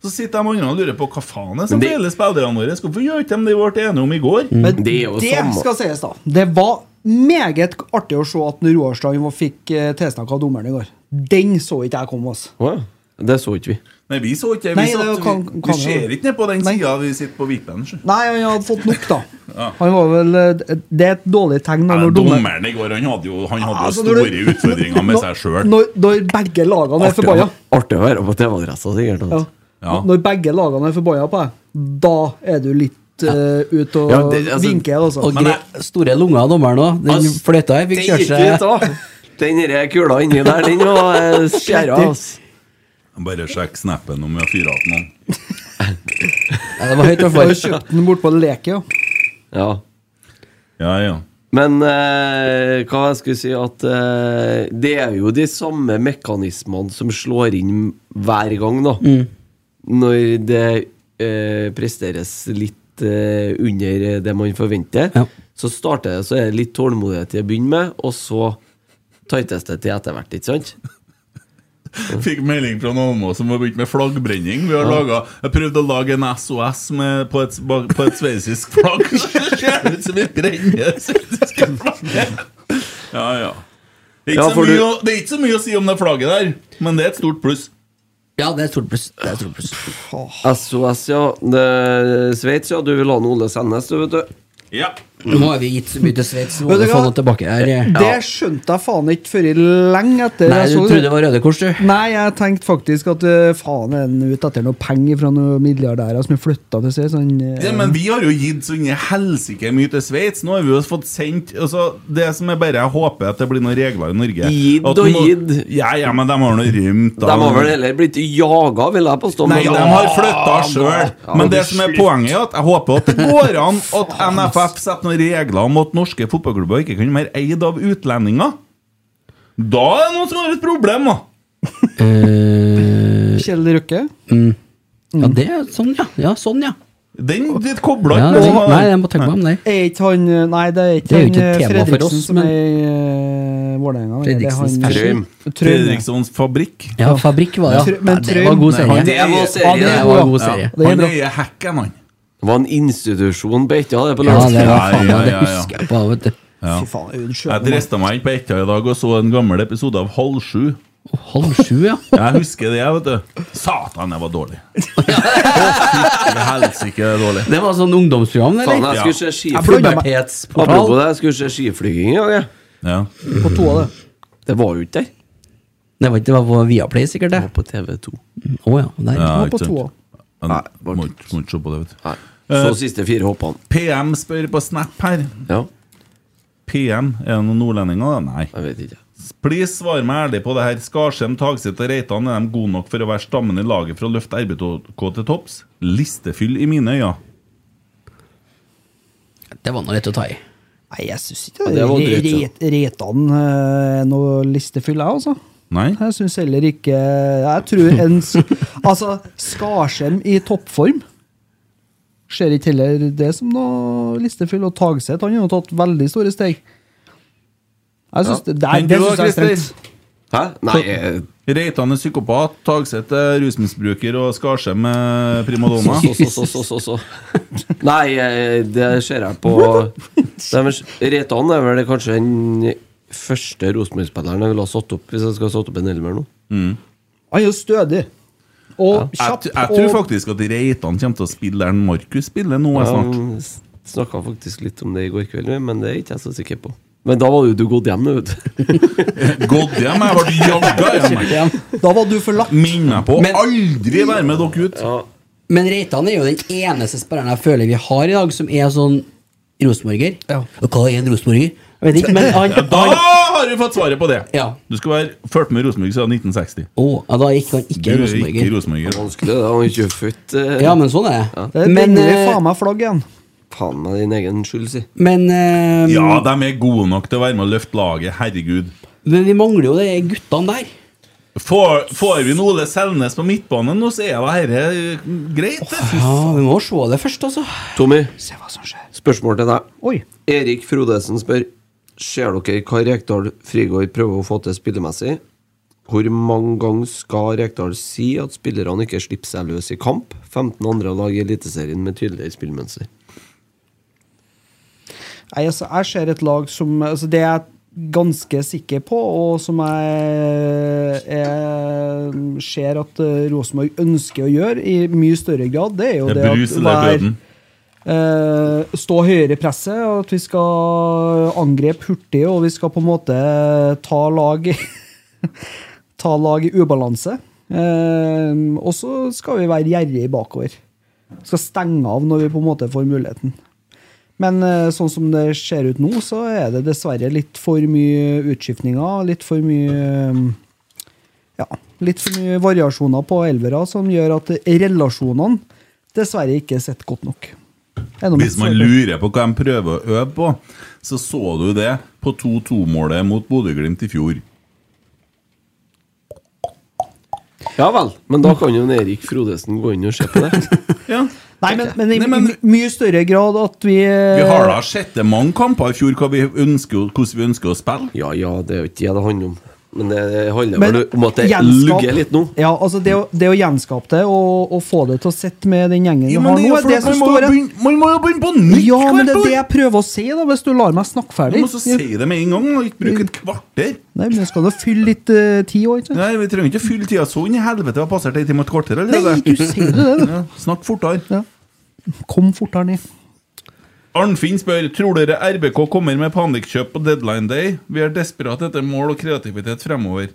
[SPEAKER 2] så sitter de andre og lurer på hva faen er det som
[SPEAKER 3] Men det-
[SPEAKER 2] feiler spillerne våre? Hvorfor gjør ikke de det vi ble enige om i går?
[SPEAKER 5] Mm.
[SPEAKER 3] Men det er jo
[SPEAKER 5] Det skal sies, da. Det var meget artig å se at Roar Strand var- fikk eh, tilsnakk av dommeren i går. Den så ikke jeg komme, altså.
[SPEAKER 3] Å, ja. Det så ikke vi.
[SPEAKER 2] Nei, vi så ikke det.
[SPEAKER 5] Nei,
[SPEAKER 2] Vi,
[SPEAKER 5] det
[SPEAKER 2] satt-
[SPEAKER 5] kan-
[SPEAKER 2] vi, vi
[SPEAKER 5] kan-
[SPEAKER 2] ser ikke ned på den sida vi sitter på vippen. sjø.
[SPEAKER 5] Nei, han hadde fått nok, da.
[SPEAKER 2] Ja.
[SPEAKER 5] Han var vel, eh, det er et dårlig tegn. da,
[SPEAKER 2] Ja,
[SPEAKER 5] når dommer-
[SPEAKER 2] Dommeren i går han hadde jo, han hadde jo
[SPEAKER 5] Altså, når
[SPEAKER 2] store
[SPEAKER 5] du-
[SPEAKER 2] utfordringer
[SPEAKER 5] <laughs>
[SPEAKER 2] med seg sjøl.
[SPEAKER 5] Når, når begge lagene er
[SPEAKER 3] Artig,
[SPEAKER 5] forbanna.
[SPEAKER 3] å- artig å være på TV-adressa, sikkert.
[SPEAKER 5] Ja.
[SPEAKER 3] altså.
[SPEAKER 2] Ja.
[SPEAKER 5] Når begge lagene er forbanna på deg, da er du litt eh, ut og
[SPEAKER 3] Ja, det- altså-
[SPEAKER 5] vinker. Altså.
[SPEAKER 6] Og gre store lunger av dommeren òg. Den
[SPEAKER 3] Ass,
[SPEAKER 6] fløyta her fikk
[SPEAKER 3] det
[SPEAKER 6] kjørt
[SPEAKER 3] gikk
[SPEAKER 6] seg.
[SPEAKER 3] ut, da. Den derre kula inni der, den var eh, skjæra. ass.
[SPEAKER 2] Bare sjekk snappen om vi har fyra opp noen.
[SPEAKER 6] Ja, det var
[SPEAKER 5] <laughs>
[SPEAKER 6] høyt
[SPEAKER 5] Du har
[SPEAKER 6] overfor.
[SPEAKER 5] jo kjøpt den bort på Leke, ja.
[SPEAKER 3] Ja.
[SPEAKER 2] Ja, ja.
[SPEAKER 3] Men eh, hva jeg skulle si at eh, Det er jo de samme mekanismene som slår inn hver gang, da.
[SPEAKER 6] Mm.
[SPEAKER 3] Når det eh, presteres litt eh, under det man forventer.
[SPEAKER 6] Ja.
[SPEAKER 3] Så starter det, så er det litt tålmodighet til å begynne med, og så tightes det til etter hvert, ikke sant?
[SPEAKER 2] <laughs> Fikk melding fra noen av oss som har begynt med flaggbrenning. Vi har laget, jeg prøvde å lage en SOS med, på, et, bak- på et sveitsisk flagg.
[SPEAKER 3] <laughs>
[SPEAKER 2] Så ser det ut som vi brenner det <laughs> sveitsiske flagget! Ja, ja. Det er, ikke
[SPEAKER 3] Ja,
[SPEAKER 2] så
[SPEAKER 3] for
[SPEAKER 2] mye,
[SPEAKER 3] du-
[SPEAKER 2] å- det er ikke så mye å si om det flagget der, men det er et stort pluss.
[SPEAKER 6] Ja, det er et stort pluss. Det er et stort pluss.
[SPEAKER 3] SOS, ja. Det- Sveits, ja. Du vil ha en Ole Sandnes, du, vet du.
[SPEAKER 2] Ja.
[SPEAKER 6] Nå har vi gitt så mye til Sveits, så må
[SPEAKER 5] Vet
[SPEAKER 6] vi
[SPEAKER 5] du
[SPEAKER 6] få
[SPEAKER 5] hva?
[SPEAKER 6] noe tilbake her. eh.
[SPEAKER 5] Det skjønte jeg faen ikke før i lenge etter.
[SPEAKER 6] Nei,
[SPEAKER 5] jeg
[SPEAKER 6] du
[SPEAKER 5] så
[SPEAKER 6] trodde det var Røde Kors, du.
[SPEAKER 5] Nei, jeg tenkte faktisk at eh, faen er den ute etter noe penger fra noen milliardærer som er flytta til seg. Sånn, eh,
[SPEAKER 2] Ja, men vi har jo gitt så inn i helsike mye til Sveits. Nå har vi jo fått sendt altså, Det som er bare jeg håper at det blir noen regler i Norge.
[SPEAKER 3] Gitt
[SPEAKER 2] At nå-
[SPEAKER 3] og gitt.
[SPEAKER 2] Ja, ja, men de har nå rømt. da.
[SPEAKER 3] De har vel heller blitt jaga, vil jeg påstå.
[SPEAKER 2] Nei,
[SPEAKER 3] men-
[SPEAKER 2] de har flytta sjøl. Men det som er poenget, er at jeg håper at det går an <laughs> at NFF setter noen regler om at norske fotballklubber ikke kan være eid av utlendinger. Da er det noen som har et problem, da.
[SPEAKER 5] Kjell Røkke.
[SPEAKER 6] Ja, det er sånn, ja. ja, sånn, ja.
[SPEAKER 2] Den litt kobla
[SPEAKER 6] ja
[SPEAKER 2] ikke
[SPEAKER 6] det,
[SPEAKER 2] noe.
[SPEAKER 6] nei, jeg må tenke meg om det.
[SPEAKER 5] Er ikke han eh, Nei, det er ikke,
[SPEAKER 6] Det er jo ikke
[SPEAKER 5] han, eh,
[SPEAKER 6] et tema for oss,
[SPEAKER 5] Fredriksen som
[SPEAKER 6] men-
[SPEAKER 5] er i eh, Vålerenga. men det er
[SPEAKER 6] Fredriksens
[SPEAKER 5] han-
[SPEAKER 3] Trøim.
[SPEAKER 5] Trøim, ja.
[SPEAKER 2] Fredrikssons fabrikk.
[SPEAKER 6] Ja, Fabrikk var det, ja.
[SPEAKER 5] Men
[SPEAKER 6] Nei, Det var en god
[SPEAKER 5] Trøim-
[SPEAKER 6] serie.
[SPEAKER 3] Det var
[SPEAKER 5] Ja, det
[SPEAKER 3] serie.
[SPEAKER 5] er
[SPEAKER 6] Det var en
[SPEAKER 5] god,
[SPEAKER 6] god
[SPEAKER 5] ja.
[SPEAKER 6] serie.
[SPEAKER 5] Det er
[SPEAKER 2] Han
[SPEAKER 5] bra.
[SPEAKER 2] eier hekken, han.
[SPEAKER 3] Det var en institusjon på Etja, det på
[SPEAKER 6] Ja, det
[SPEAKER 3] Lørenskog.
[SPEAKER 6] var faen
[SPEAKER 2] Ja, ja,
[SPEAKER 6] meg, det
[SPEAKER 2] ja, ja.
[SPEAKER 6] husker jeg på, vet du.
[SPEAKER 5] Fy faen,
[SPEAKER 2] Jeg
[SPEAKER 5] unnskyld.
[SPEAKER 2] drista meg inn på Etta i dag og så en gammel episode av Halv sju.
[SPEAKER 6] Halv sju, ja.
[SPEAKER 2] <laughs> Jeg husker det, jeg, vet du. Satan, jeg var
[SPEAKER 6] <laughs>
[SPEAKER 2] dårlig. Å, fytti helsike, det er dårlig.
[SPEAKER 6] Det var sånn ungdomsprogram, det,
[SPEAKER 3] Faen,
[SPEAKER 6] eller?
[SPEAKER 3] jeg skulle se skiflyging.
[SPEAKER 5] blanda meg.
[SPEAKER 3] Apropos
[SPEAKER 6] Pubertetsportal.
[SPEAKER 3] det, jeg skulle se skiflyging i dag, jeg.
[SPEAKER 2] Ja.
[SPEAKER 5] På to av det.
[SPEAKER 3] Det var jo ikke der.
[SPEAKER 6] Det var ikke det var på Viaplay, sikkert,
[SPEAKER 3] Det var
[SPEAKER 6] det.
[SPEAKER 3] på TV2.
[SPEAKER 6] Å ja. Der.
[SPEAKER 2] Ja,
[SPEAKER 5] på
[SPEAKER 2] ikke sant.
[SPEAKER 5] toa.
[SPEAKER 2] Men,
[SPEAKER 3] Nei, var
[SPEAKER 2] må ikke må ikke se på det, vet du.
[SPEAKER 3] Nei. Så siste fire hoppene.
[SPEAKER 2] PM spør på Snap her.
[SPEAKER 3] Ja,
[SPEAKER 2] PM, er det noen nordlendinger? da? Nei.
[SPEAKER 3] jeg vet ikke.
[SPEAKER 2] Please, svar meg ærlig på det her. Skarsheim, Tagset og Reitan, er de gode nok for å være stammen i laget for å løfte RBK til topps? Listefyll i mine øyne.
[SPEAKER 6] Det var nå litt å ta i.
[SPEAKER 5] Nei, jeg syns
[SPEAKER 3] Ja,
[SPEAKER 5] ikke
[SPEAKER 3] det
[SPEAKER 5] det.
[SPEAKER 3] var drøyt, ja.
[SPEAKER 5] Re- re- Retan eh, er noe listefyll, jeg, altså.
[SPEAKER 2] Nei?
[SPEAKER 5] Jeg syns heller ikke Jeg tror en
[SPEAKER 2] <laughs>
[SPEAKER 5] s- Altså, Skarsheim i toppform ser ikke heller det som noe listefyll. Og Tagseth, han har jo tatt veldig store steg. Jeg synes det, det,
[SPEAKER 2] Men
[SPEAKER 5] er- det
[SPEAKER 2] du da,
[SPEAKER 5] syns jeg er strengt.
[SPEAKER 2] Christer?
[SPEAKER 3] Hæ? Nei, eh,
[SPEAKER 2] Reitan er psykopat, Tagset er rusmisbruker og Skarsheim er primadonna.
[SPEAKER 3] så, så, så, så, så, så. Nei, eh, det ser jeg på Nei, men Reitan er vel kanskje den første Rosenborg-spilleren jeg ville ha satt opp, hvis jeg skulle ha satt opp en elver nå.
[SPEAKER 5] Han er jo stødig. Og
[SPEAKER 2] Jeg,
[SPEAKER 5] <laughs> kjapp.
[SPEAKER 2] t- jeg tror
[SPEAKER 5] og-
[SPEAKER 2] faktisk at Reitan kommer til å spille der Markus spiller nå
[SPEAKER 3] Ja,
[SPEAKER 2] snart.
[SPEAKER 3] vi s- snakket faktisk litt om det i går kveld, men det er ikke jeg så sikker på. Men da var jo du gått hjem, vet du.
[SPEAKER 2] God damn, jeg ble jaga hjem!
[SPEAKER 6] Ja.
[SPEAKER 5] Da var du for lapp.
[SPEAKER 2] Minn meg på
[SPEAKER 6] Men-
[SPEAKER 2] aldri være med dere ut!
[SPEAKER 6] Men Reitan er jo den eneste spilleren jeg føler vi har i dag som er sånn rosenborger.
[SPEAKER 5] Ja.
[SPEAKER 6] Og hva er en rosenborger? Jeg vet ikke, men
[SPEAKER 2] <laughs>
[SPEAKER 6] han,
[SPEAKER 2] Da har vi fått svaret på det!
[SPEAKER 6] Ja.
[SPEAKER 2] Du skal være ført med Rosenborg siden 1960.
[SPEAKER 6] Å, ja, da er ikke han ikke
[SPEAKER 2] Du
[SPEAKER 6] en
[SPEAKER 2] er ikke
[SPEAKER 6] rosenborger.
[SPEAKER 2] Rosenborger.
[SPEAKER 3] Vanskelig, <laughs> det. Han er ikke født eh,
[SPEAKER 6] Ja, men sånn er det.
[SPEAKER 5] Det
[SPEAKER 6] Men,
[SPEAKER 5] bringer
[SPEAKER 6] eh,
[SPEAKER 5] faen meg flagg igjen.
[SPEAKER 3] Faen meg din egen skyld, si.
[SPEAKER 6] Men, eh,
[SPEAKER 2] Ja, de er gode nok til å være med og løfte laget. Herregud.
[SPEAKER 6] men vi mangler jo de guttene der.
[SPEAKER 2] Får, får vi en Ole Selnes på midtbanen nå, så er det dette eh, greit. det. Fy
[SPEAKER 3] Ja,
[SPEAKER 4] vi må se det først, altså.
[SPEAKER 3] Tommy,
[SPEAKER 4] Se hva som skjer.
[SPEAKER 3] spørsmål til deg.
[SPEAKER 4] Oi.
[SPEAKER 3] Erik Frodesen spør Ser dere hva Rekdal Frigård prøver å få til spillemessig? Hvor mange ganger skal Rekdal si at spillerne ikke slipper seg løs i kamp? 15 andre lag i Eliteserien med tydeligere spillmønster.
[SPEAKER 5] Nei, altså, jeg ser et lag som altså, Det er jeg ganske sikker på, og som jeg, jeg ser at eh, Rosenborg ønsker å gjøre i mye større grad, det er jo
[SPEAKER 2] Det
[SPEAKER 5] det,
[SPEAKER 2] er brus
[SPEAKER 5] at
[SPEAKER 2] eller
[SPEAKER 5] hver
[SPEAKER 2] gløden?
[SPEAKER 5] eh, Stå høyere i presset, og at vi skal angripe hurtig, og vi skal på en måte ta lag <laughs> Ta lag i ubalanse. Eh, og så skal vi være gjerrige bakover. Skal stenge av når vi på en måte får muligheten. Men eh, sånn som det ser ut nå, så er det dessverre litt for mye utskiftninger. Litt for mye eh, Ja, litt for mye variasjoner på elvere som gjør at relasjonene dessverre ikke sitter godt nok. Det er noe
[SPEAKER 2] Hvis
[SPEAKER 5] med-
[SPEAKER 2] man lurer på hva de prøver å øve på, så så du det på 2-2-målet mot Bodø-Glimt i fjor.
[SPEAKER 3] Ja vel, men da kan jo en Erik Frodesen gå inn og se på <laughs> det.
[SPEAKER 5] Nei, men, men i my- mye større grad at vi eh,
[SPEAKER 2] Vi har da sett det mange kamper i fjor hva vi ønsker, hvordan vi ønsker å spille.
[SPEAKER 3] Ja ja, det er jo ikke det det handler om. Men det det handler
[SPEAKER 5] Men
[SPEAKER 3] vel om at det
[SPEAKER 5] gjenskap-
[SPEAKER 3] lugger litt nå.
[SPEAKER 5] Ja, altså det å, det å gjenskape det og, og få det til å sitte med den gjengen vi
[SPEAKER 2] Ja, men
[SPEAKER 5] har
[SPEAKER 2] det er jo for
[SPEAKER 5] nå, er det
[SPEAKER 2] at
[SPEAKER 5] som
[SPEAKER 2] man må
[SPEAKER 5] står
[SPEAKER 2] jo
[SPEAKER 5] igjen.
[SPEAKER 2] begynne- Man må jo begynne på nytt
[SPEAKER 5] Ja, men
[SPEAKER 2] hvert
[SPEAKER 5] det er det
[SPEAKER 2] år!
[SPEAKER 5] jeg prøver å si, da, hvis du lar meg snakke
[SPEAKER 2] Du
[SPEAKER 5] ferdig.
[SPEAKER 2] må så si det med en gang, og ikke bruke et kvarter.
[SPEAKER 5] Nei, men skal du fylle litt uh, tid òg, ikke sant?
[SPEAKER 2] Nei, Vi trenger ikke å fylle tida sånn. i Helvete, vi har passert ei time og et kvarter allerede.
[SPEAKER 5] Nei, du sier det, du.
[SPEAKER 2] Ja, snakk fortere.
[SPEAKER 5] Kom fortere ned.
[SPEAKER 2] Arnfinn spør Tror dere RBK kommer med panikkjøp på deadline day. Vi er desperat etter mål og kreativitet fremover.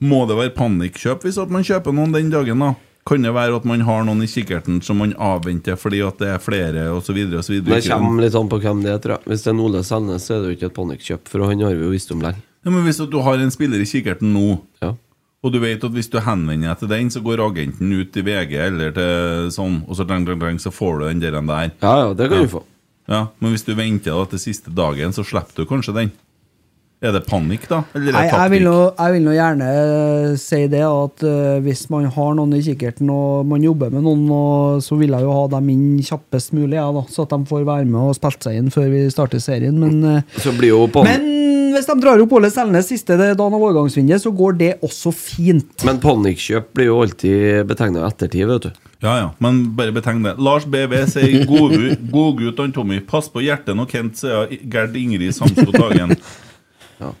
[SPEAKER 2] Må det være panikkjøp hvis at man kjøper noen den dagen, da? Kan det være at man har noen i kikkerten som man avventer fordi at det er flere osv.?
[SPEAKER 3] Det
[SPEAKER 2] Ja,
[SPEAKER 3] kommer litt an på hvem det er, tror jeg. Hvis det er en Ole Selnes, så er det jo ikke et panikkjøp, for han har vi jo visst om lenge.
[SPEAKER 2] men hvis at du har en spiller i kikkerten nå,
[SPEAKER 3] Ja.
[SPEAKER 2] og du vet at hvis du henvender deg til den, så går agenten ut til VG eller til sånn, og så, dreng, dreng, dreng, så får du den der. enn der.
[SPEAKER 3] Ja, ja, det kan
[SPEAKER 2] Ja.
[SPEAKER 3] vi få.
[SPEAKER 2] Ja, Men hvis du venter da til siste dagen, så slipper du kanskje den. Er det panikk, da? Eller
[SPEAKER 5] Nei,
[SPEAKER 2] er det
[SPEAKER 5] jeg vil,
[SPEAKER 2] taktikk?
[SPEAKER 5] nå, jeg vil nå gjerne eh, si det, at eh, hvis man har noen i kikkerten og man jobber med noen, og, så vil jeg jo ha dem inn kjappest mulig, ja, da, så at de får være med og spilt seg inn før vi starter serien. Men, eh,
[SPEAKER 3] Så blir jo pan
[SPEAKER 5] men hvis de drar opp Ole Selnes siste dagen av overgangsvinduet, så går det også fint.
[SPEAKER 3] Men panikkjøp blir jo alltid betegna i ettertid, vet du.
[SPEAKER 2] Ja, ja, men bare betegn det. Lars BV sier godgu- godgutt <laughs> god Tommy. Pass på hjertet når Kent sier Gerd Ingrid Samskot Hagen.
[SPEAKER 3] Ja.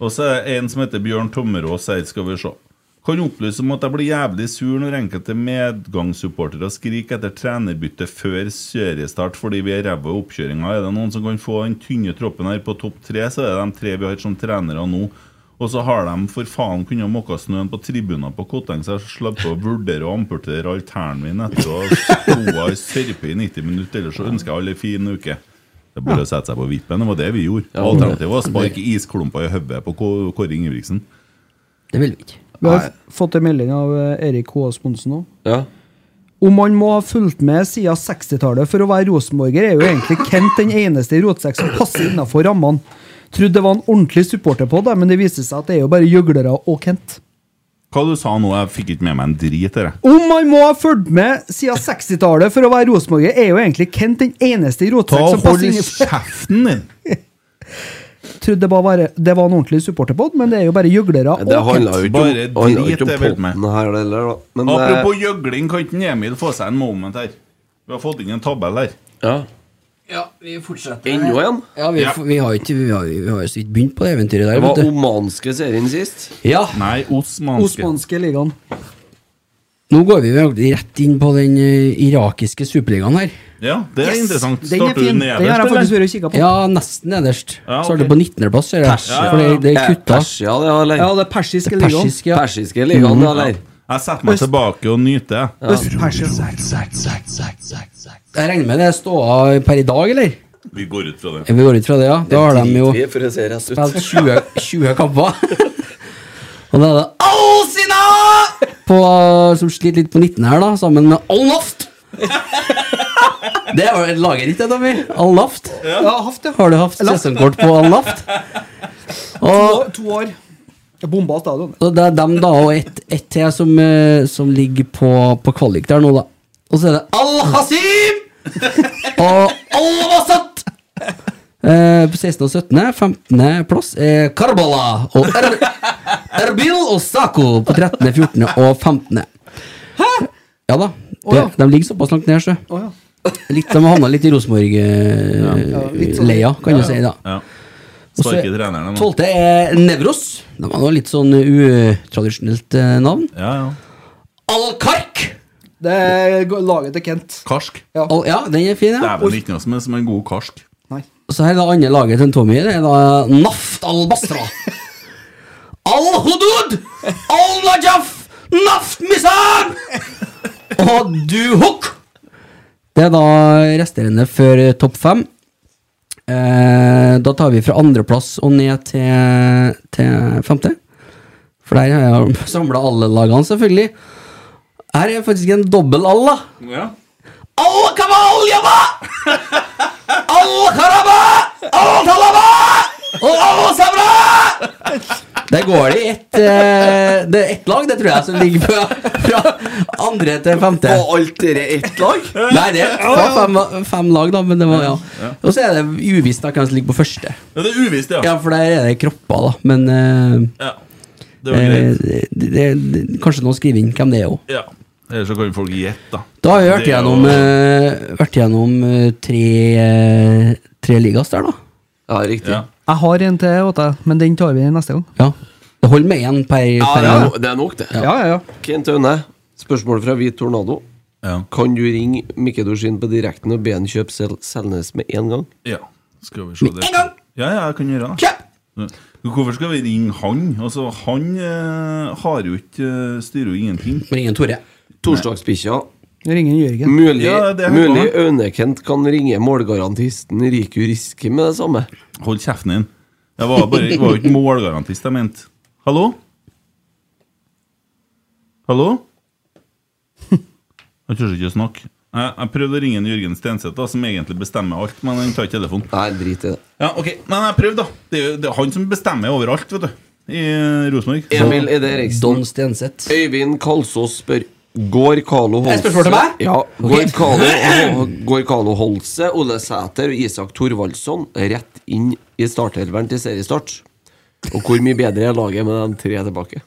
[SPEAKER 2] Og så er det en som heter Bjørn Tommerås her, skal vi se. Kan opplyse om at jeg blir jævlig sur når enkelte medgangssupportere skriker etter trenerbytte før seriestart fordi vi er ræva i oppkjøringa. Er det noen som kan få den tynne troppen her på topp tre, så er det de tre vi har som trenere nå. Og så har de for faen kunnet måke snøen på tribuner på Koteng, så jeg slipper å vurdere å amputere all tærne mine etter å ha skoa i sørpe i 90 minutter, ellers så ønsker jeg alle en fin uke. Det er bare å sette seg på vippen. Det var det vi gjorde.
[SPEAKER 3] Ja,
[SPEAKER 2] Alternativet var å sparke isklumper i hodet på K- Kåre Ingebrigtsen.
[SPEAKER 6] Det vil vi ikke.
[SPEAKER 5] Vi har fått en melding av eh, Erik H. Sponsen òg.
[SPEAKER 3] Ja.
[SPEAKER 5] Om man må ha fulgt med siden 60-tallet for å være rosenborger, er jo egentlig Kent den eneste i rotsekk som passer innenfor rammene. Trodde det var en ordentlig supporter på det, men det viste seg at det er jo bare gjøglere og Kent.
[SPEAKER 2] Hva du sa nå? Jeg fikk ikke med meg en drit. Her. jeg.
[SPEAKER 5] Om man må ha fulgt med siden 60-tallet for å være rosenborger, er jo egentlig Kent den eneste i
[SPEAKER 2] Ta
[SPEAKER 5] rotsekk
[SPEAKER 2] og Hold
[SPEAKER 5] som passer innenfor
[SPEAKER 2] kjeften
[SPEAKER 5] <laughs>
[SPEAKER 2] din!
[SPEAKER 5] Trodde det bare var, det var en ordentlig supporter på det, men det er jo bare gjøglere og
[SPEAKER 3] Det handla
[SPEAKER 5] Kent.
[SPEAKER 3] jo ikke om,
[SPEAKER 2] Bare
[SPEAKER 3] handler jo
[SPEAKER 2] drit
[SPEAKER 3] ikke om
[SPEAKER 2] det vel med.
[SPEAKER 3] potten her heller, da. Men
[SPEAKER 2] Apropos gjøgling, kan ikke Emil få seg en moment her? Vi har fått inn en tabell her.
[SPEAKER 3] eh, ja.
[SPEAKER 6] Ja, vi fortsetter.
[SPEAKER 3] Enda en?
[SPEAKER 6] Ja, vi,
[SPEAKER 2] Ja.
[SPEAKER 6] vi har jo ikke- vi har- vi har jo så vidt begynt på det eventyret der.
[SPEAKER 3] Det
[SPEAKER 6] Vet
[SPEAKER 3] var
[SPEAKER 6] du.
[SPEAKER 3] omanske serien sist.
[SPEAKER 6] Ja,
[SPEAKER 2] Nei, osmanske.
[SPEAKER 5] Ah. Osmanske ligaen.
[SPEAKER 6] Nå går vi jo rett inn på den eh, irakiske superligaen her.
[SPEAKER 2] Ja, det er interessant.
[SPEAKER 5] Den er
[SPEAKER 2] Starter du
[SPEAKER 5] fin. Den
[SPEAKER 2] nederst,
[SPEAKER 5] har jeg
[SPEAKER 2] eller?
[SPEAKER 5] faktisk vært og kikket på.
[SPEAKER 6] Ja, nesten nederst.
[SPEAKER 2] Ja, ok.
[SPEAKER 6] Starter på 19.-plass, ser jeg.
[SPEAKER 3] Persia.
[SPEAKER 6] For det, det er
[SPEAKER 3] Eh,
[SPEAKER 6] kutta.
[SPEAKER 3] Persia, det, eller?
[SPEAKER 5] Ja, det persiske ligaen.
[SPEAKER 6] Persisk, ja.
[SPEAKER 3] Persiske ligaen, Mm. det, eller?
[SPEAKER 2] Jeg setter meg tilbake og nyter. jeg.
[SPEAKER 6] Jeg regner med det er ståa per i dag, eller?
[SPEAKER 2] Vi går ut fra det.
[SPEAKER 6] Vi går ut fra det, ja. Da har de jo
[SPEAKER 3] Drit vi, for å se rett ut.
[SPEAKER 6] spilt 20, <laughs> 20 kamper. Og da er det Al-Sina! På, som sliter litt på 19 her, da, sammen med Al-Naft. <laughs> Det var et lager ikke, det, Tommy. Al-Naft.
[SPEAKER 5] Ja, haft det.
[SPEAKER 6] Har du hatt sesongkort på Al-Naft?
[SPEAKER 5] <laughs> To
[SPEAKER 6] Og
[SPEAKER 5] år- To år. Bomba stadion.
[SPEAKER 6] Og det er dem da, og ett et til som, eh, som ligger på, på kvalik der nå, da. Og så er det Al-Hasim! og Al-Wasat! Eh, på 16. og 17. 15. plass er Karbala og er Erbil og Sako på 13., 14. og 15. Hæ? Ja da. Det,
[SPEAKER 5] Å,
[SPEAKER 6] De ligger såpass langt ned, sjø.
[SPEAKER 5] Å, ja.
[SPEAKER 6] Litt, sånn, de havna litt i eh, Rosenborg-leia,
[SPEAKER 5] sånn-
[SPEAKER 6] kan
[SPEAKER 5] ja,
[SPEAKER 6] du si. da
[SPEAKER 2] Ja.
[SPEAKER 6] Og så
[SPEAKER 2] Sterke trenerne. men-
[SPEAKER 6] Tolvte er Nevros. Det var noe litt sånn utradisjonelt eh, navn.
[SPEAKER 2] Ja, ja.
[SPEAKER 6] Al-Kark!
[SPEAKER 5] Det er go- laget til Kent.
[SPEAKER 2] Karsk.
[SPEAKER 5] Ja.
[SPEAKER 6] Al ja, den er fin, ja.
[SPEAKER 2] Dæven, ikke noe som er som en god karsk.
[SPEAKER 5] Nei.
[SPEAKER 6] Og så her er det andre laget til Tommy. Det er da Naft al-Basra. Al-Hudud! Al-Najaf! Naft Misan! Og Duhok! Det er da resterende før eh, topp fem. Eh, da tar vi fra andreplass og ned til, til femte. For der har jeg samla alle lagene, selvfølgelig. Her er faktisk en dobbel Allah.
[SPEAKER 2] Ja.
[SPEAKER 6] Al-Kamal Jabba! Al-Karaba! Al-Talaba! Og Al-Sabra! Der går det i ett eh, Det er ett lag, det tror jeg, som ligger fra, fra andre til femte.
[SPEAKER 3] Var alt dere ett lag?
[SPEAKER 6] Nei, det var fem, fem lag, da, men det var ja. Og så er det uvisst da, hvem som ligger på første.
[SPEAKER 2] Ja, det er uvisst, ja.
[SPEAKER 6] Ja, for der er det kropper, da. Men eh,
[SPEAKER 2] ja. Det var
[SPEAKER 6] eh,
[SPEAKER 2] greit.
[SPEAKER 6] det, det, det, kanskje noen skriver inn hvem det er òg.
[SPEAKER 2] Ja. Ellers så kan folk gjette, da.
[SPEAKER 6] Da har vi vært
[SPEAKER 2] Det er jo-
[SPEAKER 6] gjennom, eh, vært gjennom eh, tre, eh, tre ligas der, da.
[SPEAKER 3] Ja, riktig.
[SPEAKER 2] Ja.
[SPEAKER 5] Jeg har en til, vet du, men den tar vi neste gang.
[SPEAKER 6] Ja. Det holder med én per,
[SPEAKER 3] Ja,
[SPEAKER 6] per
[SPEAKER 3] det, er, no- det er nok, det.
[SPEAKER 5] Ja, ja, ja.
[SPEAKER 3] Kent Aune, spørsmål fra Hvit Tornado.
[SPEAKER 2] Ja.
[SPEAKER 3] Kan du ringe Mikke Dorsin på direkten og be han kjøpe Sel Selnes med en gang?
[SPEAKER 2] ja. Skal vi se det. Ja, ja, jeg kan gjøre det.
[SPEAKER 6] Kjøp!
[SPEAKER 2] Men Hvorfor skal vi ringe han? Altså, Han eh, har jo ikke eh, styrer jo ingenting.
[SPEAKER 6] Men ingen Tore.
[SPEAKER 3] Torsdagsbikkja.
[SPEAKER 5] Jeg ringer Jørgen.
[SPEAKER 3] Mulig,
[SPEAKER 2] Ja, det er helt
[SPEAKER 3] mulig
[SPEAKER 2] bra.
[SPEAKER 3] Aune-Kent kan ringe målgarantisten Riku Riski med det samme.
[SPEAKER 2] Hold kjeften din. Jeg var bare jeg var jo ikke målgarantist jeg mente. Hallo? Hallo? Jeg tør ikke å snakke. Jeg, jeg prøvde å ringe en Jørgen Stenseth, da, som egentlig bestemmer alt, men han tar ikke telefonen.
[SPEAKER 3] Nei, drit i det.
[SPEAKER 2] Ja, ok, Men jeg prøvde, da. Det er, jo- det er han som bestemmer overalt, vet du. I Rosenborg.
[SPEAKER 3] Emil Ede Eriksen.
[SPEAKER 6] Don Stenseth.
[SPEAKER 3] Øyvind Kalsås spør Går Carlo Holse
[SPEAKER 6] Et spørsmål til meg?
[SPEAKER 3] Ja,
[SPEAKER 6] Ok.
[SPEAKER 3] går, Carlo, går Carlo Holse, Ole Sæter og Isak Thorvaldsson rett inn i startelveren til seriestart? Og hvor mye bedre er laget med de tre tilbake?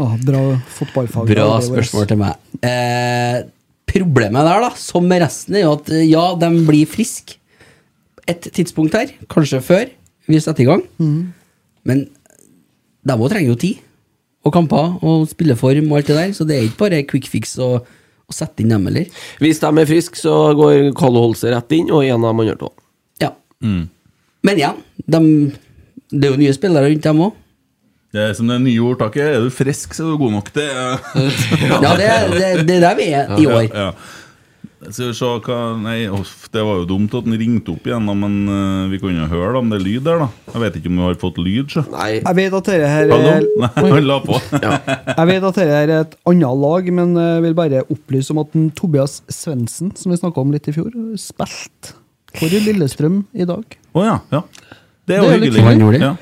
[SPEAKER 5] Ah, bra fotballfag.
[SPEAKER 6] Bra spørsmål til meg. Eh, problemet der, da, som med resten, er jo at eh, ja, de blir friske et tidspunkt her, kanskje før vi setter i gang, men de òg trenger jo tid. Og kamper og spilleform og alt det der, så det er ikke bare quick fix å, å sette inn dem heller.
[SPEAKER 3] Hvis de er friske, så går Carlo Holse rett inn, og en av de andre to.
[SPEAKER 6] Ja. Mm. Men igjen, dem- det er jo nye spillere rundt dem òg.
[SPEAKER 2] Det er som det nye ordtaket. Er du frisk, så er du god nok. Det er
[SPEAKER 6] <laughs> Ja, det, det, det er der vi er i år.
[SPEAKER 2] Ja. Skal vi se hva Nei, off, det var jo dumt at den ringte opp igjen, da, men eh, vi kunne jo høre da, om det er lyd der, da. Jeg vet ikke om vi har fått lyd, så.
[SPEAKER 3] Nei,
[SPEAKER 5] Jeg vet at dette her
[SPEAKER 2] Hallo?
[SPEAKER 5] er
[SPEAKER 2] Nei, <laughs> han la på.
[SPEAKER 5] Jeg vet at dette er et annet lag, men jeg vil bare opplyse om at den Tobias Svendsen, som vi snakka om litt i fjor, spilte for Lillestrøm i dag.
[SPEAKER 2] Å ja. ja. Det er jo
[SPEAKER 5] Det er litt
[SPEAKER 2] hyggelig.
[SPEAKER 5] hyggelig.
[SPEAKER 6] Han sånn, gjorde det.
[SPEAKER 2] Ja.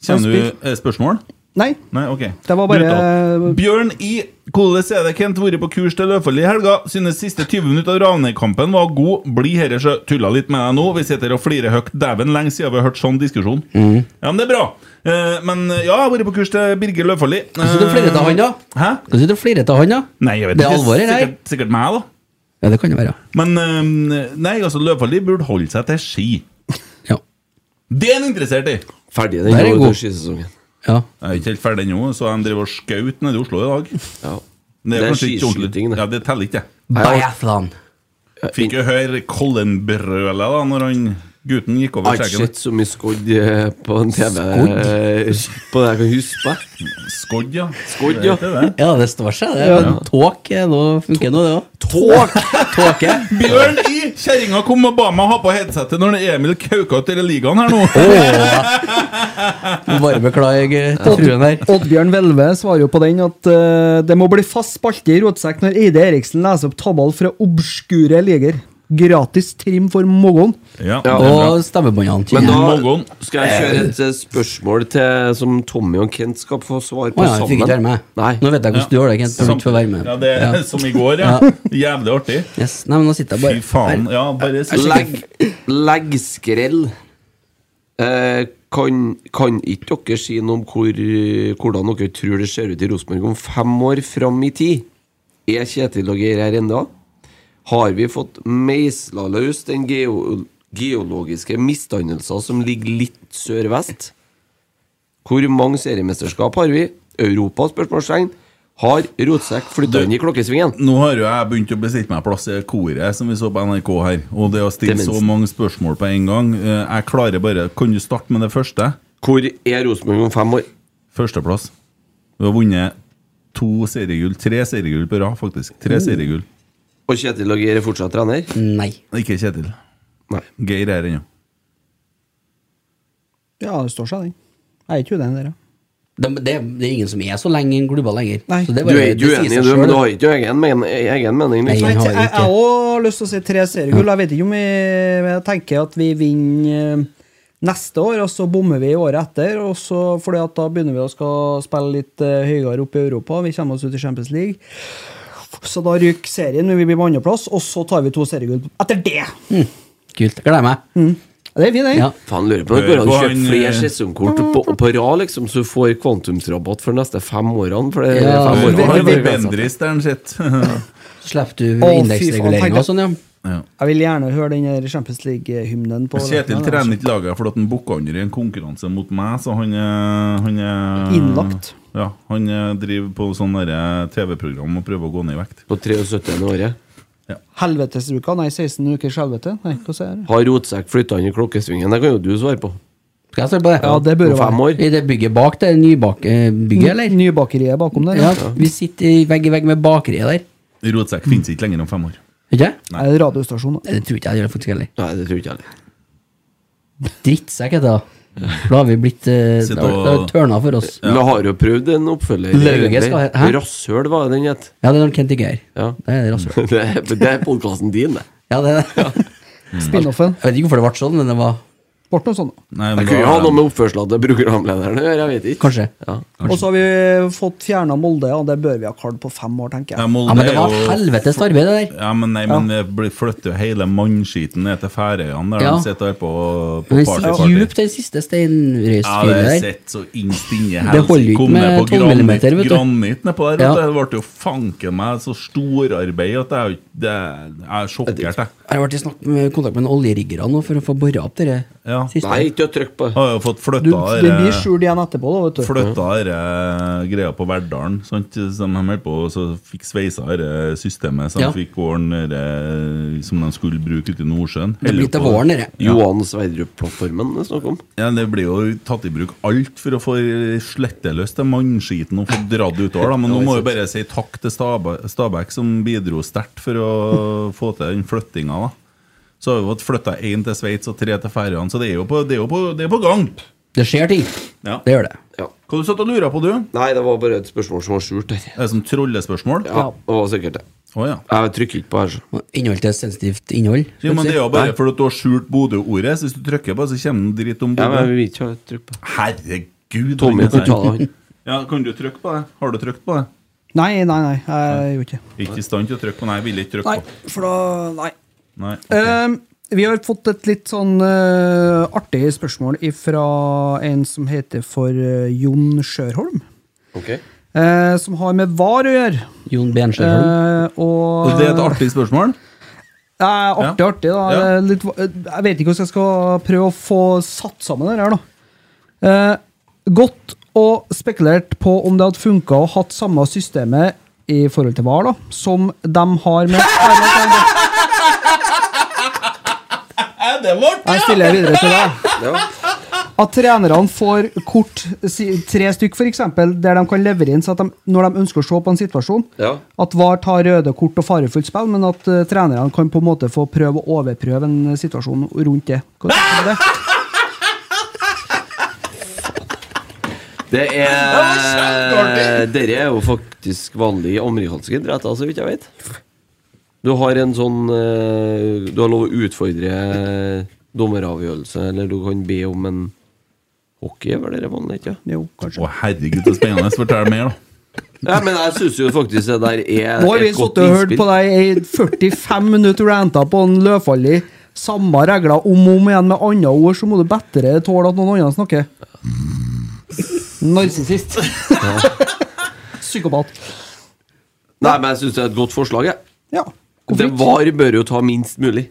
[SPEAKER 2] Kjenner du eh, spørsmål?
[SPEAKER 5] Nei,
[SPEAKER 2] Nei, ok.
[SPEAKER 5] Det var bare-
[SPEAKER 2] Brutal. Bjørn I. Hvordan er det Kent vært på kurs til Løffelli i helga? Synes siste 20 minutter av Ravner-kampen var god. Bli herre sjø. Tulla litt med deg nå. Vi sitter og flirer høyt. Dæven, lenge siden vi har hørt sånn diskusjon.
[SPEAKER 6] Mhm.
[SPEAKER 2] Ja, men det er bra. Eh, men ja, jeg har vært på kurs til Birger Løffelli.
[SPEAKER 6] Skal du flire til han, da?
[SPEAKER 2] Hæ?
[SPEAKER 6] Kan du sitte og flire til han, da?
[SPEAKER 2] Nei, jeg vet
[SPEAKER 6] Det er
[SPEAKER 2] ikke.
[SPEAKER 6] alvoret, nei.
[SPEAKER 2] sikkert, sikkert meg, da.
[SPEAKER 6] Ja, det kan det være.
[SPEAKER 2] Men eh, nei, altså, Løffelli burde holde seg til ski.
[SPEAKER 6] Ja.
[SPEAKER 2] Det er han interessert i!
[SPEAKER 3] ferdig
[SPEAKER 6] Der
[SPEAKER 3] den
[SPEAKER 6] er
[SPEAKER 3] er
[SPEAKER 6] god.
[SPEAKER 3] god skisesongen.
[SPEAKER 6] ja.
[SPEAKER 2] Jeg er ikke helt ferdig ennå, så de driver og skaut nede i Oslo i dag.
[SPEAKER 3] Ja.
[SPEAKER 2] Det er,
[SPEAKER 3] Det er
[SPEAKER 2] kanskje ikke ordentlig.
[SPEAKER 3] skiskyting, det.
[SPEAKER 2] Ja, det teller ikke.
[SPEAKER 6] Biathlon.
[SPEAKER 2] Fikk jo høre Colin-brølet da Når han, gutten gikk over
[SPEAKER 3] Jeg har ikke
[SPEAKER 2] skjeggen.
[SPEAKER 3] sett så mye skodd eh, på en TV eh, På det jeg kan huske.
[SPEAKER 2] Skodd, ja.
[SPEAKER 3] Skodd, ja.
[SPEAKER 2] Det er det.
[SPEAKER 6] Ja, det står seg, det. Ja. Tåk er nå funker nå, det òg. Tåk! Tåke.
[SPEAKER 2] Bjørn I! Kjerringa kom og ba meg ha på headsetet når Emil kauka ut hele ligaen her nå.
[SPEAKER 6] Må Bare beklage eh, til
[SPEAKER 5] Odd,
[SPEAKER 6] fruen her.
[SPEAKER 5] Oddbjørn Hvelve svarer jo på den at eh, det må bli fast spalte i rotsekk når Eide Eriksen leser opp taball fra obskure liger. Gratis trim for moggon.
[SPEAKER 2] Ja,
[SPEAKER 3] Og
[SPEAKER 6] stemmebåndene.
[SPEAKER 3] Men da
[SPEAKER 2] Morgen.
[SPEAKER 3] skal jeg kjøre et eh, spørsmål til, som Tommy og Kent skal få svar på
[SPEAKER 6] Å ja, jeg fikk ikke være
[SPEAKER 3] sammen.
[SPEAKER 6] med. Nå vet jeg hvordan du har det, Kent. når Du
[SPEAKER 2] Sam-
[SPEAKER 6] ikke får være med.
[SPEAKER 2] Ja, det er
[SPEAKER 6] Ja.
[SPEAKER 2] som i går, ja.
[SPEAKER 6] Ja.
[SPEAKER 2] Jævlig artig.
[SPEAKER 6] Yes. Nei, men nå sitter jeg bare
[SPEAKER 2] Fy faen. Ja, bare sitt.
[SPEAKER 3] Legg, leggskrell. Eh, kan, kan ikke dere si noe om hvor, eh, hvordan dere tror det ser ut i Rosenborg om fem år fram i tid? Er Kjetil og Geir her ennå? Har vi fått meisla løs den geo, geologiske misdannelsen som ligger litt sør-vest? Hvor mange seriemesterskap har vi? Europa? spørsmålstegn Har Rotsekk flytta inn i klokkesvingen?
[SPEAKER 2] Nå har jo jeg begynt å bestikke meg plass i koret som vi så på NRK her. Og det å stille
[SPEAKER 3] Demensen.
[SPEAKER 2] så mange spørsmål på en gang eh, Jeg klarer bare Kan du starte med det første?
[SPEAKER 3] Hvor er Rosenborg om fem år?
[SPEAKER 2] Førsteplass. Vi har vunnet to seriegull. Tre seriegull på rad, faktisk. Tre
[SPEAKER 3] Oh.
[SPEAKER 2] seriegull.
[SPEAKER 3] Og Kjetil og Geir er fortsatt trener?
[SPEAKER 6] Nei.
[SPEAKER 2] Ikke Kjetil. Geir er ennå.
[SPEAKER 5] Ja, det står seg, den. Jeg er ikke uenig i det.
[SPEAKER 6] Det, det, det er ingen som er så lenge i en klubba lenger. Så
[SPEAKER 3] Du
[SPEAKER 6] det
[SPEAKER 3] er
[SPEAKER 6] bare-
[SPEAKER 3] ikke
[SPEAKER 6] det sier
[SPEAKER 3] uenig,
[SPEAKER 6] seg
[SPEAKER 3] du,
[SPEAKER 6] selv,
[SPEAKER 3] men du
[SPEAKER 6] det.
[SPEAKER 3] har ikke egen, men, egen mening.
[SPEAKER 5] Jeg, jeg,
[SPEAKER 3] Liksom.
[SPEAKER 5] jeg, jeg har lyst til å si tre seriegull. Jeg vet ikke om vi jeg tenker at vi vinner eh, neste år, og så bommer vi året etter. Og så, fordi at da begynner vi å skal spille litt eh, høyere opp i Europa. Vi kommer oss ut i Champions League. Så da ryker serien, vi blir på andreplass, og så tar vi to seriegull etter det.
[SPEAKER 6] Mm.
[SPEAKER 5] Mm.
[SPEAKER 6] Kult. Gleder meg.
[SPEAKER 5] Det er fint, den.
[SPEAKER 3] Faen, lurer på om det
[SPEAKER 2] Hører
[SPEAKER 3] går an å
[SPEAKER 2] på han,
[SPEAKER 3] kjøpe flere
[SPEAKER 2] eh,
[SPEAKER 3] sesongkort på, på rad, liksom, så du får kvantumsrabatt for de neste fem årene. For det er
[SPEAKER 6] Ja.
[SPEAKER 3] fem år,
[SPEAKER 2] Hvor har
[SPEAKER 3] det
[SPEAKER 2] vi
[SPEAKER 3] er bare grensa.
[SPEAKER 2] Bendristeren sitt?
[SPEAKER 6] Slipper du
[SPEAKER 5] Å, fy faen,
[SPEAKER 6] indeksreguleringa
[SPEAKER 5] tenk
[SPEAKER 6] og sånn, ja.
[SPEAKER 2] <laughs> ja.
[SPEAKER 5] Jeg vil gjerne høre den der Champions League-hymnen på
[SPEAKER 2] Kjetil
[SPEAKER 5] Lerkendal, altså.
[SPEAKER 2] trener ikke laget fordi at han booka under i en konkurranse mot meg, så han er, han er
[SPEAKER 5] Innlagt.
[SPEAKER 2] Ja, han eh, driver på sånn derre TV-program og prøver å gå ned i vekt.
[SPEAKER 3] På 73. året.
[SPEAKER 5] Helvetesuka? Nei, 16 ukers helvete? Nei, hva sier jeg?
[SPEAKER 3] Har Rotsekk flytta inn i klokkesvingen? Det kan jo du svare på.
[SPEAKER 6] Skal jeg svare på det?
[SPEAKER 5] Ja, det bør
[SPEAKER 3] Om
[SPEAKER 5] jo
[SPEAKER 3] fem
[SPEAKER 5] være
[SPEAKER 3] år.
[SPEAKER 6] I det bygget bak, det er nybakbygget, eller?
[SPEAKER 5] Nybakeriet bakom der.
[SPEAKER 6] Ja, vi sitter i- vegg i vegg med bakeriet der.
[SPEAKER 2] Rotsekk finnes ikke lenger om fem år.
[SPEAKER 6] Ikke?
[SPEAKER 5] Nei, det er radiostasjon. da.
[SPEAKER 6] Det tror ikke jeg gjør faktisk heller.
[SPEAKER 3] Nei, det tror jeg ikke jeg heller.
[SPEAKER 6] Drittsekk heter det. Da har vi blitt eh,
[SPEAKER 2] Sitt
[SPEAKER 6] Da har
[SPEAKER 2] og-
[SPEAKER 6] da har det tørna for oss.
[SPEAKER 3] Men jeg har jo prøvd en oppfølger.
[SPEAKER 6] Lauget
[SPEAKER 3] egentlig.
[SPEAKER 6] skal he- hæ?
[SPEAKER 3] Rasshøl, var det den het.
[SPEAKER 6] Ja, det er når Kent ikke er her.
[SPEAKER 3] Ja.
[SPEAKER 6] Det er rasshøl.
[SPEAKER 3] <laughs> Det er, det er podkasten din, det.
[SPEAKER 6] Ja, det er det.
[SPEAKER 5] Spin-offen.
[SPEAKER 6] Jeg vet ikke hvorfor det ble sånn, men det var
[SPEAKER 5] Ble noe sånt.
[SPEAKER 2] Nei,
[SPEAKER 3] Jeg
[SPEAKER 2] men
[SPEAKER 3] kunne jo
[SPEAKER 2] da-
[SPEAKER 3] ha noe med oppførselen til programlederen å gjøre, jeg vet ikke.
[SPEAKER 6] Kanskje.
[SPEAKER 3] Ja.
[SPEAKER 5] Og så har vi fått fjerna Molde, og det bør vi ha klart på fem år, tenker
[SPEAKER 2] ja,
[SPEAKER 5] jeg.
[SPEAKER 2] Molde
[SPEAKER 6] Ja, men det
[SPEAKER 2] er
[SPEAKER 6] var
[SPEAKER 2] jo-
[SPEAKER 6] helvetes arbeid, det der.
[SPEAKER 2] Ja, men nei, men det blir- flytter jo hele mannskiten ned til Færøyene, der
[SPEAKER 6] Ja.
[SPEAKER 2] de sitter der på, på
[SPEAKER 6] Men det
[SPEAKER 2] party,
[SPEAKER 6] sitter
[SPEAKER 2] party.
[SPEAKER 6] djupt, den siste
[SPEAKER 2] Ja, det
[SPEAKER 6] steinrøysfjellet der.
[SPEAKER 2] sitter så innst inni her.
[SPEAKER 6] Det holder jo ikke
[SPEAKER 2] Kom ned
[SPEAKER 6] med
[SPEAKER 2] på
[SPEAKER 6] 12
[SPEAKER 2] granit-
[SPEAKER 6] millimeter, vet du.
[SPEAKER 2] Granit nedpå der.
[SPEAKER 6] Ja.
[SPEAKER 2] vet du. Det ble jo fanken meg så storarbeid at jeg, er jo ikke- det, jeg er sjokkert, jeg.
[SPEAKER 6] Jeg har vært i snakk med kontakt med en oljeriggere nå for å få bora opp det
[SPEAKER 2] Ja.
[SPEAKER 6] siste.
[SPEAKER 3] Nei, ikke trykk på det.
[SPEAKER 2] Har jo fått eh, flytta
[SPEAKER 5] Du, den blir skjult igjen etterpå, da, vet du.
[SPEAKER 2] Flytta denne greia på Verdalen, sant? som de holdt på så fikk sveisa dette systemet som
[SPEAKER 6] Ja.
[SPEAKER 2] fikk gården dette som de skulle bruke ute i Nordsjøen.
[SPEAKER 6] Det blir til
[SPEAKER 2] Holder på-
[SPEAKER 6] våren, dere.
[SPEAKER 3] Johan Sverdrup-plattformen det er snakk om.
[SPEAKER 2] Ja, Det blir jo tatt i bruk alt for å få sletteløst den mannskiten og få dratt det utover. Da.
[SPEAKER 6] <laughs>
[SPEAKER 2] Men nå må vi bare si takk til Staba- Stabæk, som bidro sterkt for å
[SPEAKER 6] <laughs>
[SPEAKER 2] få til den flyttinga. da. Så har vi fått flytta én til Sveits og tre til Færøyene, så det er jo på, det er jo på, det er på gang.
[SPEAKER 6] Det skjer ting.
[SPEAKER 2] Ja.
[SPEAKER 6] Det gjør det.
[SPEAKER 3] Ja.
[SPEAKER 2] Hva du satt og lura på, du?
[SPEAKER 3] Nei, det var bare et spørsmål som var skjult der.
[SPEAKER 2] Er det sånn trollespørsmål?
[SPEAKER 3] Ja, det var sikkert det.
[SPEAKER 2] Å, ja.
[SPEAKER 3] Jeg trykker ikke på her, så.
[SPEAKER 6] Innhold til sensitivt innhold.
[SPEAKER 2] Jo, men det er jo bare fordi at du har skjult Bodø-ordet. Så hvis du trykker på, så kommer det dritt om
[SPEAKER 3] Ja, men
[SPEAKER 2] Bodø.
[SPEAKER 3] vi vil ikke ha trykk på det.
[SPEAKER 2] Herregud.
[SPEAKER 3] Tommy
[SPEAKER 2] Agnes,
[SPEAKER 3] kan ta
[SPEAKER 2] her.
[SPEAKER 3] det, han.
[SPEAKER 2] <laughs> Ja, kan du trykke på det? Har du trykt på det?
[SPEAKER 5] Nei, nei, nei, jeg gjorde ikke det.
[SPEAKER 2] Ikke i stand til å trykke på Nei, jeg vil ikke trykke
[SPEAKER 5] Nei,
[SPEAKER 2] på.
[SPEAKER 5] for da Nei.
[SPEAKER 2] Nei.
[SPEAKER 3] Eh,
[SPEAKER 5] Ehm, vi har fått et litt sånn eh, artig spørsmål fra en som heter for eh, Jon Sjørholm.
[SPEAKER 3] Ok.
[SPEAKER 5] eh, som har med VAR å gjøre.
[SPEAKER 6] Jon Benskjørholm.
[SPEAKER 5] Eh, og
[SPEAKER 2] Og det er et artig spørsmål?
[SPEAKER 5] Ja, artig,
[SPEAKER 2] Ja.
[SPEAKER 5] artig. da
[SPEAKER 2] Ja.
[SPEAKER 5] Det er litt, Jeg vet ikke hvordan jeg skal prøve å få satt sammen det her, da. Eh, godt og spekulert på om det hadde funka å hatt samme systemet i forhold til VAR, da, som de har med
[SPEAKER 2] <laughs>
[SPEAKER 5] Jeg
[SPEAKER 2] Det var
[SPEAKER 5] stiller videre til deg. At trenerne får kort, si- tre stykk f.eks., der de kan levere inn så at de, når de ønsker å se på en situasjon,
[SPEAKER 3] Ja.
[SPEAKER 5] at VAR tar røde kort og farefullt spill, men at eh, trenerne kan på en måte få prøve å overprøve en eh, situasjon rundt det. Hva tenker <laughs> du om det?
[SPEAKER 3] Det
[SPEAKER 5] <laughs>
[SPEAKER 3] er Dere er jo faktisk vanlig i amerikanske idretter, så vidt jeg vet. Du Du har en sånn eh, Du har lov å utfordre dommeravgjørelse, eller du kan be om en hockey, er vel det vanlig, ikke?
[SPEAKER 5] Jo, kanskje.
[SPEAKER 2] Å, herregud, så spennende. Fortell
[SPEAKER 3] <laughs>
[SPEAKER 2] mer, da.
[SPEAKER 3] Ja, men jeg syns jo faktisk det der er
[SPEAKER 5] Nå har vi
[SPEAKER 3] et godt
[SPEAKER 5] sittet og hørt
[SPEAKER 3] innspill.
[SPEAKER 5] på deg i 45 minutter og ranta på en Løfaldli. Samme regler om og om igjen med andre ord, så må du bedre tåle at noen andre snakker. Narsissist. <laughs> Psykopat.
[SPEAKER 3] Nei, men jeg syns det er et godt forslag, jeg.
[SPEAKER 5] Ja.
[SPEAKER 3] Det VAR bør jo ta minst mulig,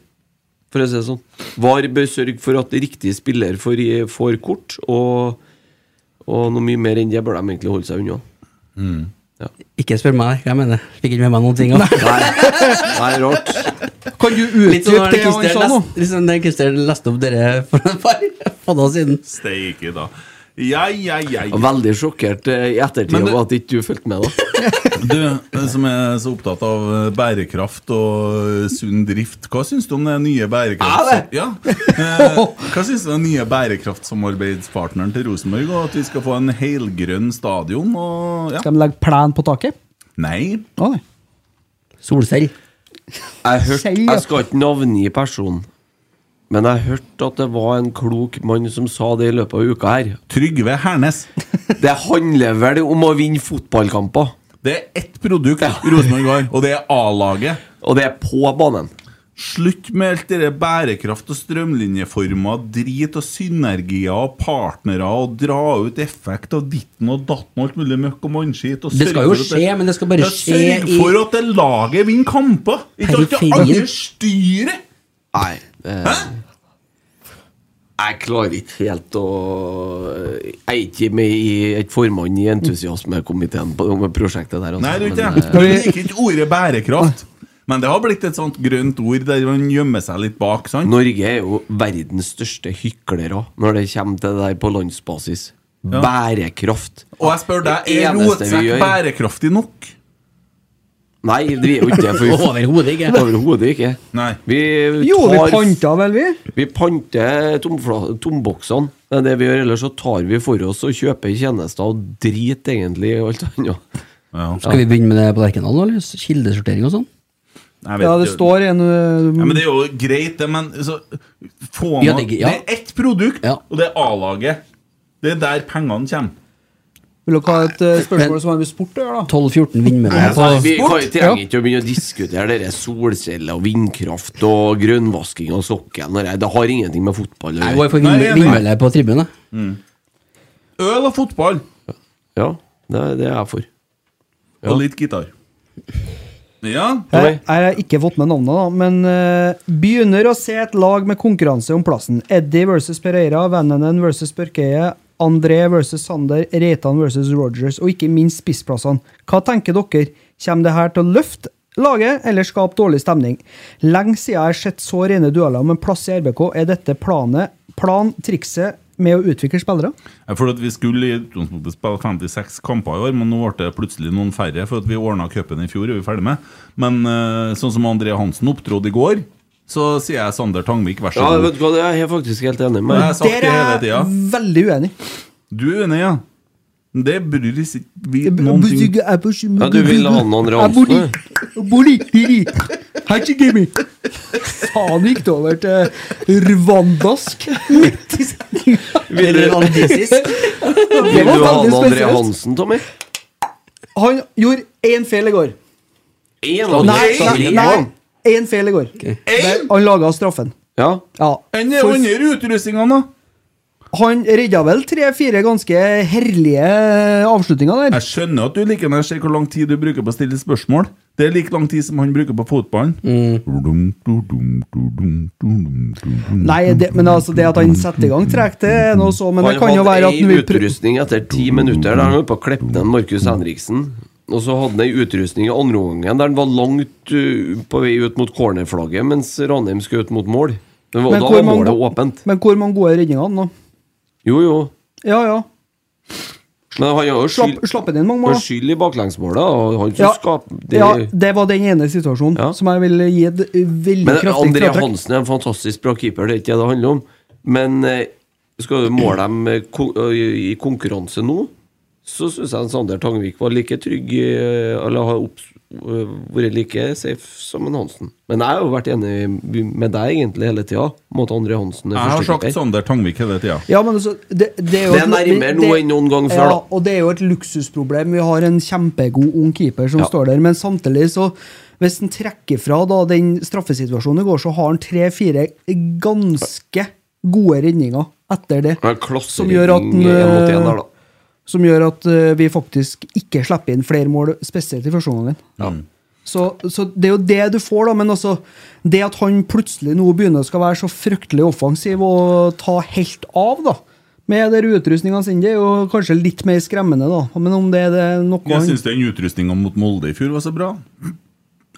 [SPEAKER 3] for å si det sånn. VAR bør sørge for at riktig spiller får, får kort, og, og noe mye mer enn det bør de egentlig holde
[SPEAKER 2] <laughs>
[SPEAKER 3] seg unna.
[SPEAKER 6] Ikke spør meg, jeg mener Fikk ikke med meg noen ting. da.
[SPEAKER 3] Nei, rart.
[SPEAKER 5] Kan du
[SPEAKER 6] Litt sånn
[SPEAKER 5] utdype
[SPEAKER 6] når
[SPEAKER 5] det han
[SPEAKER 6] Christer
[SPEAKER 5] sa nå?
[SPEAKER 6] lest- liksom når Christer leste opp dere for <laughs> et par podder siden.
[SPEAKER 2] Steike, da. Ja, ja, ja.
[SPEAKER 3] Jeg var veldig sjokkert eh, i ettertid
[SPEAKER 2] Men det-
[SPEAKER 3] over at ikke du fulgte med, da.
[SPEAKER 2] <laughs> Du som er så opptatt av eh, bærekraft og eh, sunn drift, hva syns du om det nye bærekraft... Ja. Eh, Hva syns du om den nye bærekraftsamarbeidspartneren til Rosenborg, og at vi skal få en helgrønn stadion? Og, ja.
[SPEAKER 5] Skal de legge plen på taket?
[SPEAKER 2] Nei.
[SPEAKER 5] Å nei.
[SPEAKER 6] Solcell.
[SPEAKER 3] Jeg, hørte,
[SPEAKER 5] Kjell,
[SPEAKER 2] altså.
[SPEAKER 5] ja.
[SPEAKER 3] jeg skal ikke navngi personen, men jeg hørte at det var en klok mann som sa det i løpet av uka her.
[SPEAKER 2] Trygve Hernes.
[SPEAKER 3] Det handler vel om å vinne fotballkamper,
[SPEAKER 2] Det er ett produkt Rosenborg har, og det er A-laget.
[SPEAKER 3] og det er på banen.
[SPEAKER 2] Slutt med alt det der bærekraft og strømlinjeformer, drit og synergier og partnere og dra ut effekt av ditten og datten og alt mulig møkk og mannskit. og
[SPEAKER 6] Det skal
[SPEAKER 2] sørg
[SPEAKER 6] jo
[SPEAKER 2] for at
[SPEAKER 6] skje, men det skal bare
[SPEAKER 2] Ja,
[SPEAKER 6] skje
[SPEAKER 2] Sørg
[SPEAKER 6] i-
[SPEAKER 2] for at det laget vinner kamper! Ikke at det
[SPEAKER 6] Periferien.
[SPEAKER 2] andre styrer!
[SPEAKER 3] Nei. Eh, jeg klarer ikke helt å eh, Jeg er ikke med i et formann i entusiasmekomiteen på det prosjektet der. altså,
[SPEAKER 2] Nei, du er ikke
[SPEAKER 3] men,
[SPEAKER 2] det. Du liker ikke ordet bærekraft. Men det har blitt et sånt grønt ord der man gjemmer seg litt bak, sant?
[SPEAKER 3] Norge er jo verdens største hyklere når det kommer til det der på landsbasis. Bærekraft.
[SPEAKER 2] Og jeg spør deg,
[SPEAKER 3] Det
[SPEAKER 2] er
[SPEAKER 3] eneste vi
[SPEAKER 2] rotsekk
[SPEAKER 3] gjør-
[SPEAKER 2] bærekraftig nok?
[SPEAKER 3] Nei, vi er jo ikke det. for vi-
[SPEAKER 6] Overhodet ikke.
[SPEAKER 3] Overhodet ikke.
[SPEAKER 2] Nei.
[SPEAKER 3] Vi
[SPEAKER 5] Jo, vi
[SPEAKER 3] tar-
[SPEAKER 5] panta vel, vi?
[SPEAKER 3] Vi panter tomfla- tomboksene. Det er det vi gjør. Ellers så tar vi for oss og kjøper tjenester og driter egentlig i alt annet.
[SPEAKER 2] Ja.
[SPEAKER 6] Skal vi begynne med det på Lerkendal, nå, eller? Kildesortering og sånn?
[SPEAKER 2] Jeg vet
[SPEAKER 5] Ja, det
[SPEAKER 2] ikke.
[SPEAKER 5] står en øh,
[SPEAKER 2] Ja, men Det er jo greit, det, men så, få
[SPEAKER 6] Ja,
[SPEAKER 2] meg-
[SPEAKER 6] det- ja.
[SPEAKER 2] det er ett produkt,
[SPEAKER 6] Ja.
[SPEAKER 2] og det er A-laget. Det er der pengene kommer.
[SPEAKER 5] Vil dere ha et øh, spørsmål
[SPEAKER 6] Men-
[SPEAKER 5] som har med sport å gjøre, da?
[SPEAKER 6] 12-14 vindmøller på
[SPEAKER 2] altså,
[SPEAKER 3] Nei, vi
[SPEAKER 5] sport,
[SPEAKER 3] kan- trenger ikke å begynne å diskutere det der solceller og vindkraft og grønnvasking av sokkelen. og Det det har ingenting med fotball å
[SPEAKER 6] Nei,
[SPEAKER 3] gjøre.
[SPEAKER 6] går for
[SPEAKER 2] Nei,
[SPEAKER 6] vind-
[SPEAKER 2] jeg er enig.
[SPEAKER 6] vindmøller på tribunen. da.
[SPEAKER 2] Øl og fotball
[SPEAKER 3] Ja, det, det er jeg for. Ja.
[SPEAKER 2] og litt gitar. Ja.
[SPEAKER 5] Jeg, jeg har ikke fått med navnet, da, men øh, begynner å se et lag med konkurranse om plassen. Eddie versus Pereira, Vennenen versus Børkeie, André versus Sander, Reitan versus Rogers, og ikke minst spissplassene. Hva tenker dere? Kommer det her til å løfte laget, eller skape dårlig stemning? Lenge siden jeg har sett så rene dueller om en plass i RBK. Er dette planet, plan, trikset med å utvikle spillere?
[SPEAKER 2] Jeg føler at Vi skulle i utgangspunktet spille 56 kamper i år, men nå ble det plutselig noen færre. For at vi ordna cupen i fjor, er vi ferdig med. Men eh, sånn som André Hansen opptrådte i går, så sier jeg Sander Tangvik, vær så
[SPEAKER 3] Ja,
[SPEAKER 2] god.
[SPEAKER 3] vet du hva, det er jeg faktisk helt enig
[SPEAKER 2] Men jeg
[SPEAKER 3] med.
[SPEAKER 2] har sagt det hele
[SPEAKER 5] jeg
[SPEAKER 2] tiden.
[SPEAKER 5] veldig uenig.
[SPEAKER 2] Du er enig, ja? Det bryr oss ikke vi noen ting
[SPEAKER 3] Ja, du vil ha noen Ransen?
[SPEAKER 5] Hachigimi! Faen gikk det over til rwandask midt i sendinga.
[SPEAKER 3] Vil du, vil
[SPEAKER 5] Det
[SPEAKER 3] du ha
[SPEAKER 5] var veldig
[SPEAKER 3] noen André
[SPEAKER 5] spesielt.
[SPEAKER 3] Hansen, Tommy?
[SPEAKER 5] Han gjorde én feil i går.
[SPEAKER 3] En
[SPEAKER 5] Nei, nei, nei én feil i går. Der Han laga straffen.
[SPEAKER 3] Ja.
[SPEAKER 5] Ja.
[SPEAKER 2] Enn de
[SPEAKER 5] for-
[SPEAKER 2] andre utrustningene, da?
[SPEAKER 5] Han redda vel tre-fire ganske herlige avslutninger der.
[SPEAKER 2] Jeg skjønner at du liker når jeg ser hvor lang tid du bruker på å stille spørsmål. Det er like lang tid som han bruker på fotballen.
[SPEAKER 5] Mm. Nei, det, men altså det at han setter i gang tregt, det er noe så, men det kan jo være at
[SPEAKER 3] Han
[SPEAKER 5] han vil
[SPEAKER 3] hadde ei
[SPEAKER 5] prøve
[SPEAKER 3] utrustning etter ti minutter der han var på å klippe ned Markus Henriksen. Og så hadde han ei utrustning i andre omgangen der han var langt uh, på vei ut mot cornerflagget mens Ranheim skulle ut mot mål. Det var, da
[SPEAKER 5] Men hvor
[SPEAKER 3] var
[SPEAKER 5] mange-
[SPEAKER 3] målet åpent.
[SPEAKER 5] Men hvor mange gode redninger han, da?
[SPEAKER 3] Jo, jo.
[SPEAKER 5] Ja, ja.
[SPEAKER 3] Men han har jo
[SPEAKER 5] Slapp,
[SPEAKER 3] skyld,
[SPEAKER 5] slapp han inn mange
[SPEAKER 3] han har
[SPEAKER 5] mål? da?
[SPEAKER 3] skyld i baklengsmålet. Og han som
[SPEAKER 5] Ja,
[SPEAKER 3] skaper det.
[SPEAKER 5] ja, det var den ene situasjonen
[SPEAKER 3] Ja.
[SPEAKER 5] som jeg ville gi et veldig
[SPEAKER 3] Men
[SPEAKER 5] kraftig
[SPEAKER 3] André
[SPEAKER 5] fratrekk.
[SPEAKER 3] Hansen er en fantastisk bra keeper, det er ikke det det handler om. Men eh, skal du måle dem eh, ko- eh, i konkurranse nå, så syns jeg en Sander Tangvik var like trygg i, Eller har opps- vært like safe som en Hansen. Men jeg har jo vært enig med deg egentlig hele tida, om at André Hansen er
[SPEAKER 2] Jeg har sagt sånn.
[SPEAKER 3] førstekeeper.
[SPEAKER 2] Sander Tangvik hele tida.
[SPEAKER 5] Ja, men altså, det, det er jo
[SPEAKER 3] Det er
[SPEAKER 5] et-
[SPEAKER 3] nærmere nå
[SPEAKER 5] det-
[SPEAKER 3] enn noen gang før,
[SPEAKER 5] Ja,
[SPEAKER 3] da.
[SPEAKER 5] og det er jo et luksusproblem. Vi har en kjempegod ung keeper som
[SPEAKER 3] Ja.
[SPEAKER 5] står der, men samtidig så hvis han trekker fra da, den straffesituasjonen i går, så har han tre-fire ganske gode redninger etter det.
[SPEAKER 3] Ja, klasseredning
[SPEAKER 5] Som gjør at, han, eh,
[SPEAKER 3] en mot en der, da.
[SPEAKER 5] som gjør at eh, vi faktisk ikke slipper inn flere mål, spesielt i første omgang.
[SPEAKER 3] Mm.
[SPEAKER 5] Så, så det er jo det du får, da, men altså Det at han plutselig nå begynner å skal være så fryktelig offensiv og ta helt av, da. Med de utrustningene sine, det er jo kanskje litt mer skremmende, da. Men om det er det noe
[SPEAKER 2] Jeg
[SPEAKER 5] han,
[SPEAKER 2] syns den utrustninga mot Molde i fjor var så bra.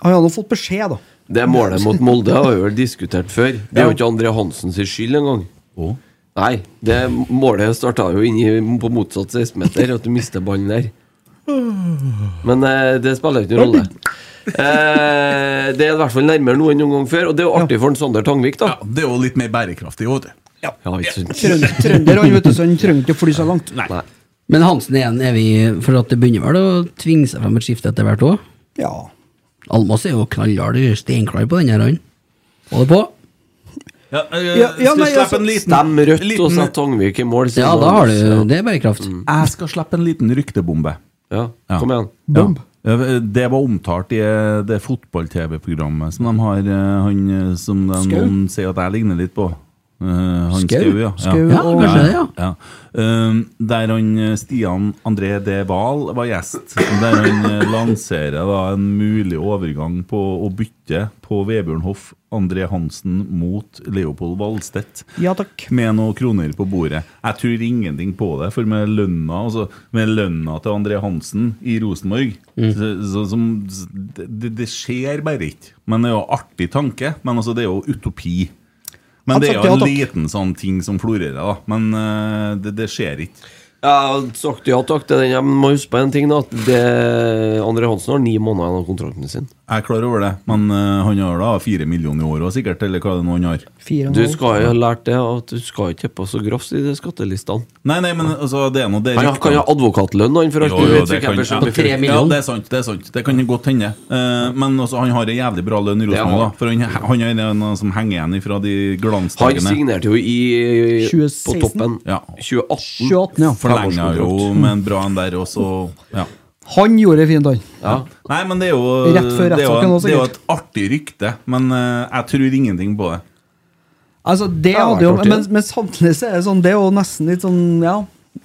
[SPEAKER 5] han hadde fått beskjed, da.
[SPEAKER 3] Det målet mot Molde har vi vel diskutert før. Det er jo ikke André Hansens skyld engang. Nei, det målet starta jo inn i- på motsatt 16-meter, at du mister ballen der. Men eh, det spiller ikke noen rolle. Eh, det er i hvert fall nærmere nå enn noen gang før, og det er jo artig for en Sander Tangvik, da. Ja,
[SPEAKER 2] det er jo litt mer bærekraftig òg, vet du.
[SPEAKER 5] Ja.
[SPEAKER 3] ikke sant?
[SPEAKER 5] Trønd- Trønder, han vet du, så han trenger ikke å fly så langt.
[SPEAKER 6] Men Hansen igjen er vi For at det begynner vel å tvinge seg frem et skifte etter hvert òg?
[SPEAKER 5] Ja.
[SPEAKER 6] Almås er jo knallhard, du er steinklar på den her, han. Hold på.
[SPEAKER 2] Ja, eh,
[SPEAKER 5] Ja, ja,
[SPEAKER 2] skal
[SPEAKER 5] nei,
[SPEAKER 2] jeg slippe
[SPEAKER 5] altså,
[SPEAKER 2] en liten
[SPEAKER 3] Stem rødt og
[SPEAKER 2] liten-
[SPEAKER 3] sett Tangvik i mål. sier
[SPEAKER 6] Ja, da har
[SPEAKER 3] Anders.
[SPEAKER 6] du Det er bærekraft.
[SPEAKER 2] Jeg skal slippe en liten ryktebombe.
[SPEAKER 3] Ja, kom igjen.
[SPEAKER 5] Bomb.
[SPEAKER 2] Ja. eh, Det var omtalt i eh, det fotball-TV-programmet som de har, eh, han eh, som de,
[SPEAKER 5] Skau?
[SPEAKER 2] noen sier at jeg ligner litt på. Eh, han
[SPEAKER 6] Skau?
[SPEAKER 2] Skau, ja.
[SPEAKER 5] Skau
[SPEAKER 6] Ja, og- kanskje det, ja.
[SPEAKER 2] Eh, der han eh, Stian André D. Wahl var gjest. Der han eh, lanserer da en mulig overgang på å bytte på Vebjørn Hoff, André Hansen mot Leopold Valstedt
[SPEAKER 5] Ja takk.
[SPEAKER 2] med noen kroner på bordet. Jeg tror ingenting på det, for med lønna, altså, med lønna til André Hansen i Rosenborg
[SPEAKER 3] Mm.
[SPEAKER 2] så, så, som, det, det skjer bare ikke. Men det er jo artig tanke. Men altså, det er jo utopi. Men
[SPEAKER 5] Han
[SPEAKER 2] det er
[SPEAKER 5] sagt
[SPEAKER 2] jo en
[SPEAKER 5] ja, takk.
[SPEAKER 2] liten sånn ting som florerer, da. Men eh, det, det skjer ikke.
[SPEAKER 3] Jeg har sagt ja takk til den. Jeg må huske på en ting, da. at Det, André Hansen har ni måneder igjen av kontrakten sin.
[SPEAKER 2] Jeg er klar over det, men eh, han har da fire millioner i året også, sikkert, eller hva det nå han har.
[SPEAKER 5] Fire og
[SPEAKER 3] Du
[SPEAKER 5] en halv.
[SPEAKER 3] skal jo ha lært det at du skal ikke tippe så grovt i de skattelistene.
[SPEAKER 2] Nei, nei, men altså, det er nå det
[SPEAKER 3] Han har- kan jo ha advokatlønn, han, for alt
[SPEAKER 2] Jo,
[SPEAKER 3] du
[SPEAKER 2] jo,
[SPEAKER 3] vet.
[SPEAKER 2] det
[SPEAKER 3] fikk jeg
[SPEAKER 2] kan,
[SPEAKER 3] beskjed om i
[SPEAKER 6] På tre
[SPEAKER 3] fjor.
[SPEAKER 2] ja,
[SPEAKER 6] millioner.
[SPEAKER 2] det er sant. Det er sant Det kan jo godt hende. Eh, men også, han har en jævlig bra lønn i
[SPEAKER 3] Det har
[SPEAKER 2] Rosenborg. da.
[SPEAKER 3] han.
[SPEAKER 2] For han, han er en av de som henger igjen fra de
[SPEAKER 3] Han
[SPEAKER 2] glansdagene.
[SPEAKER 3] signerte jo i på
[SPEAKER 5] 2016.
[SPEAKER 3] toppen.
[SPEAKER 2] Ja.
[SPEAKER 3] 2018.
[SPEAKER 5] 28, ja.
[SPEAKER 2] Forlenga jo med en bra en der også. Ja.
[SPEAKER 5] Han gjorde det fint, han.
[SPEAKER 3] Ja.
[SPEAKER 2] Nei, men det er jo
[SPEAKER 5] Rett før
[SPEAKER 2] det er jo,
[SPEAKER 5] rettssaken også,
[SPEAKER 2] det er jo
[SPEAKER 5] sikkert.
[SPEAKER 2] et artig rykte, men eh, jeg tror ingenting på det.
[SPEAKER 5] Altså, det
[SPEAKER 3] har
[SPEAKER 5] hadde jo,
[SPEAKER 3] vært artig,
[SPEAKER 5] men,
[SPEAKER 3] det.
[SPEAKER 5] men samtidig så er det sånn, det er jo nesten litt sånn, ja,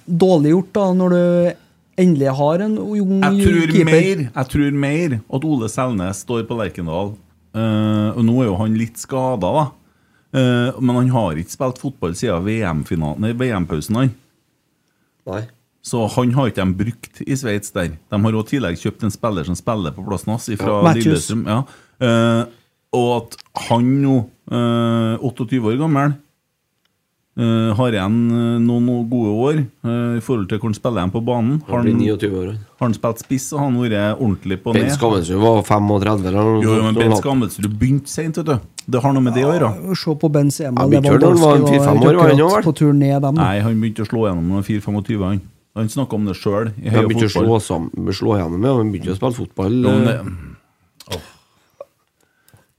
[SPEAKER 5] dårlig gjort da, når du endelig har en ung
[SPEAKER 2] Jeg tror
[SPEAKER 5] keeper.
[SPEAKER 2] mer, jeg tror mer at Ole Selnes står på Lerkendal. Eh, og nå er jo han litt skada, da. Eh, men han har ikke spilt fotball siden VM-finalen- nei, VM-pausen, han.
[SPEAKER 3] Nei.
[SPEAKER 2] Så han har ikke de brukt i Sveits der. De har også i tillegg kjøpt en spiller som spiller på plassen hans, fra
[SPEAKER 5] Matthews.
[SPEAKER 2] Lillestrøm. Ja. Eh, og at han nå, eh, 28 år gammel, eh, har igjen eh, noen gode år eh, i forhold til hvor han spiller igjen på banen. Har
[SPEAKER 3] Han blir
[SPEAKER 2] han,
[SPEAKER 3] 29 år. han.
[SPEAKER 2] har han spilt spiss, og har han vært ordentlig på
[SPEAKER 3] Ben
[SPEAKER 2] ned?
[SPEAKER 3] Skammelsrud var 35 eller noe
[SPEAKER 2] Jo, jo, men Ben
[SPEAKER 3] sånt.
[SPEAKER 2] Skammelsrud begynte seint, vet du. Det har noe med det å gjøre.
[SPEAKER 5] Se på Ben Sema,
[SPEAKER 3] Ja,
[SPEAKER 5] det var
[SPEAKER 3] Bjørn var en
[SPEAKER 5] Dolski
[SPEAKER 3] fire-fem
[SPEAKER 5] og
[SPEAKER 3] år, var han jo,
[SPEAKER 5] Røkrat
[SPEAKER 3] vel?
[SPEAKER 5] på tur ned
[SPEAKER 3] Ah.
[SPEAKER 5] dem. da.
[SPEAKER 2] Nei, han begynte å slå gjennom når han var 24, han. Han snakka om det sjøl i
[SPEAKER 3] Han
[SPEAKER 2] Heia
[SPEAKER 3] begynte å
[SPEAKER 2] Fotball.
[SPEAKER 3] slå, sammen, slå gjennom, ja. Han begynte å spille fotball.
[SPEAKER 2] Jo, men
[SPEAKER 3] eh,
[SPEAKER 2] det- Åh.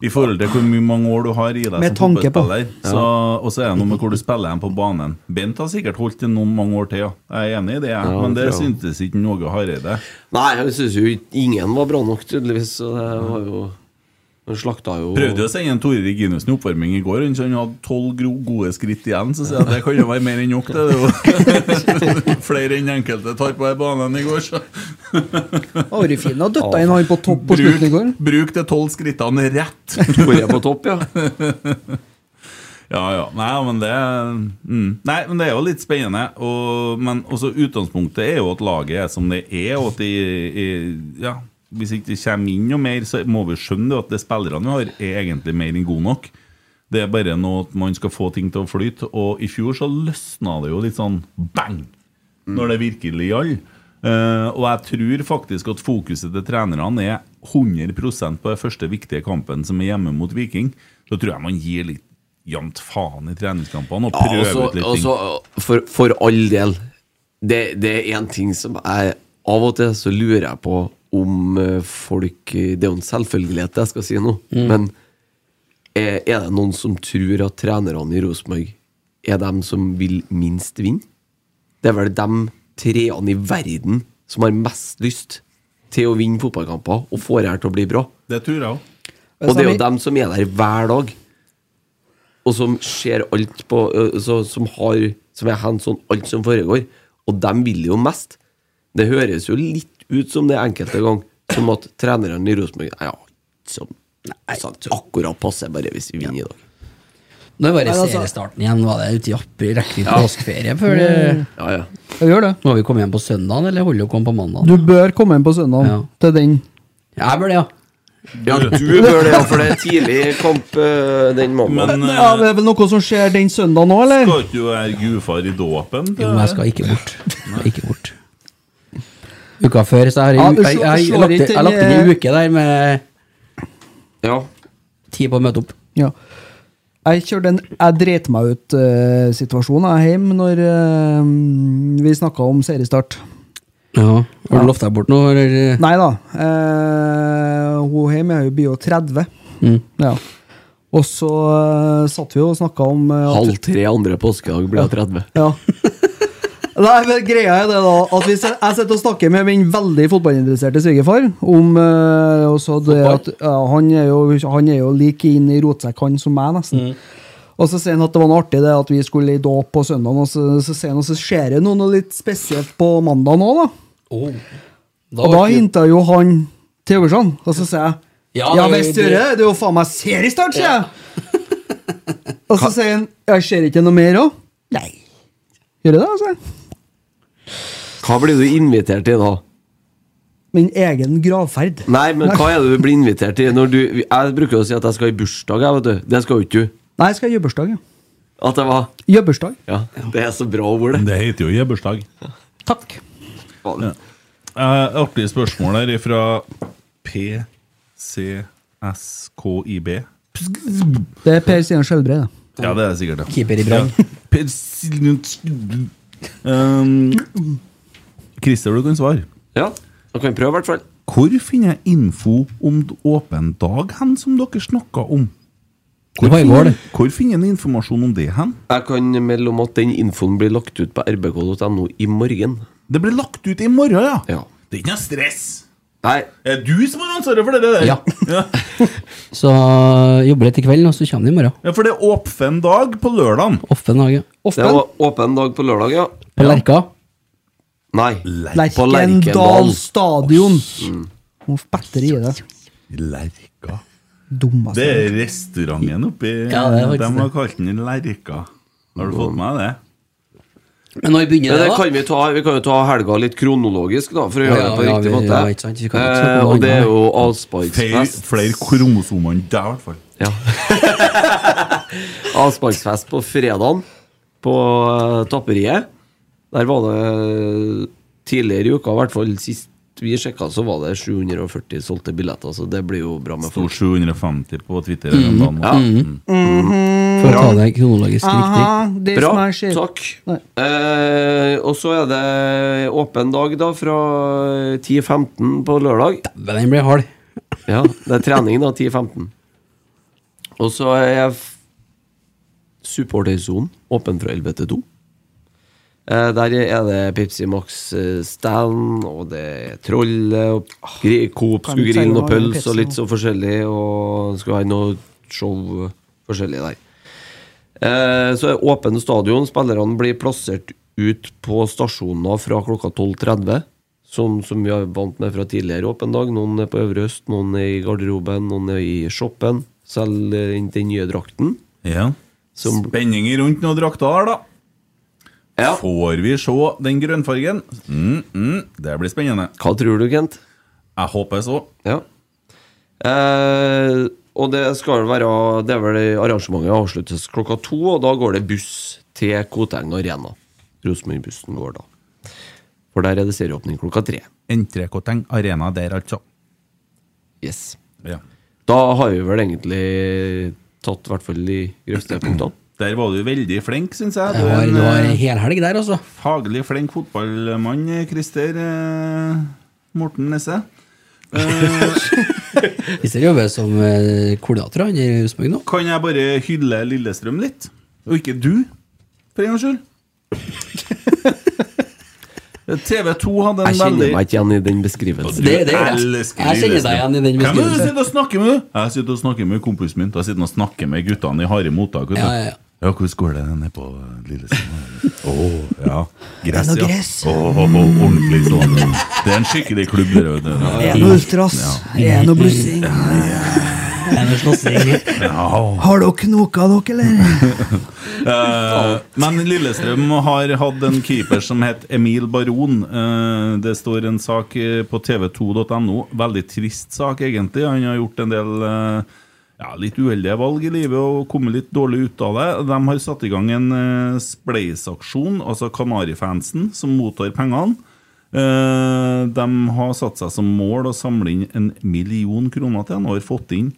[SPEAKER 2] I forhold til hvor mye mange år du har i deg
[SPEAKER 5] Med
[SPEAKER 2] som
[SPEAKER 5] tanke på.
[SPEAKER 2] fotballspiller, så, og så er det noe med hvor du spiller hen på banen. Bent har sikkert holdt i noen mange år til, ja. jeg er enig i det, jeg.
[SPEAKER 3] Ja,
[SPEAKER 2] men det
[SPEAKER 3] det tror jeg.
[SPEAKER 2] syntes ikke Åge Hareide.
[SPEAKER 3] Nei, jeg syns jo ikke- ingen var bra nok, tydeligvis. Så det var jo Han slakta jo
[SPEAKER 2] Prøvde jo å sende en Tore Reginussen i oppvarming i går, så han hadde tolv gode skritt igjen. Så sier jeg at det kan jo være mer enn nok, det. det er jo <laughs> flere enn enkelte tar på den banen i går, så
[SPEAKER 5] Aurifin har døtta inn han på topp på
[SPEAKER 2] bruk,
[SPEAKER 5] slutten i går.
[SPEAKER 2] bruk de tolv skrittene rett.
[SPEAKER 3] Hvor jeg på topp, ja.
[SPEAKER 2] <laughs> Ja, ja. Nei, men det, mm. Nei, men det er jo litt spennende. Og, men også utgangspunktet er jo at laget er som det er. Og at de, er- ja, hvis ikke det kommer inn noe mer, så må vi skjønne det at det spillerne vi har, er egentlig mer enn gode nok. Det er bare noe at man skal få ting til å flyte. Og i fjor så løsna det jo litt sånn bang! Når det virkelig gjaldt. Eh, og jeg tror faktisk at fokuset til trenerne er 100 på den første viktige kampen, som er hjemme mot Viking. Så tror jeg man gir litt jevnt faen i treningskampene og
[SPEAKER 3] Ja, altså,
[SPEAKER 2] prøver
[SPEAKER 3] også,
[SPEAKER 2] ut litt ting.
[SPEAKER 3] også, for, for all del. det, det er én ting som jeg Av og til så lurer jeg på om eh, folk Det er jo en selvfølgelighet jeg skal si nå,
[SPEAKER 6] Mm.
[SPEAKER 3] men er, er det noen som tror at trenerne i Rosenborg er dem som vil minst vinne? Det er vel de treene i verden som har mest lyst til å vinne fotballkamper og får det her til å bli bra.
[SPEAKER 2] Det tror jeg òg.
[SPEAKER 3] Og det er jo dem som er der hver dag, og som ser alt på ø, så, som, har, som er hands on alt som foregår. Og dem vil jo mest. Det høres jo litt ut som det enkelte gang, som at trenerne i Rosenborg Ja, som, sånn akkurat passer bare hvis vi vinner i dag.
[SPEAKER 6] Nå var det
[SPEAKER 4] Nei, altså-
[SPEAKER 6] seriestarten igjen, var det ute i april? Rekker vi
[SPEAKER 3] Ja.
[SPEAKER 6] påskeferie før det
[SPEAKER 3] Ja, ja.
[SPEAKER 5] Jeg gjør det.
[SPEAKER 6] Må vi komme hjem på søndag, eller holder vi å komme på mandag?
[SPEAKER 5] Du bør komme inn på søndag til den.
[SPEAKER 6] Ja, jeg bør det, ja.
[SPEAKER 3] Ja, du bør det, ja, for det er tidlig kamp ø, den mandagen.
[SPEAKER 2] Men
[SPEAKER 5] Ja,
[SPEAKER 2] eh,
[SPEAKER 5] Det er vel noe som skjer den søndagen nå, eller?
[SPEAKER 2] skal ikke du være gudfar i dåpen?
[SPEAKER 6] Jo, jeg skal ikke bort. Jeg skal ikke bort. Uka før så har jeg,
[SPEAKER 5] Ja, du
[SPEAKER 6] jeg,
[SPEAKER 5] slår-
[SPEAKER 6] jeg, jeg,
[SPEAKER 5] slår
[SPEAKER 6] lagt,
[SPEAKER 5] ikke
[SPEAKER 6] jeg, har lagt inn
[SPEAKER 5] den, eh,
[SPEAKER 6] en uke der med
[SPEAKER 3] Ja.
[SPEAKER 6] tid på å møte opp.
[SPEAKER 5] Ja. Jeg kjørte en jeg dreit meg ut-situasjon jeg hjemme når eh, vi snakka om seriestart.
[SPEAKER 6] Ja, Har du lovt deg bort nå, eller?
[SPEAKER 5] Nei da. eh, hun hjemme er jo bio 30.
[SPEAKER 6] Mm.
[SPEAKER 5] Ja. Og så eh, satt vi jo og snakka om eh, at-
[SPEAKER 3] Halv tre andre påskedag blir jeg 30.
[SPEAKER 5] Ja. <laughs> Nei, men greia er det da at hvis jeg, jeg sitter og snakker med min veldig fotballinteresserte svigerfar om eh, også det at ja, han, er jo, han er jo like inn i rotsekk, han som meg, nesten. Og så sier han at det var noe artig det at vi skulle i dåp på søndag, og så, så sier han at så skjer det noe, noe litt spesielt på mandag nå, da.
[SPEAKER 6] Oh.
[SPEAKER 5] Og da hinta jo han til Øversand, og så sier jeg
[SPEAKER 6] Ja,
[SPEAKER 5] Ja,
[SPEAKER 6] det-
[SPEAKER 5] visst gjør jeg det, det er jo faen meg seriestart, sier jeg! <laughs> Og så sier han Jeg ser ikke noe mer òg. Nei. Gjør jeg det, altså?
[SPEAKER 3] Hva blir du invitert til da?
[SPEAKER 5] Min egen gravferd.
[SPEAKER 3] Nei, men hva er det du blir invitert til? Når du, jeg bruker å si at jeg skal i bursdag, jeg, vet du. Det skal jo ikke du.
[SPEAKER 5] Nei, jeg skal ha jobbursdag. ja.
[SPEAKER 3] At jeg var
[SPEAKER 5] Jobbursdag.
[SPEAKER 3] Ja, det er så bra ord, det.
[SPEAKER 2] Det heter jo gjebursdag.
[SPEAKER 5] Takk.
[SPEAKER 3] Faen.
[SPEAKER 2] Eh, artig spørsmål her fra PCSKIB.
[SPEAKER 5] Det er Per Stian Skjelbre, det.
[SPEAKER 2] Ja, det er det sikkert, ja.
[SPEAKER 6] Keeper i brann.
[SPEAKER 2] Ja. Per Silund- Um, Christer, du kan svare.
[SPEAKER 3] Ja, da kan vi prøve, i hvert fall.
[SPEAKER 2] Hvor finner jeg info om d- åpen dag hen, som dere snakka om? Hvor
[SPEAKER 6] Det var i går,
[SPEAKER 2] finner,
[SPEAKER 6] det.
[SPEAKER 2] hvor finner jeg informasjon om det hen?
[SPEAKER 3] Jeg kan melde om at den infoen blir lagt ut på rbk.no i morgen.
[SPEAKER 2] Det blir lagt ut i morgen, ja.
[SPEAKER 3] Ja.
[SPEAKER 2] Det er ikke noe stress.
[SPEAKER 3] Nei,
[SPEAKER 2] Er det du som har ansvaret for det der?
[SPEAKER 6] Ja.
[SPEAKER 2] ja.
[SPEAKER 6] Så jobber jeg til kvelden, og så kommer de i morgen.
[SPEAKER 2] Ja, for det er åpen dag på lørdagen.
[SPEAKER 6] Offen hage.
[SPEAKER 3] det
[SPEAKER 5] Ofte.
[SPEAKER 3] var åpen dag på lørdag, ja.
[SPEAKER 6] På Lerka.
[SPEAKER 3] Nei. På Mm.
[SPEAKER 5] Lerkendal stadion. Må battere i det.
[SPEAKER 2] Lerka.
[SPEAKER 5] Dummeste.
[SPEAKER 2] Det er restauranten oppi
[SPEAKER 6] Altså, Ja, det er faktisk
[SPEAKER 2] De har
[SPEAKER 6] det.
[SPEAKER 2] kalt den Lerka. Har du fått med det?
[SPEAKER 6] Men når
[SPEAKER 3] Men
[SPEAKER 6] begynner
[SPEAKER 3] det
[SPEAKER 6] det, da?
[SPEAKER 3] kan vi, ta, vi kan jo ta helga litt kronologisk, da, for å gjøre
[SPEAKER 6] Ja,
[SPEAKER 3] det på
[SPEAKER 6] ja,
[SPEAKER 3] riktig
[SPEAKER 6] vi-
[SPEAKER 3] måte.
[SPEAKER 6] ja, ikke sant, vi kan ikke snakke
[SPEAKER 3] eh,
[SPEAKER 6] om
[SPEAKER 3] og det
[SPEAKER 6] annet.
[SPEAKER 3] er jo
[SPEAKER 2] Flere,
[SPEAKER 3] avsparksfest.
[SPEAKER 2] flere kromosomer enn deg, i hvert fall.
[SPEAKER 3] Ja. Avsparksfest på fredagen på eh, Tapperiet. Der var det eh, tidligere i uka, i hvert fall sist vi sjekka, så var det 740 solgte billetter, så det blir jo bra med
[SPEAKER 2] Sto
[SPEAKER 3] folk.
[SPEAKER 2] 750 på Twitter. her om dagen.
[SPEAKER 3] Mm.
[SPEAKER 6] For å ta det kronologisk riktig.
[SPEAKER 5] Aha, det
[SPEAKER 3] Bra,
[SPEAKER 5] som er skjer.
[SPEAKER 3] takk.
[SPEAKER 5] Nei.
[SPEAKER 3] Eh, og så er det åpen dag, da, fra 10.15 på lørdag.
[SPEAKER 6] Men den ble hard.
[SPEAKER 3] Ja, det er trening da, 10-15 Og så er f- supporterzonen åpen fra 11 til 2 eh, Der er det Pepsi Max eh, stand Og det er trollet Og gri- Coop
[SPEAKER 5] Kan
[SPEAKER 3] skulle
[SPEAKER 5] ikke si
[SPEAKER 3] grille noe
[SPEAKER 5] noe om
[SPEAKER 3] pøls
[SPEAKER 5] Pepsi
[SPEAKER 3] Og litt
[SPEAKER 5] nå.
[SPEAKER 3] så forskjellig Og skulle ha noe show forskjellig der eh, Så er åpen stadion Spillerne blir plassert ut på stasjoner Fra klokka 12.30 Sånn som vi er vant med fra tidligere åpen dag. Noen er på Øvre Øst, noen er i garderoben, noen er i shoppen. Selv eh, inn den nye drakten.
[SPEAKER 2] Ja.
[SPEAKER 3] Som,
[SPEAKER 2] Spenninger rundt noen drakter der, da.
[SPEAKER 3] ja.
[SPEAKER 2] Får vi se den grønnfargen? Mm, mm, det blir spennende.
[SPEAKER 3] Hva tror du, Kent?
[SPEAKER 2] Jeg håper så.
[SPEAKER 3] Ja. Eh, og det skal vel være Det er vel arrangementet avsluttes klokka to, og da går det buss til Koteng Arena. Rosenborg-bussen går da. For der er det serieåpning klokka tre.
[SPEAKER 2] Entrecôteng Arena der, altså.
[SPEAKER 3] Yes.
[SPEAKER 2] Ja.
[SPEAKER 3] Da har vi vel egentlig tatt i hvert fall de grøvste punktene.
[SPEAKER 2] Der var du veldig flink, syns jeg.
[SPEAKER 6] Det var-
[SPEAKER 2] en,
[SPEAKER 6] det var en
[SPEAKER 2] eh,
[SPEAKER 6] helhelg der, altså.
[SPEAKER 2] Faglig flink fotballmann, eh, Christer eh, Morten Nesse.
[SPEAKER 6] Hvis dere jobber som eh, koordinator han, i Rosenborg nå
[SPEAKER 2] Kan jeg bare hylle Lillestrøm litt? Og ikke du, for en gangs
[SPEAKER 3] <laughs>
[SPEAKER 2] skyld. <laughs> TV 2 hadde
[SPEAKER 3] Jeg
[SPEAKER 2] en
[SPEAKER 3] kjenner
[SPEAKER 2] veldig
[SPEAKER 3] meg ikke igjen i den beskrivelsen.
[SPEAKER 2] Du elsker Lillestrøm. Hvem er det du sitter og snakker med? du? Jeg sitter og snakker med kompisen min. Da sitter han og snakker med guttene i harde mottak. vet du.
[SPEAKER 6] Ja, ja, ja.
[SPEAKER 2] Ja, hvordan går det nede på Lillestrøm? Å, ja. Gress,
[SPEAKER 5] Det er noe
[SPEAKER 2] ja.
[SPEAKER 5] gress.
[SPEAKER 2] Å, å, å, ordentlig sånn. Det er en skikkelig klubb, der, vet du.
[SPEAKER 5] Det er noe ultras. Det er noe blussing.
[SPEAKER 2] Ja.
[SPEAKER 5] Har dere knoka dere, eller?
[SPEAKER 2] Eh, men Lillestrøm har hatt en keeper som het Emil Baron. Eh, det står en sak eh, på tv2.no. Veldig trist sak, egentlig. Han har gjort en del eh, ja, litt uheldige valg i livet og kommet litt dårlig ut av det. De har satt i gang en eh, spleisaksjon, altså Kanarifansen, som mottar pengene. Eh, de har satt seg som mål å samle inn en million kroner til han, og har fått inn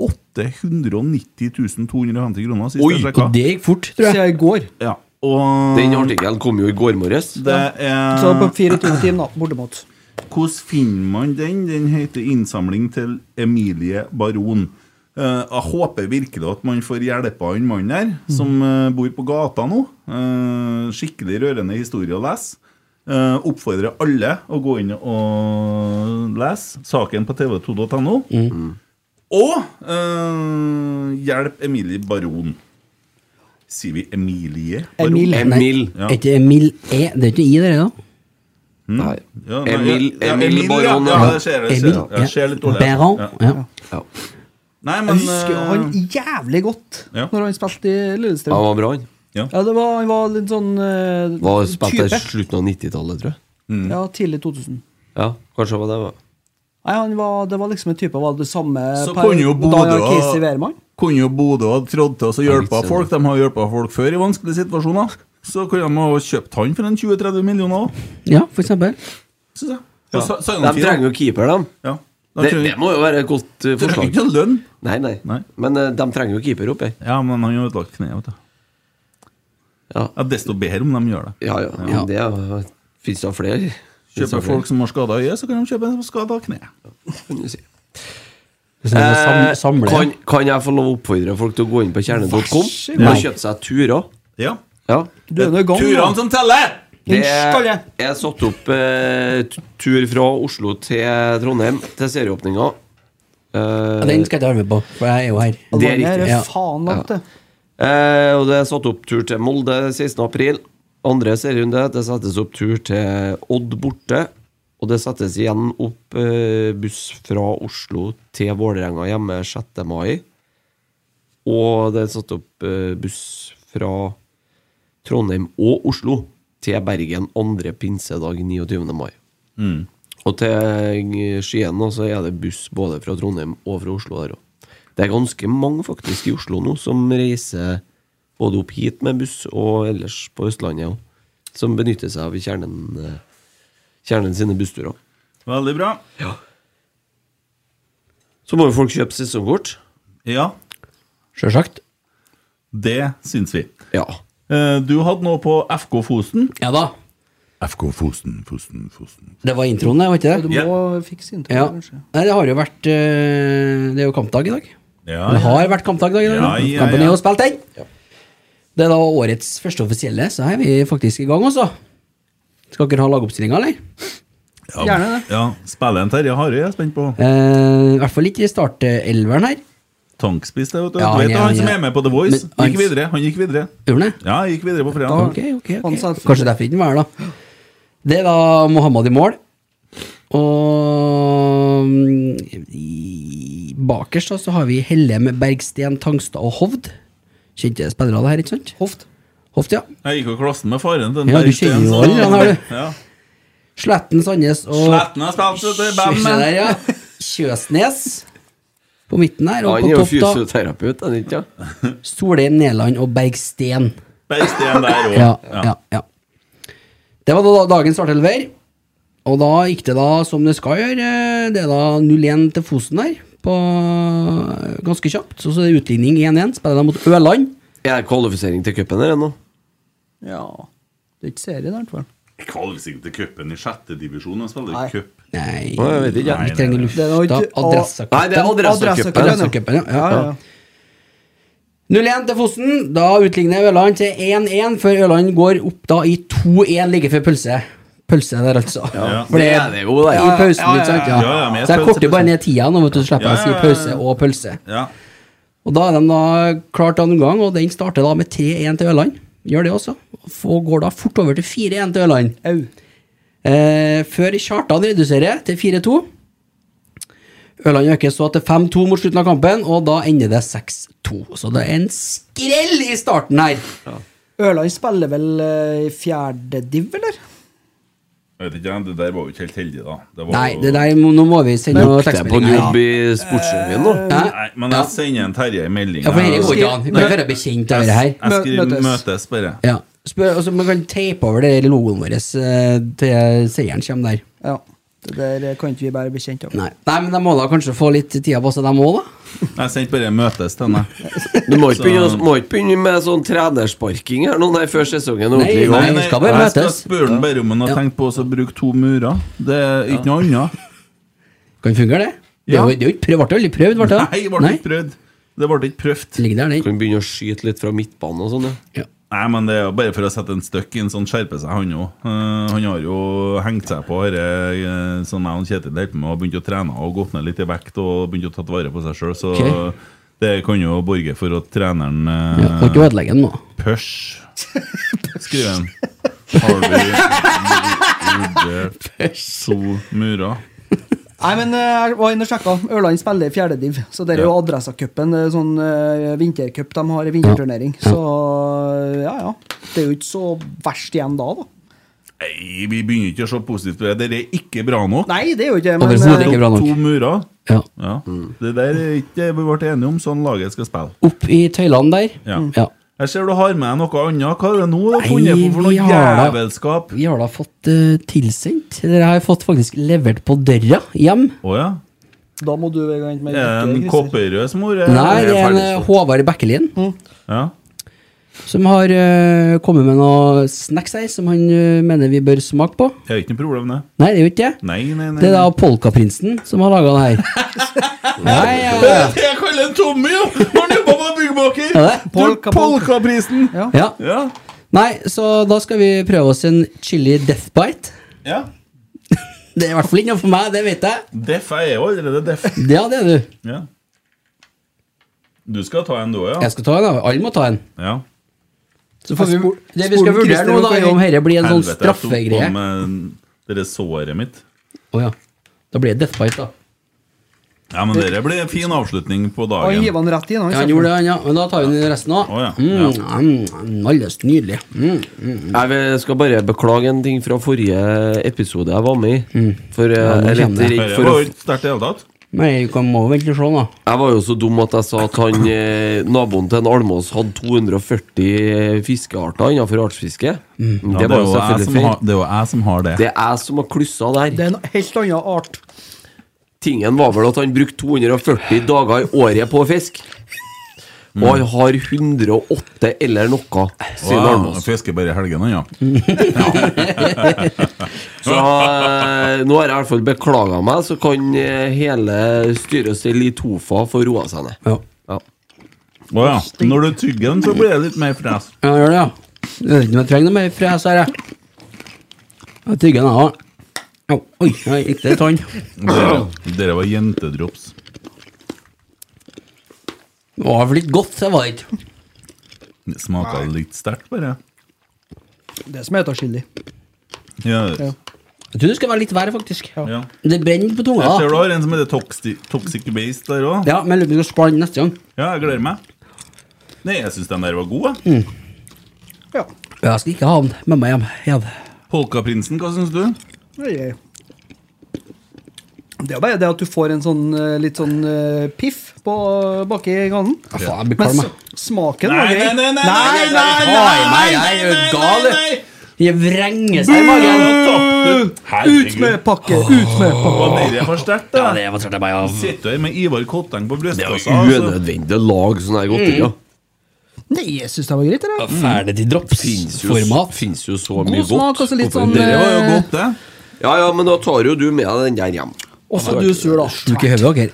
[SPEAKER 2] 890 250 kroner sist
[SPEAKER 3] Oi,
[SPEAKER 2] jeg sjekket.
[SPEAKER 3] og det gikk fort, tror jeg.
[SPEAKER 5] Siden i går.
[SPEAKER 2] Ja, og
[SPEAKER 3] Den artikkelen kom jo i går morges.
[SPEAKER 2] det er
[SPEAKER 5] Så på 24 timer, da, bortimot.
[SPEAKER 2] Hvordan finner man den? Den heter 'Innsamling til Emilie Baron'. Eh, jeg håper virkelig at man får hjelpe han mannen der, som
[SPEAKER 5] Mm.
[SPEAKER 2] eh, bor på gata nå. Eh, skikkelig rørende historie å lese. Eh, oppfordrer alle å gå inn og lese saken på tv2.no.
[SPEAKER 5] Mm.
[SPEAKER 2] Og eh, hjelp Emilie Baron. Sier vi Emilie? Baron?
[SPEAKER 6] Emil. Emil.
[SPEAKER 2] Ja.
[SPEAKER 6] Er ikke Emil E? Det er ikke i der, da?
[SPEAKER 2] Nei. Ja, nei,
[SPEAKER 3] Emil-
[SPEAKER 2] ja, ja,
[SPEAKER 3] Emil Baron,
[SPEAKER 2] Ja,
[SPEAKER 3] ja.
[SPEAKER 2] ja, det ser jeg.
[SPEAKER 6] Emil,
[SPEAKER 2] Jeg ser litt dårlig.
[SPEAKER 6] Baron, ja.
[SPEAKER 3] Ja.
[SPEAKER 2] Nei,
[SPEAKER 5] Jeg
[SPEAKER 2] men
[SPEAKER 5] husker
[SPEAKER 2] eh,
[SPEAKER 5] han jævlig godt
[SPEAKER 2] Ja.
[SPEAKER 5] når han spilte i Lillestrøm.
[SPEAKER 3] Han var bra, han.
[SPEAKER 5] Ja, det var, han var litt sånn eh,
[SPEAKER 3] Var spilt der
[SPEAKER 5] type.
[SPEAKER 3] slutten av 90-tallet, tror jeg.
[SPEAKER 5] Ja, tidlig 2000.
[SPEAKER 3] Ja, kanskje var det var.
[SPEAKER 5] Nei, han var, det var liksom en type Var det samme
[SPEAKER 2] Så kunne jo Bodø
[SPEAKER 5] Casey Wehrmann?
[SPEAKER 2] Kunne jo Bodø ha trådt til oss og hjulpet
[SPEAKER 3] litt sånn.
[SPEAKER 2] folk. De har hjulpet folk før i vanskelige situasjoner. Så kunne de ha kjøpt han for en 20-30 millioner òg,
[SPEAKER 6] Ja, for eksempel.
[SPEAKER 2] syns jeg.
[SPEAKER 3] Ja.
[SPEAKER 2] Og så- så er
[SPEAKER 3] De
[SPEAKER 2] han fin, da.
[SPEAKER 3] trenger jo keeper, de.
[SPEAKER 2] Ja. De
[SPEAKER 3] Det,
[SPEAKER 2] trenger-
[SPEAKER 3] det må jo være et godt
[SPEAKER 2] de
[SPEAKER 3] eh,
[SPEAKER 2] trenger
[SPEAKER 3] forslag.
[SPEAKER 2] ikke noe lønn.
[SPEAKER 3] Nei, nei.
[SPEAKER 2] Nei.
[SPEAKER 3] Men eh, de trenger jo keeper oppi her.
[SPEAKER 2] Ja, men han har ødelagt kneet, vet du.
[SPEAKER 3] Ja.
[SPEAKER 2] Ja, desto bedre om de gjør det.
[SPEAKER 3] Ja, ja. Men det er- finnes da flere. Finnes da
[SPEAKER 2] Kjøper
[SPEAKER 3] flere,
[SPEAKER 2] folk som har skada øye, så kan de kjøpe en skada kne.
[SPEAKER 3] kan du si.
[SPEAKER 6] Hvis man
[SPEAKER 3] Eh,
[SPEAKER 6] sam- samler
[SPEAKER 3] kan, kan jeg få lov å oppfordre folk til å gå inn på kjerne.com
[SPEAKER 5] så
[SPEAKER 3] og kjøpe seg turer?
[SPEAKER 2] Ja.
[SPEAKER 3] Ja.
[SPEAKER 5] Du er nå i gang.
[SPEAKER 2] Turene
[SPEAKER 5] da.
[SPEAKER 2] som teller!
[SPEAKER 3] Det
[SPEAKER 5] Skal
[SPEAKER 3] er,
[SPEAKER 5] jeg?
[SPEAKER 3] er satt opp eh, t- tur fra Oslo til Trondheim, til serieåpninga.
[SPEAKER 6] Ja,
[SPEAKER 3] Eh,
[SPEAKER 6] Den skal jeg ikke være med på, for jeg er jo her.
[SPEAKER 3] Det er
[SPEAKER 5] Han
[SPEAKER 3] riktig.
[SPEAKER 6] Ja.
[SPEAKER 5] faen langt, det.
[SPEAKER 3] eh, og det er satt opp tur til Molde 16.4. Andre serierunde. Det settes opp tur til Odd borte. Og det settes igjen opp eh, buss fra Oslo til Vålerenga hjemme 6. mai. Og det er satt opp eh, buss fra Trondheim og Oslo til Bergen andre pinsedag 29. mai. Og til Skien nå, så er det buss både fra Trondheim og fra Oslo der òg. Det er ganske mange faktisk i Oslo nå som reiser både opp hit med buss og ellers på Østlandet òg. Som benytter seg av kjernen, eh, kjernen sine bussturer.
[SPEAKER 2] Veldig bra.
[SPEAKER 3] Så må jo folk kjøpe sesongkort.
[SPEAKER 2] Ja,
[SPEAKER 6] Sjølsagt.
[SPEAKER 2] det syns vi.
[SPEAKER 3] Ja.
[SPEAKER 2] Eh, Du hadde noe på FK Fosen.
[SPEAKER 6] Ja da.
[SPEAKER 2] FK Fosen, Fosen, Fosen.
[SPEAKER 6] Det var introen, det, var ikke
[SPEAKER 5] Du
[SPEAKER 6] det?
[SPEAKER 5] må
[SPEAKER 2] Ja.
[SPEAKER 5] fikse introen,
[SPEAKER 6] Ja.
[SPEAKER 5] kanskje.
[SPEAKER 6] Nei, det har jo vært eh, Det er jo kampdag i dag.
[SPEAKER 2] Ja,
[SPEAKER 6] Det har vært kampdag i dag.
[SPEAKER 2] Ja,
[SPEAKER 6] da.
[SPEAKER 2] ja,
[SPEAKER 6] Kampen er
[SPEAKER 2] ja.
[SPEAKER 6] jo spilt inn. Det er da årets første offisielle, så her er vi faktisk i gang, altså. Skal dere ha lagoppstillinga, eller?
[SPEAKER 2] ja.
[SPEAKER 5] Gjerne det.
[SPEAKER 2] Ja, Spiller en Terje Harøy, jeg er spent på.
[SPEAKER 6] Eh, I hvert fall ikke i startelveren her.
[SPEAKER 2] Tankspiss, det, vet du.
[SPEAKER 6] Ja,
[SPEAKER 2] du vet
[SPEAKER 6] han er-
[SPEAKER 2] han,
[SPEAKER 6] han
[SPEAKER 2] som
[SPEAKER 6] er-
[SPEAKER 2] er med på The Voice.
[SPEAKER 6] Men han-
[SPEAKER 2] Gikk videre. Han gikk videre.
[SPEAKER 6] Gjorde den det?
[SPEAKER 2] Ja, Sånn gikk videre på fredag.
[SPEAKER 6] Ok, ok,
[SPEAKER 5] Han
[SPEAKER 6] ok.
[SPEAKER 5] sa-
[SPEAKER 6] Kanskje derfor ikke den var her, da. Det er da Mohammed i mål. Og mm, i- bakerst da, så har vi Hellem, Bergsten, Tangstad og Hovd. Kjente spillere det her, ikke sant?
[SPEAKER 5] Hoft.
[SPEAKER 6] Hovd, ja.
[SPEAKER 2] Jeg gikk jo i klassen med faren til
[SPEAKER 6] Ja, du
[SPEAKER 2] Bergsten,
[SPEAKER 6] kjenner jo
[SPEAKER 2] så-
[SPEAKER 6] alle han her, du.
[SPEAKER 2] Ja.
[SPEAKER 6] Sletten, Sandnes og
[SPEAKER 2] Sletten har spilt vet du, i band,
[SPEAKER 6] Se der,
[SPEAKER 2] men-
[SPEAKER 6] ja. Kjøsnes på midten her. Og
[SPEAKER 3] Han er jo
[SPEAKER 6] på topp,
[SPEAKER 3] fysioterapeut, er han ikke? ja?
[SPEAKER 6] da, Solheim, Neland og Bergsten.
[SPEAKER 2] Bergsten der òg.
[SPEAKER 6] Ja, ja, ja. Det var da dagens startelver. Og da gikk det da som det skal gjøre. Det er da 0-1 til eh, Fosen her, på, ganske kjapt. Så, så er det utligning 1-1. Spiller de mot Ørland.
[SPEAKER 3] Er det kvalifisering til cupen her ennå?
[SPEAKER 5] Ja Det er ikke serien, i hvert fall.
[SPEAKER 2] Kvalifisering til cupen i sjette divisjon. De spiller
[SPEAKER 5] Nei.
[SPEAKER 2] ikke cup.
[SPEAKER 6] Nei,
[SPEAKER 3] Å, jeg vet ikke.
[SPEAKER 6] vi trenger lufta.
[SPEAKER 5] Det er noe ikke-
[SPEAKER 6] Adressecupen.
[SPEAKER 3] Nei, det er Adressacupen.
[SPEAKER 6] Adressacupen, ja. ja.
[SPEAKER 5] Ja, ja.
[SPEAKER 6] 0-1 til Fosen. Da utligner Ørland til 1-1, før Ørland går opp da i 2-1 like før pølse. Pølse der, altså.
[SPEAKER 2] Ja.
[SPEAKER 6] For
[SPEAKER 3] Det er det jo, det.
[SPEAKER 6] I pausen, ikke sant? Ja.
[SPEAKER 2] Ja, ja, men jeg
[SPEAKER 6] Så jeg
[SPEAKER 2] pølse,
[SPEAKER 6] korter bare ned tida nå, vet du, så slipper
[SPEAKER 2] Ja,
[SPEAKER 6] jeg å
[SPEAKER 2] ja,
[SPEAKER 6] si
[SPEAKER 2] ja,
[SPEAKER 6] pause
[SPEAKER 2] ja.
[SPEAKER 6] og pølse.
[SPEAKER 2] Ja.
[SPEAKER 6] Og da er de da klart annen gang, og den starter da med 3-1 til Ørland. Gjør det også. Og går da fort over til 4-1 til Ørland.
[SPEAKER 5] Au.
[SPEAKER 6] Eh, før Kjartan reduserer til 4-2. Ørland øker så til 5-2 mot slutten av kampen, og da ender det 6-2. Så det er en skrell i starten her.
[SPEAKER 5] Ørland spiller vel eh, i fjerde div, eller?
[SPEAKER 2] Jeg vet ikke, Det der var jo ikke helt heldig, da. Det var
[SPEAKER 6] Nei,
[SPEAKER 2] jo-
[SPEAKER 6] det der, må- nå må vi sende noen
[SPEAKER 3] Lukter på en
[SPEAKER 6] tekstmeldinger.
[SPEAKER 3] jobb i sportsrevyen nå.
[SPEAKER 6] Hæ?
[SPEAKER 2] Nei, men jeg sender en Terje en melding.
[SPEAKER 6] Ja, for dette går
[SPEAKER 2] jeg,
[SPEAKER 6] ikke an. Vi kan ikke være bekjent av det her.
[SPEAKER 2] jeg skriver
[SPEAKER 5] Møtes.
[SPEAKER 2] 'møtes', bare.
[SPEAKER 6] Ja. Spør, altså, man kan teipe over det der logoen vår eh, til seieren kommer der.
[SPEAKER 5] Ja. Det der kan ikke vi bare bli kjent av.
[SPEAKER 6] Nei. Nei, men de må da kanskje få litt tida på seg, de òg, da?
[SPEAKER 2] Jeg sendte bare 'møtes' til henne.
[SPEAKER 3] Du <laughs> må ikke
[SPEAKER 2] Så-
[SPEAKER 3] begynne, må ikke begynne med sånn trenersparking her nå, nei, før sesongen er ordentlig i
[SPEAKER 6] Nei,
[SPEAKER 3] gang.
[SPEAKER 6] vi skal bare
[SPEAKER 2] jeg skal
[SPEAKER 6] møtes.
[SPEAKER 2] spørre han bare om han har
[SPEAKER 6] Ja.
[SPEAKER 2] tenkt på å bruke to murer. Det er ikke noe annet.
[SPEAKER 6] Kan fungere, det? Det er
[SPEAKER 2] Ja.
[SPEAKER 6] jo- det er jo ikke prøvd, ble det aldri prøvd? Ble det?
[SPEAKER 2] Nei, det ble ikke prøvd. Det ble ikke prøvd.
[SPEAKER 6] Ligger der, den.
[SPEAKER 3] Kan begynne å skyte litt fra midtbanen og sånn, ja.
[SPEAKER 6] Ja.
[SPEAKER 2] Nei, men det er jo bare for å sette en støkk i en sånn skjerpe seg, han òg. han har jo hengt seg på dette eh, som jeg og Kjetil holder på med, og begynt å trene og gått ned litt i vekt og begynt å ta vare på seg sjøl, så
[SPEAKER 6] Ok.
[SPEAKER 2] det kan jo borge for at treneren
[SPEAKER 6] Ja,
[SPEAKER 2] eh,
[SPEAKER 6] Kan ikke ødelegge den nå.
[SPEAKER 2] Push. Skriver han. Harvey Sol Mura.
[SPEAKER 5] Nei, men eh, jeg var inne og sjekka. Ørland spiller i fjerde div. Så det er jo
[SPEAKER 2] Ja.
[SPEAKER 5] Adressacupen, eh, sånn eh, vintercup de har i vinterturnering. Så eh, ja, ja. Det er jo ikke så verst igjen da, da.
[SPEAKER 2] Nei, vi begynner ikke å se positivt på det. Dere er ikke bra nok.
[SPEAKER 5] Nei, det er jo ikke det,
[SPEAKER 6] Overhodet
[SPEAKER 5] men
[SPEAKER 6] ikke.
[SPEAKER 5] eh,
[SPEAKER 6] bra nok. Mm.
[SPEAKER 2] To murer.
[SPEAKER 6] Ja.
[SPEAKER 2] Ja. Det der er ikke det vi ble enige om, sånn laget skal spille.
[SPEAKER 6] Opp i tøylene der.
[SPEAKER 2] Ja.
[SPEAKER 5] Mm.
[SPEAKER 6] Ja.
[SPEAKER 2] Jeg ser du har med deg noe annet. Hva er det nå du har
[SPEAKER 6] Nei,
[SPEAKER 2] funnet på for
[SPEAKER 6] vi
[SPEAKER 2] noe
[SPEAKER 6] har da-
[SPEAKER 2] jævelskap?
[SPEAKER 6] Vi har da fått eh, tilsendt Dere har fått faktisk levert på døra hjem.
[SPEAKER 2] Å ja?
[SPEAKER 5] da må du vente med
[SPEAKER 2] Er det en
[SPEAKER 5] Christer.
[SPEAKER 2] kopperød som har vært
[SPEAKER 6] Nei, det er en eh, Håvard Bekkelien
[SPEAKER 5] Mm.
[SPEAKER 2] Ja.
[SPEAKER 6] som har eh, kommet med noe snacks her som han eh, mener vi bør smake på.
[SPEAKER 2] Det er ikke noe problem, det.
[SPEAKER 6] Nei, det er jo ikke det.
[SPEAKER 2] Nei, nei, nei.
[SPEAKER 6] Det er da Polkaprinsen som har laga det her. Nei, ja, ja.
[SPEAKER 2] <laughs> Jeg kaller den Tommy, jo! Han jobba på byggmaker!
[SPEAKER 6] Ja, det.
[SPEAKER 2] Du, Polkaprisen! Ja.
[SPEAKER 6] ja. Nei, så da skal vi prøve oss en chili death bite.
[SPEAKER 2] ja.
[SPEAKER 6] Det er i hvert fall ikke noe for meg, det vet jeg.
[SPEAKER 2] Deff er jo allerede deff.
[SPEAKER 6] Ja, det er du.
[SPEAKER 2] Ja. Du skal ta en, du òg, ja?
[SPEAKER 6] Jeg skal ta en, da. Alle må ta en.
[SPEAKER 2] ja.
[SPEAKER 6] Så får vi,
[SPEAKER 5] Jeg spor-
[SPEAKER 6] det vi skal
[SPEAKER 5] spor-
[SPEAKER 6] vurdere nå, da, er jo om dette blir en
[SPEAKER 2] Helvete,
[SPEAKER 6] sånn
[SPEAKER 2] jeg tok på
[SPEAKER 6] straffegreie.
[SPEAKER 2] med Dere såret mitt.
[SPEAKER 6] Å ja. Da blir det death bite, da.
[SPEAKER 2] Ja, men dere blir en fin avslutning på
[SPEAKER 5] Og
[SPEAKER 2] dagen.
[SPEAKER 5] hive han rett inn. Han,
[SPEAKER 6] Ja, han gjorde det, han, ja. Men da tar vi den resten òg.
[SPEAKER 2] Å, ja.
[SPEAKER 6] Mm, mm, mm, alles nydelig. Mm.
[SPEAKER 3] Jeg vil- skal bare beklage en ting fra forrige episode jeg var med i. For eh, jeg er
[SPEAKER 6] nå
[SPEAKER 3] litt
[SPEAKER 6] kommer det.
[SPEAKER 3] redd
[SPEAKER 2] Dere
[SPEAKER 3] for
[SPEAKER 2] var
[SPEAKER 3] å
[SPEAKER 2] jo ikke sterkt i det hele tatt.
[SPEAKER 6] Nei, du kan må vente og se, da.
[SPEAKER 3] Jeg var jo så dum at jeg sa at han, eh, naboen til en Almås hadde 240 fiskearter innenfor artsfiske.
[SPEAKER 2] Ja,
[SPEAKER 3] det var
[SPEAKER 2] jeg
[SPEAKER 3] jo selvfølgelig
[SPEAKER 2] som har,
[SPEAKER 3] feil.
[SPEAKER 2] det er jo jeg som har det.
[SPEAKER 3] Det er jeg som har klussa der.
[SPEAKER 5] Det er en helt annen art.
[SPEAKER 3] Tingen var vel at han brukte 240 dager i året på fisk. Og han har 108 eller noe, sier
[SPEAKER 2] Wow,
[SPEAKER 3] Almås.
[SPEAKER 2] fisker bare i helgene, ja.
[SPEAKER 3] Så eh, nå har jeg i hvert fall beklaga meg, så kan eh, hele styret stille i tofa få roa seg ned.
[SPEAKER 6] Ja,
[SPEAKER 3] Ja.
[SPEAKER 2] Å ja. Når du tygger den, så blir det litt mer fres.
[SPEAKER 6] ja gjør det, ja. Jeg vet ikke om jeg trenger noe mer fres her, jeg. Jeg tygger den av. Au, Oi, jeg gikk det i tann.
[SPEAKER 2] Dere, dere var jentedrops.
[SPEAKER 6] Det var vel litt godt, det var det ikke.
[SPEAKER 2] Det Smaka litt sterkt, bare.
[SPEAKER 5] Det som heter chili.
[SPEAKER 2] Ja.
[SPEAKER 5] Ja.
[SPEAKER 6] Jeg tror det skal være litt verre, faktisk.
[SPEAKER 2] Ja.
[SPEAKER 6] Det brenner på tunga.
[SPEAKER 2] Jeg ser du
[SPEAKER 6] da.
[SPEAKER 2] har en som heter Toxic, toxic Waste der òg.
[SPEAKER 6] Ja, men jeg lurer på om vi skal spare den neste gang.
[SPEAKER 2] Ja, jeg gleder meg. Nei, jeg syns den der var god. jeg.
[SPEAKER 5] Ja.
[SPEAKER 6] Ja, Jeg skal ikke ha den med meg hjem. Ja.
[SPEAKER 2] Polkaprinsen, hva syns du?
[SPEAKER 5] Oi, oi. Det er bare det at du får en sånn eh, litt sånn eh, piff på, baki ganen.
[SPEAKER 6] Ja, faen, jeg blir
[SPEAKER 5] Men
[SPEAKER 6] kvalm,
[SPEAKER 5] s- smaken
[SPEAKER 2] Nei,
[SPEAKER 5] var grei.
[SPEAKER 2] nei, nei, nei, nei, nei,
[SPEAKER 6] Nei, nei, jeg er jo gal, jeg. Jeg vrenger seg i magen.
[SPEAKER 5] Ut med pakke! Ut med pakke!
[SPEAKER 2] Var dere for sterkt,
[SPEAKER 6] Ja,
[SPEAKER 2] da?
[SPEAKER 6] det var jeg bare av.
[SPEAKER 2] Sitter her med Ivar Kotteng på altså.
[SPEAKER 3] Det er altså.
[SPEAKER 2] brystkassa.
[SPEAKER 3] jo unødvendig lag sånn her godt. Ja.
[SPEAKER 5] Nei, jeg syns det var greit,
[SPEAKER 6] Ja,
[SPEAKER 5] eller?
[SPEAKER 6] Ferdig til drops-format.
[SPEAKER 3] Fins jo så
[SPEAKER 5] God
[SPEAKER 3] mye
[SPEAKER 5] smak,
[SPEAKER 3] godt.
[SPEAKER 5] altså litt
[SPEAKER 3] Hvorfor-
[SPEAKER 5] sånn,
[SPEAKER 3] Dere var jo
[SPEAKER 5] eh,
[SPEAKER 3] godt, det. Ja, ja, men da tar jo du med deg den der hjem.
[SPEAKER 5] Og så du sur, da.
[SPEAKER 6] Sluk i hodet dere.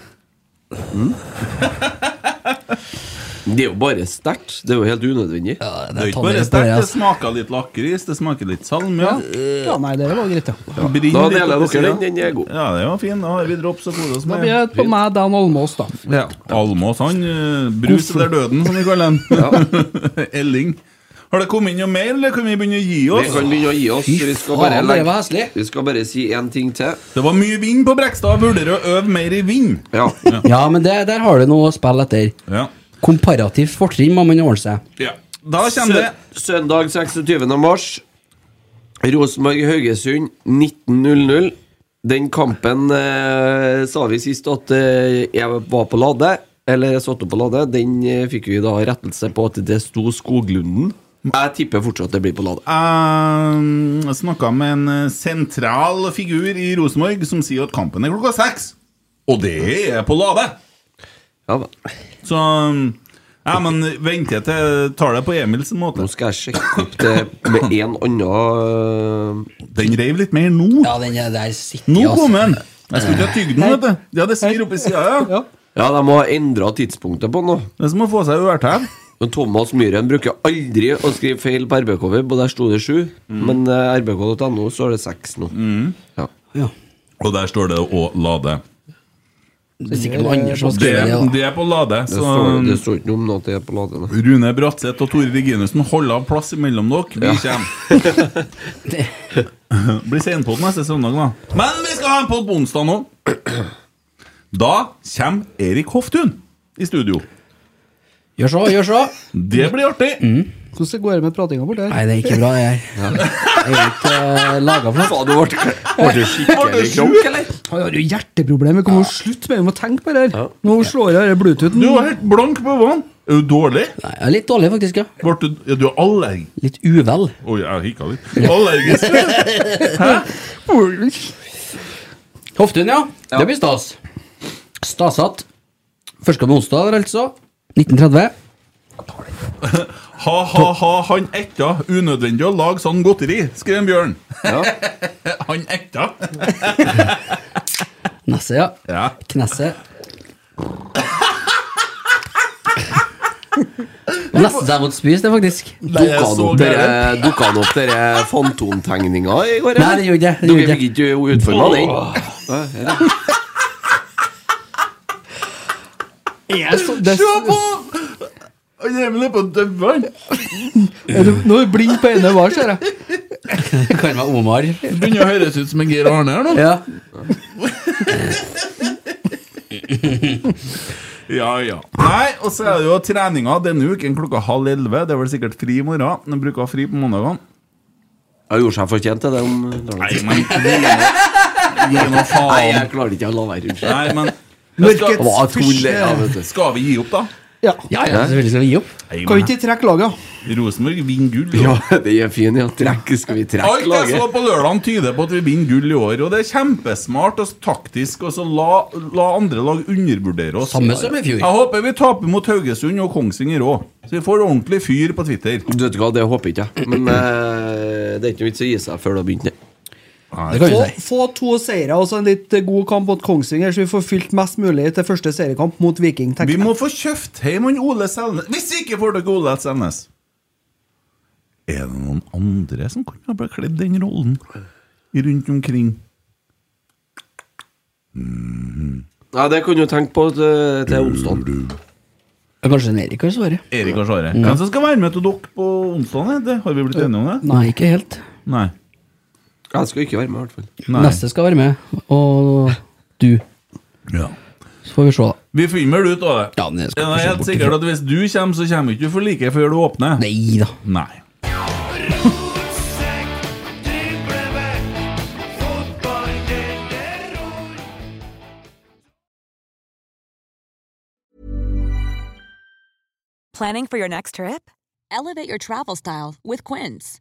[SPEAKER 3] Det er jo bare sterkt. Det er jo helt unødvendig.
[SPEAKER 2] Det er ikke bare sterkt, altså. det smaker litt lakris, det smaker litt salmiakk.
[SPEAKER 5] Ja, nei, det var greit, ja.
[SPEAKER 2] Ja. Brinner
[SPEAKER 3] Da
[SPEAKER 2] litt
[SPEAKER 3] deler
[SPEAKER 2] oppi
[SPEAKER 3] dere den,
[SPEAKER 2] siden.
[SPEAKER 3] den er god.
[SPEAKER 2] Ja, det var fin. Da har vi drops og koder
[SPEAKER 5] Da
[SPEAKER 2] som
[SPEAKER 5] blir
[SPEAKER 2] er
[SPEAKER 5] det på meg Dan Almås, da.
[SPEAKER 2] ja. Almås, han. eh, Brus eller døden, som vi kaller den. <laughs> Elling. Har det kommet inn noe mer, eller kan vi begynne å gi
[SPEAKER 3] Vi
[SPEAKER 2] oss?
[SPEAKER 3] kan begynne å gi oss. Vi skal bare,
[SPEAKER 6] Faen, det var
[SPEAKER 3] legge,
[SPEAKER 6] heslig.
[SPEAKER 3] vi skal bare si én ting til.
[SPEAKER 2] Det var mye vind på Brekstad. Vurderer å øve mer i vind.
[SPEAKER 3] Ja. <laughs>
[SPEAKER 6] Ja, men det, der har du noe å spille etter.
[SPEAKER 2] Ja.
[SPEAKER 6] Komparativt fortrinn må man ordne seg.
[SPEAKER 2] Da kommer det
[SPEAKER 3] Sø- Søndag 26. mars. Rosenborg-Haugesund 19.00. Den kampen eh, sa vi sist at eh, jeg var på Lade. Eller jeg satt opp på Lade. Den eh, fikk vi da rettelse på at det sto Skoglunden. Jeg tipper fortsatt det blir på Lade.
[SPEAKER 2] Ehm, Jeg snakka med en eh, sentral figur i Rosenborg som sier at kampen er klokka seks. Og det er på Lade!
[SPEAKER 3] Ja, vel.
[SPEAKER 2] Så um, Ja, men venter jeg til tar det på Emils måte.
[SPEAKER 3] nå skal jeg sjekke opp det med en annen eh,
[SPEAKER 2] Den reiv litt mer nå.
[SPEAKER 6] Ja, den er der sitter
[SPEAKER 2] Nå
[SPEAKER 6] jeg, altså.
[SPEAKER 2] kom den! Jeg skulle ikke ha tygd den, vet du. Ja, det svir oppi sida, ja.
[SPEAKER 3] Ja, de må ha endra tidspunktet på den nå.
[SPEAKER 2] Det er som å få seg ørtau.
[SPEAKER 3] Men Thomas Myhren bruker aldri å skrive feil på RBK-vi, og der sto det sju. Men eh, rbk.no så er det seks nå. Ja.
[SPEAKER 6] Ja.
[SPEAKER 2] Og der står det å lade.
[SPEAKER 6] Det er sikkert noen andre som har
[SPEAKER 2] Det,
[SPEAKER 6] skrevet det. da.
[SPEAKER 2] det er på Lade.
[SPEAKER 3] Det, står, det
[SPEAKER 2] Så um,
[SPEAKER 3] står ikke noe om noe at det er på ladene.
[SPEAKER 2] Rune Bratseth og Tore Reginussen, hold av plass imellom dere. Vi kommer. Blir senpod neste søndag, da. Men vi skal ha en pod på onsdag nå. Da kommer Erik Hoftun i studio.
[SPEAKER 6] Gjør så, gjør så.
[SPEAKER 2] Det blir artig.
[SPEAKER 5] Hvordan går det med pratinga borti her?
[SPEAKER 6] Nei, det er ikke bra, det her. Jeg er ikke uh, laga for det.
[SPEAKER 3] Faen, du ble, ble du skikkelig kronk, eller?
[SPEAKER 5] Han har jo hjerteproblemer. Kan må slutte med det, vi må tenke på det her. Nå slår jeg bluetoothen.
[SPEAKER 2] Du var helt blank på vann. Er du dårlig?
[SPEAKER 6] Nei, jeg er litt dårlig, faktisk. ja
[SPEAKER 2] Ble du, ja, du er allerg...
[SPEAKER 6] Litt uvel.
[SPEAKER 2] Oi, jeg hikka litt. Allergisk?
[SPEAKER 6] Hoftun, ja. Det blir stas. Stasatt. Førstkommende onsdag, der, altså. 1930.
[SPEAKER 2] Ha-ha-ha, han ekta. Unødvendig å lage sånn godteri, skrev en Bjørn.
[SPEAKER 3] Ja.
[SPEAKER 2] <laughs> Han ekta.
[SPEAKER 6] Nesset, ja.
[SPEAKER 2] Ja.
[SPEAKER 6] <laughs> Knesset. Nesten så jeg måtte spise det, faktisk.
[SPEAKER 2] Det er
[SPEAKER 3] Dukka han
[SPEAKER 2] så
[SPEAKER 3] opp dere,
[SPEAKER 2] gærent.
[SPEAKER 3] dukka han opp dere fantomtegninga i går?
[SPEAKER 6] Nei, det gjorde ikke det.
[SPEAKER 3] Dere
[SPEAKER 6] Gjorde
[SPEAKER 3] fikk
[SPEAKER 6] ikke.
[SPEAKER 3] ikke utforma den?
[SPEAKER 5] Jeg så- det-
[SPEAKER 2] Se på! Han Emil er på døveren.
[SPEAKER 5] Er du- Nå er du blind på ene hva, ser jeg.
[SPEAKER 6] Jeg kaller meg Omar.
[SPEAKER 2] Begynner å høres ut som en Geir Arne her nå.
[SPEAKER 6] Ja.
[SPEAKER 2] Ja, ja. Nei, og så er det jo treninga denne uken klokka halv elleve. Det er vel sikkert fri i morgen. De bruker å ha fri på mandagene.
[SPEAKER 3] Jeg gjorde seg fortjent til det. Om,
[SPEAKER 2] Nei, men Gi nå
[SPEAKER 3] Nei,
[SPEAKER 2] faen.
[SPEAKER 3] jeg klarer ikke å la være. Unnskyld.
[SPEAKER 2] Nei, men
[SPEAKER 3] Det var et horn, ja, vet du.
[SPEAKER 2] Skal vi gi opp, da?
[SPEAKER 5] Ja.
[SPEAKER 6] ja, ja, selvfølgelig skal vi gi opp.
[SPEAKER 2] Nei,
[SPEAKER 5] Kan vi ikke trekke laget?
[SPEAKER 2] Rosenborg vinner gull.
[SPEAKER 3] <laughs> Ja,
[SPEAKER 2] Ja.
[SPEAKER 3] det er fin, ja. Trekk, skal vi
[SPEAKER 2] Alt
[SPEAKER 3] trekke
[SPEAKER 2] jeg så
[SPEAKER 3] laget?
[SPEAKER 2] på lørdagen tyder på at vi vinner gull i år. Og det er kjempesmart og taktisk. Og så la, la andre lag undervurdere oss.
[SPEAKER 6] Samme som i fjor.
[SPEAKER 2] Jeg håper vi taper mot Haugesund og Kongsvinger òg. Så vi får ordentlig fyr på Twitter.
[SPEAKER 3] Du vet hva, det håper ikke jeg. Men eh, det er ikke noe vits i å gi seg før det har begynt. det.
[SPEAKER 6] Det kan vi
[SPEAKER 5] Få,
[SPEAKER 6] si.
[SPEAKER 5] få to seire og så en litt eh, god kamp mot Kongsvinger, så vi får fylt mest mulig til første seriekamp mot Viking. tenker
[SPEAKER 2] Vi
[SPEAKER 5] jeg.
[SPEAKER 2] må få kjøpt hjem han Ole Selnes. Hvis vi ikke får tak i Ole Selnes Er det noen andre som kunne ha bekledd den rollen rundt omkring?
[SPEAKER 3] Nei, det kan du tenke på til, til onsdag.
[SPEAKER 6] Ja, Kanskje en Erik kan svare?
[SPEAKER 2] Erik og Svare. Hvem som skal være med til dere på onsdag? Det har vi blitt enige om det?
[SPEAKER 6] Nei, ikke helt.
[SPEAKER 2] Nei.
[SPEAKER 3] Jeg skal ikke være med, i hvert fall.
[SPEAKER 2] Nei.
[SPEAKER 6] Neste skal være med, og du.
[SPEAKER 2] Ja.
[SPEAKER 6] Så får vi se, da.
[SPEAKER 2] Vi finner vel ut av det.
[SPEAKER 6] Ja, men jeg skal
[SPEAKER 2] Jeg
[SPEAKER 6] ikke
[SPEAKER 2] er
[SPEAKER 6] se
[SPEAKER 2] helt
[SPEAKER 6] bort
[SPEAKER 2] sikker
[SPEAKER 6] ifra.
[SPEAKER 2] at hvis du kommer, så kommer ikke du for like før du åpner.
[SPEAKER 6] Nei da.
[SPEAKER 2] Nei.
[SPEAKER 1] Rotsekk, driblebekk, fotball, det er rot.
[SPEAKER 7] Planning for your next trip? Elevate your travel style with Quince.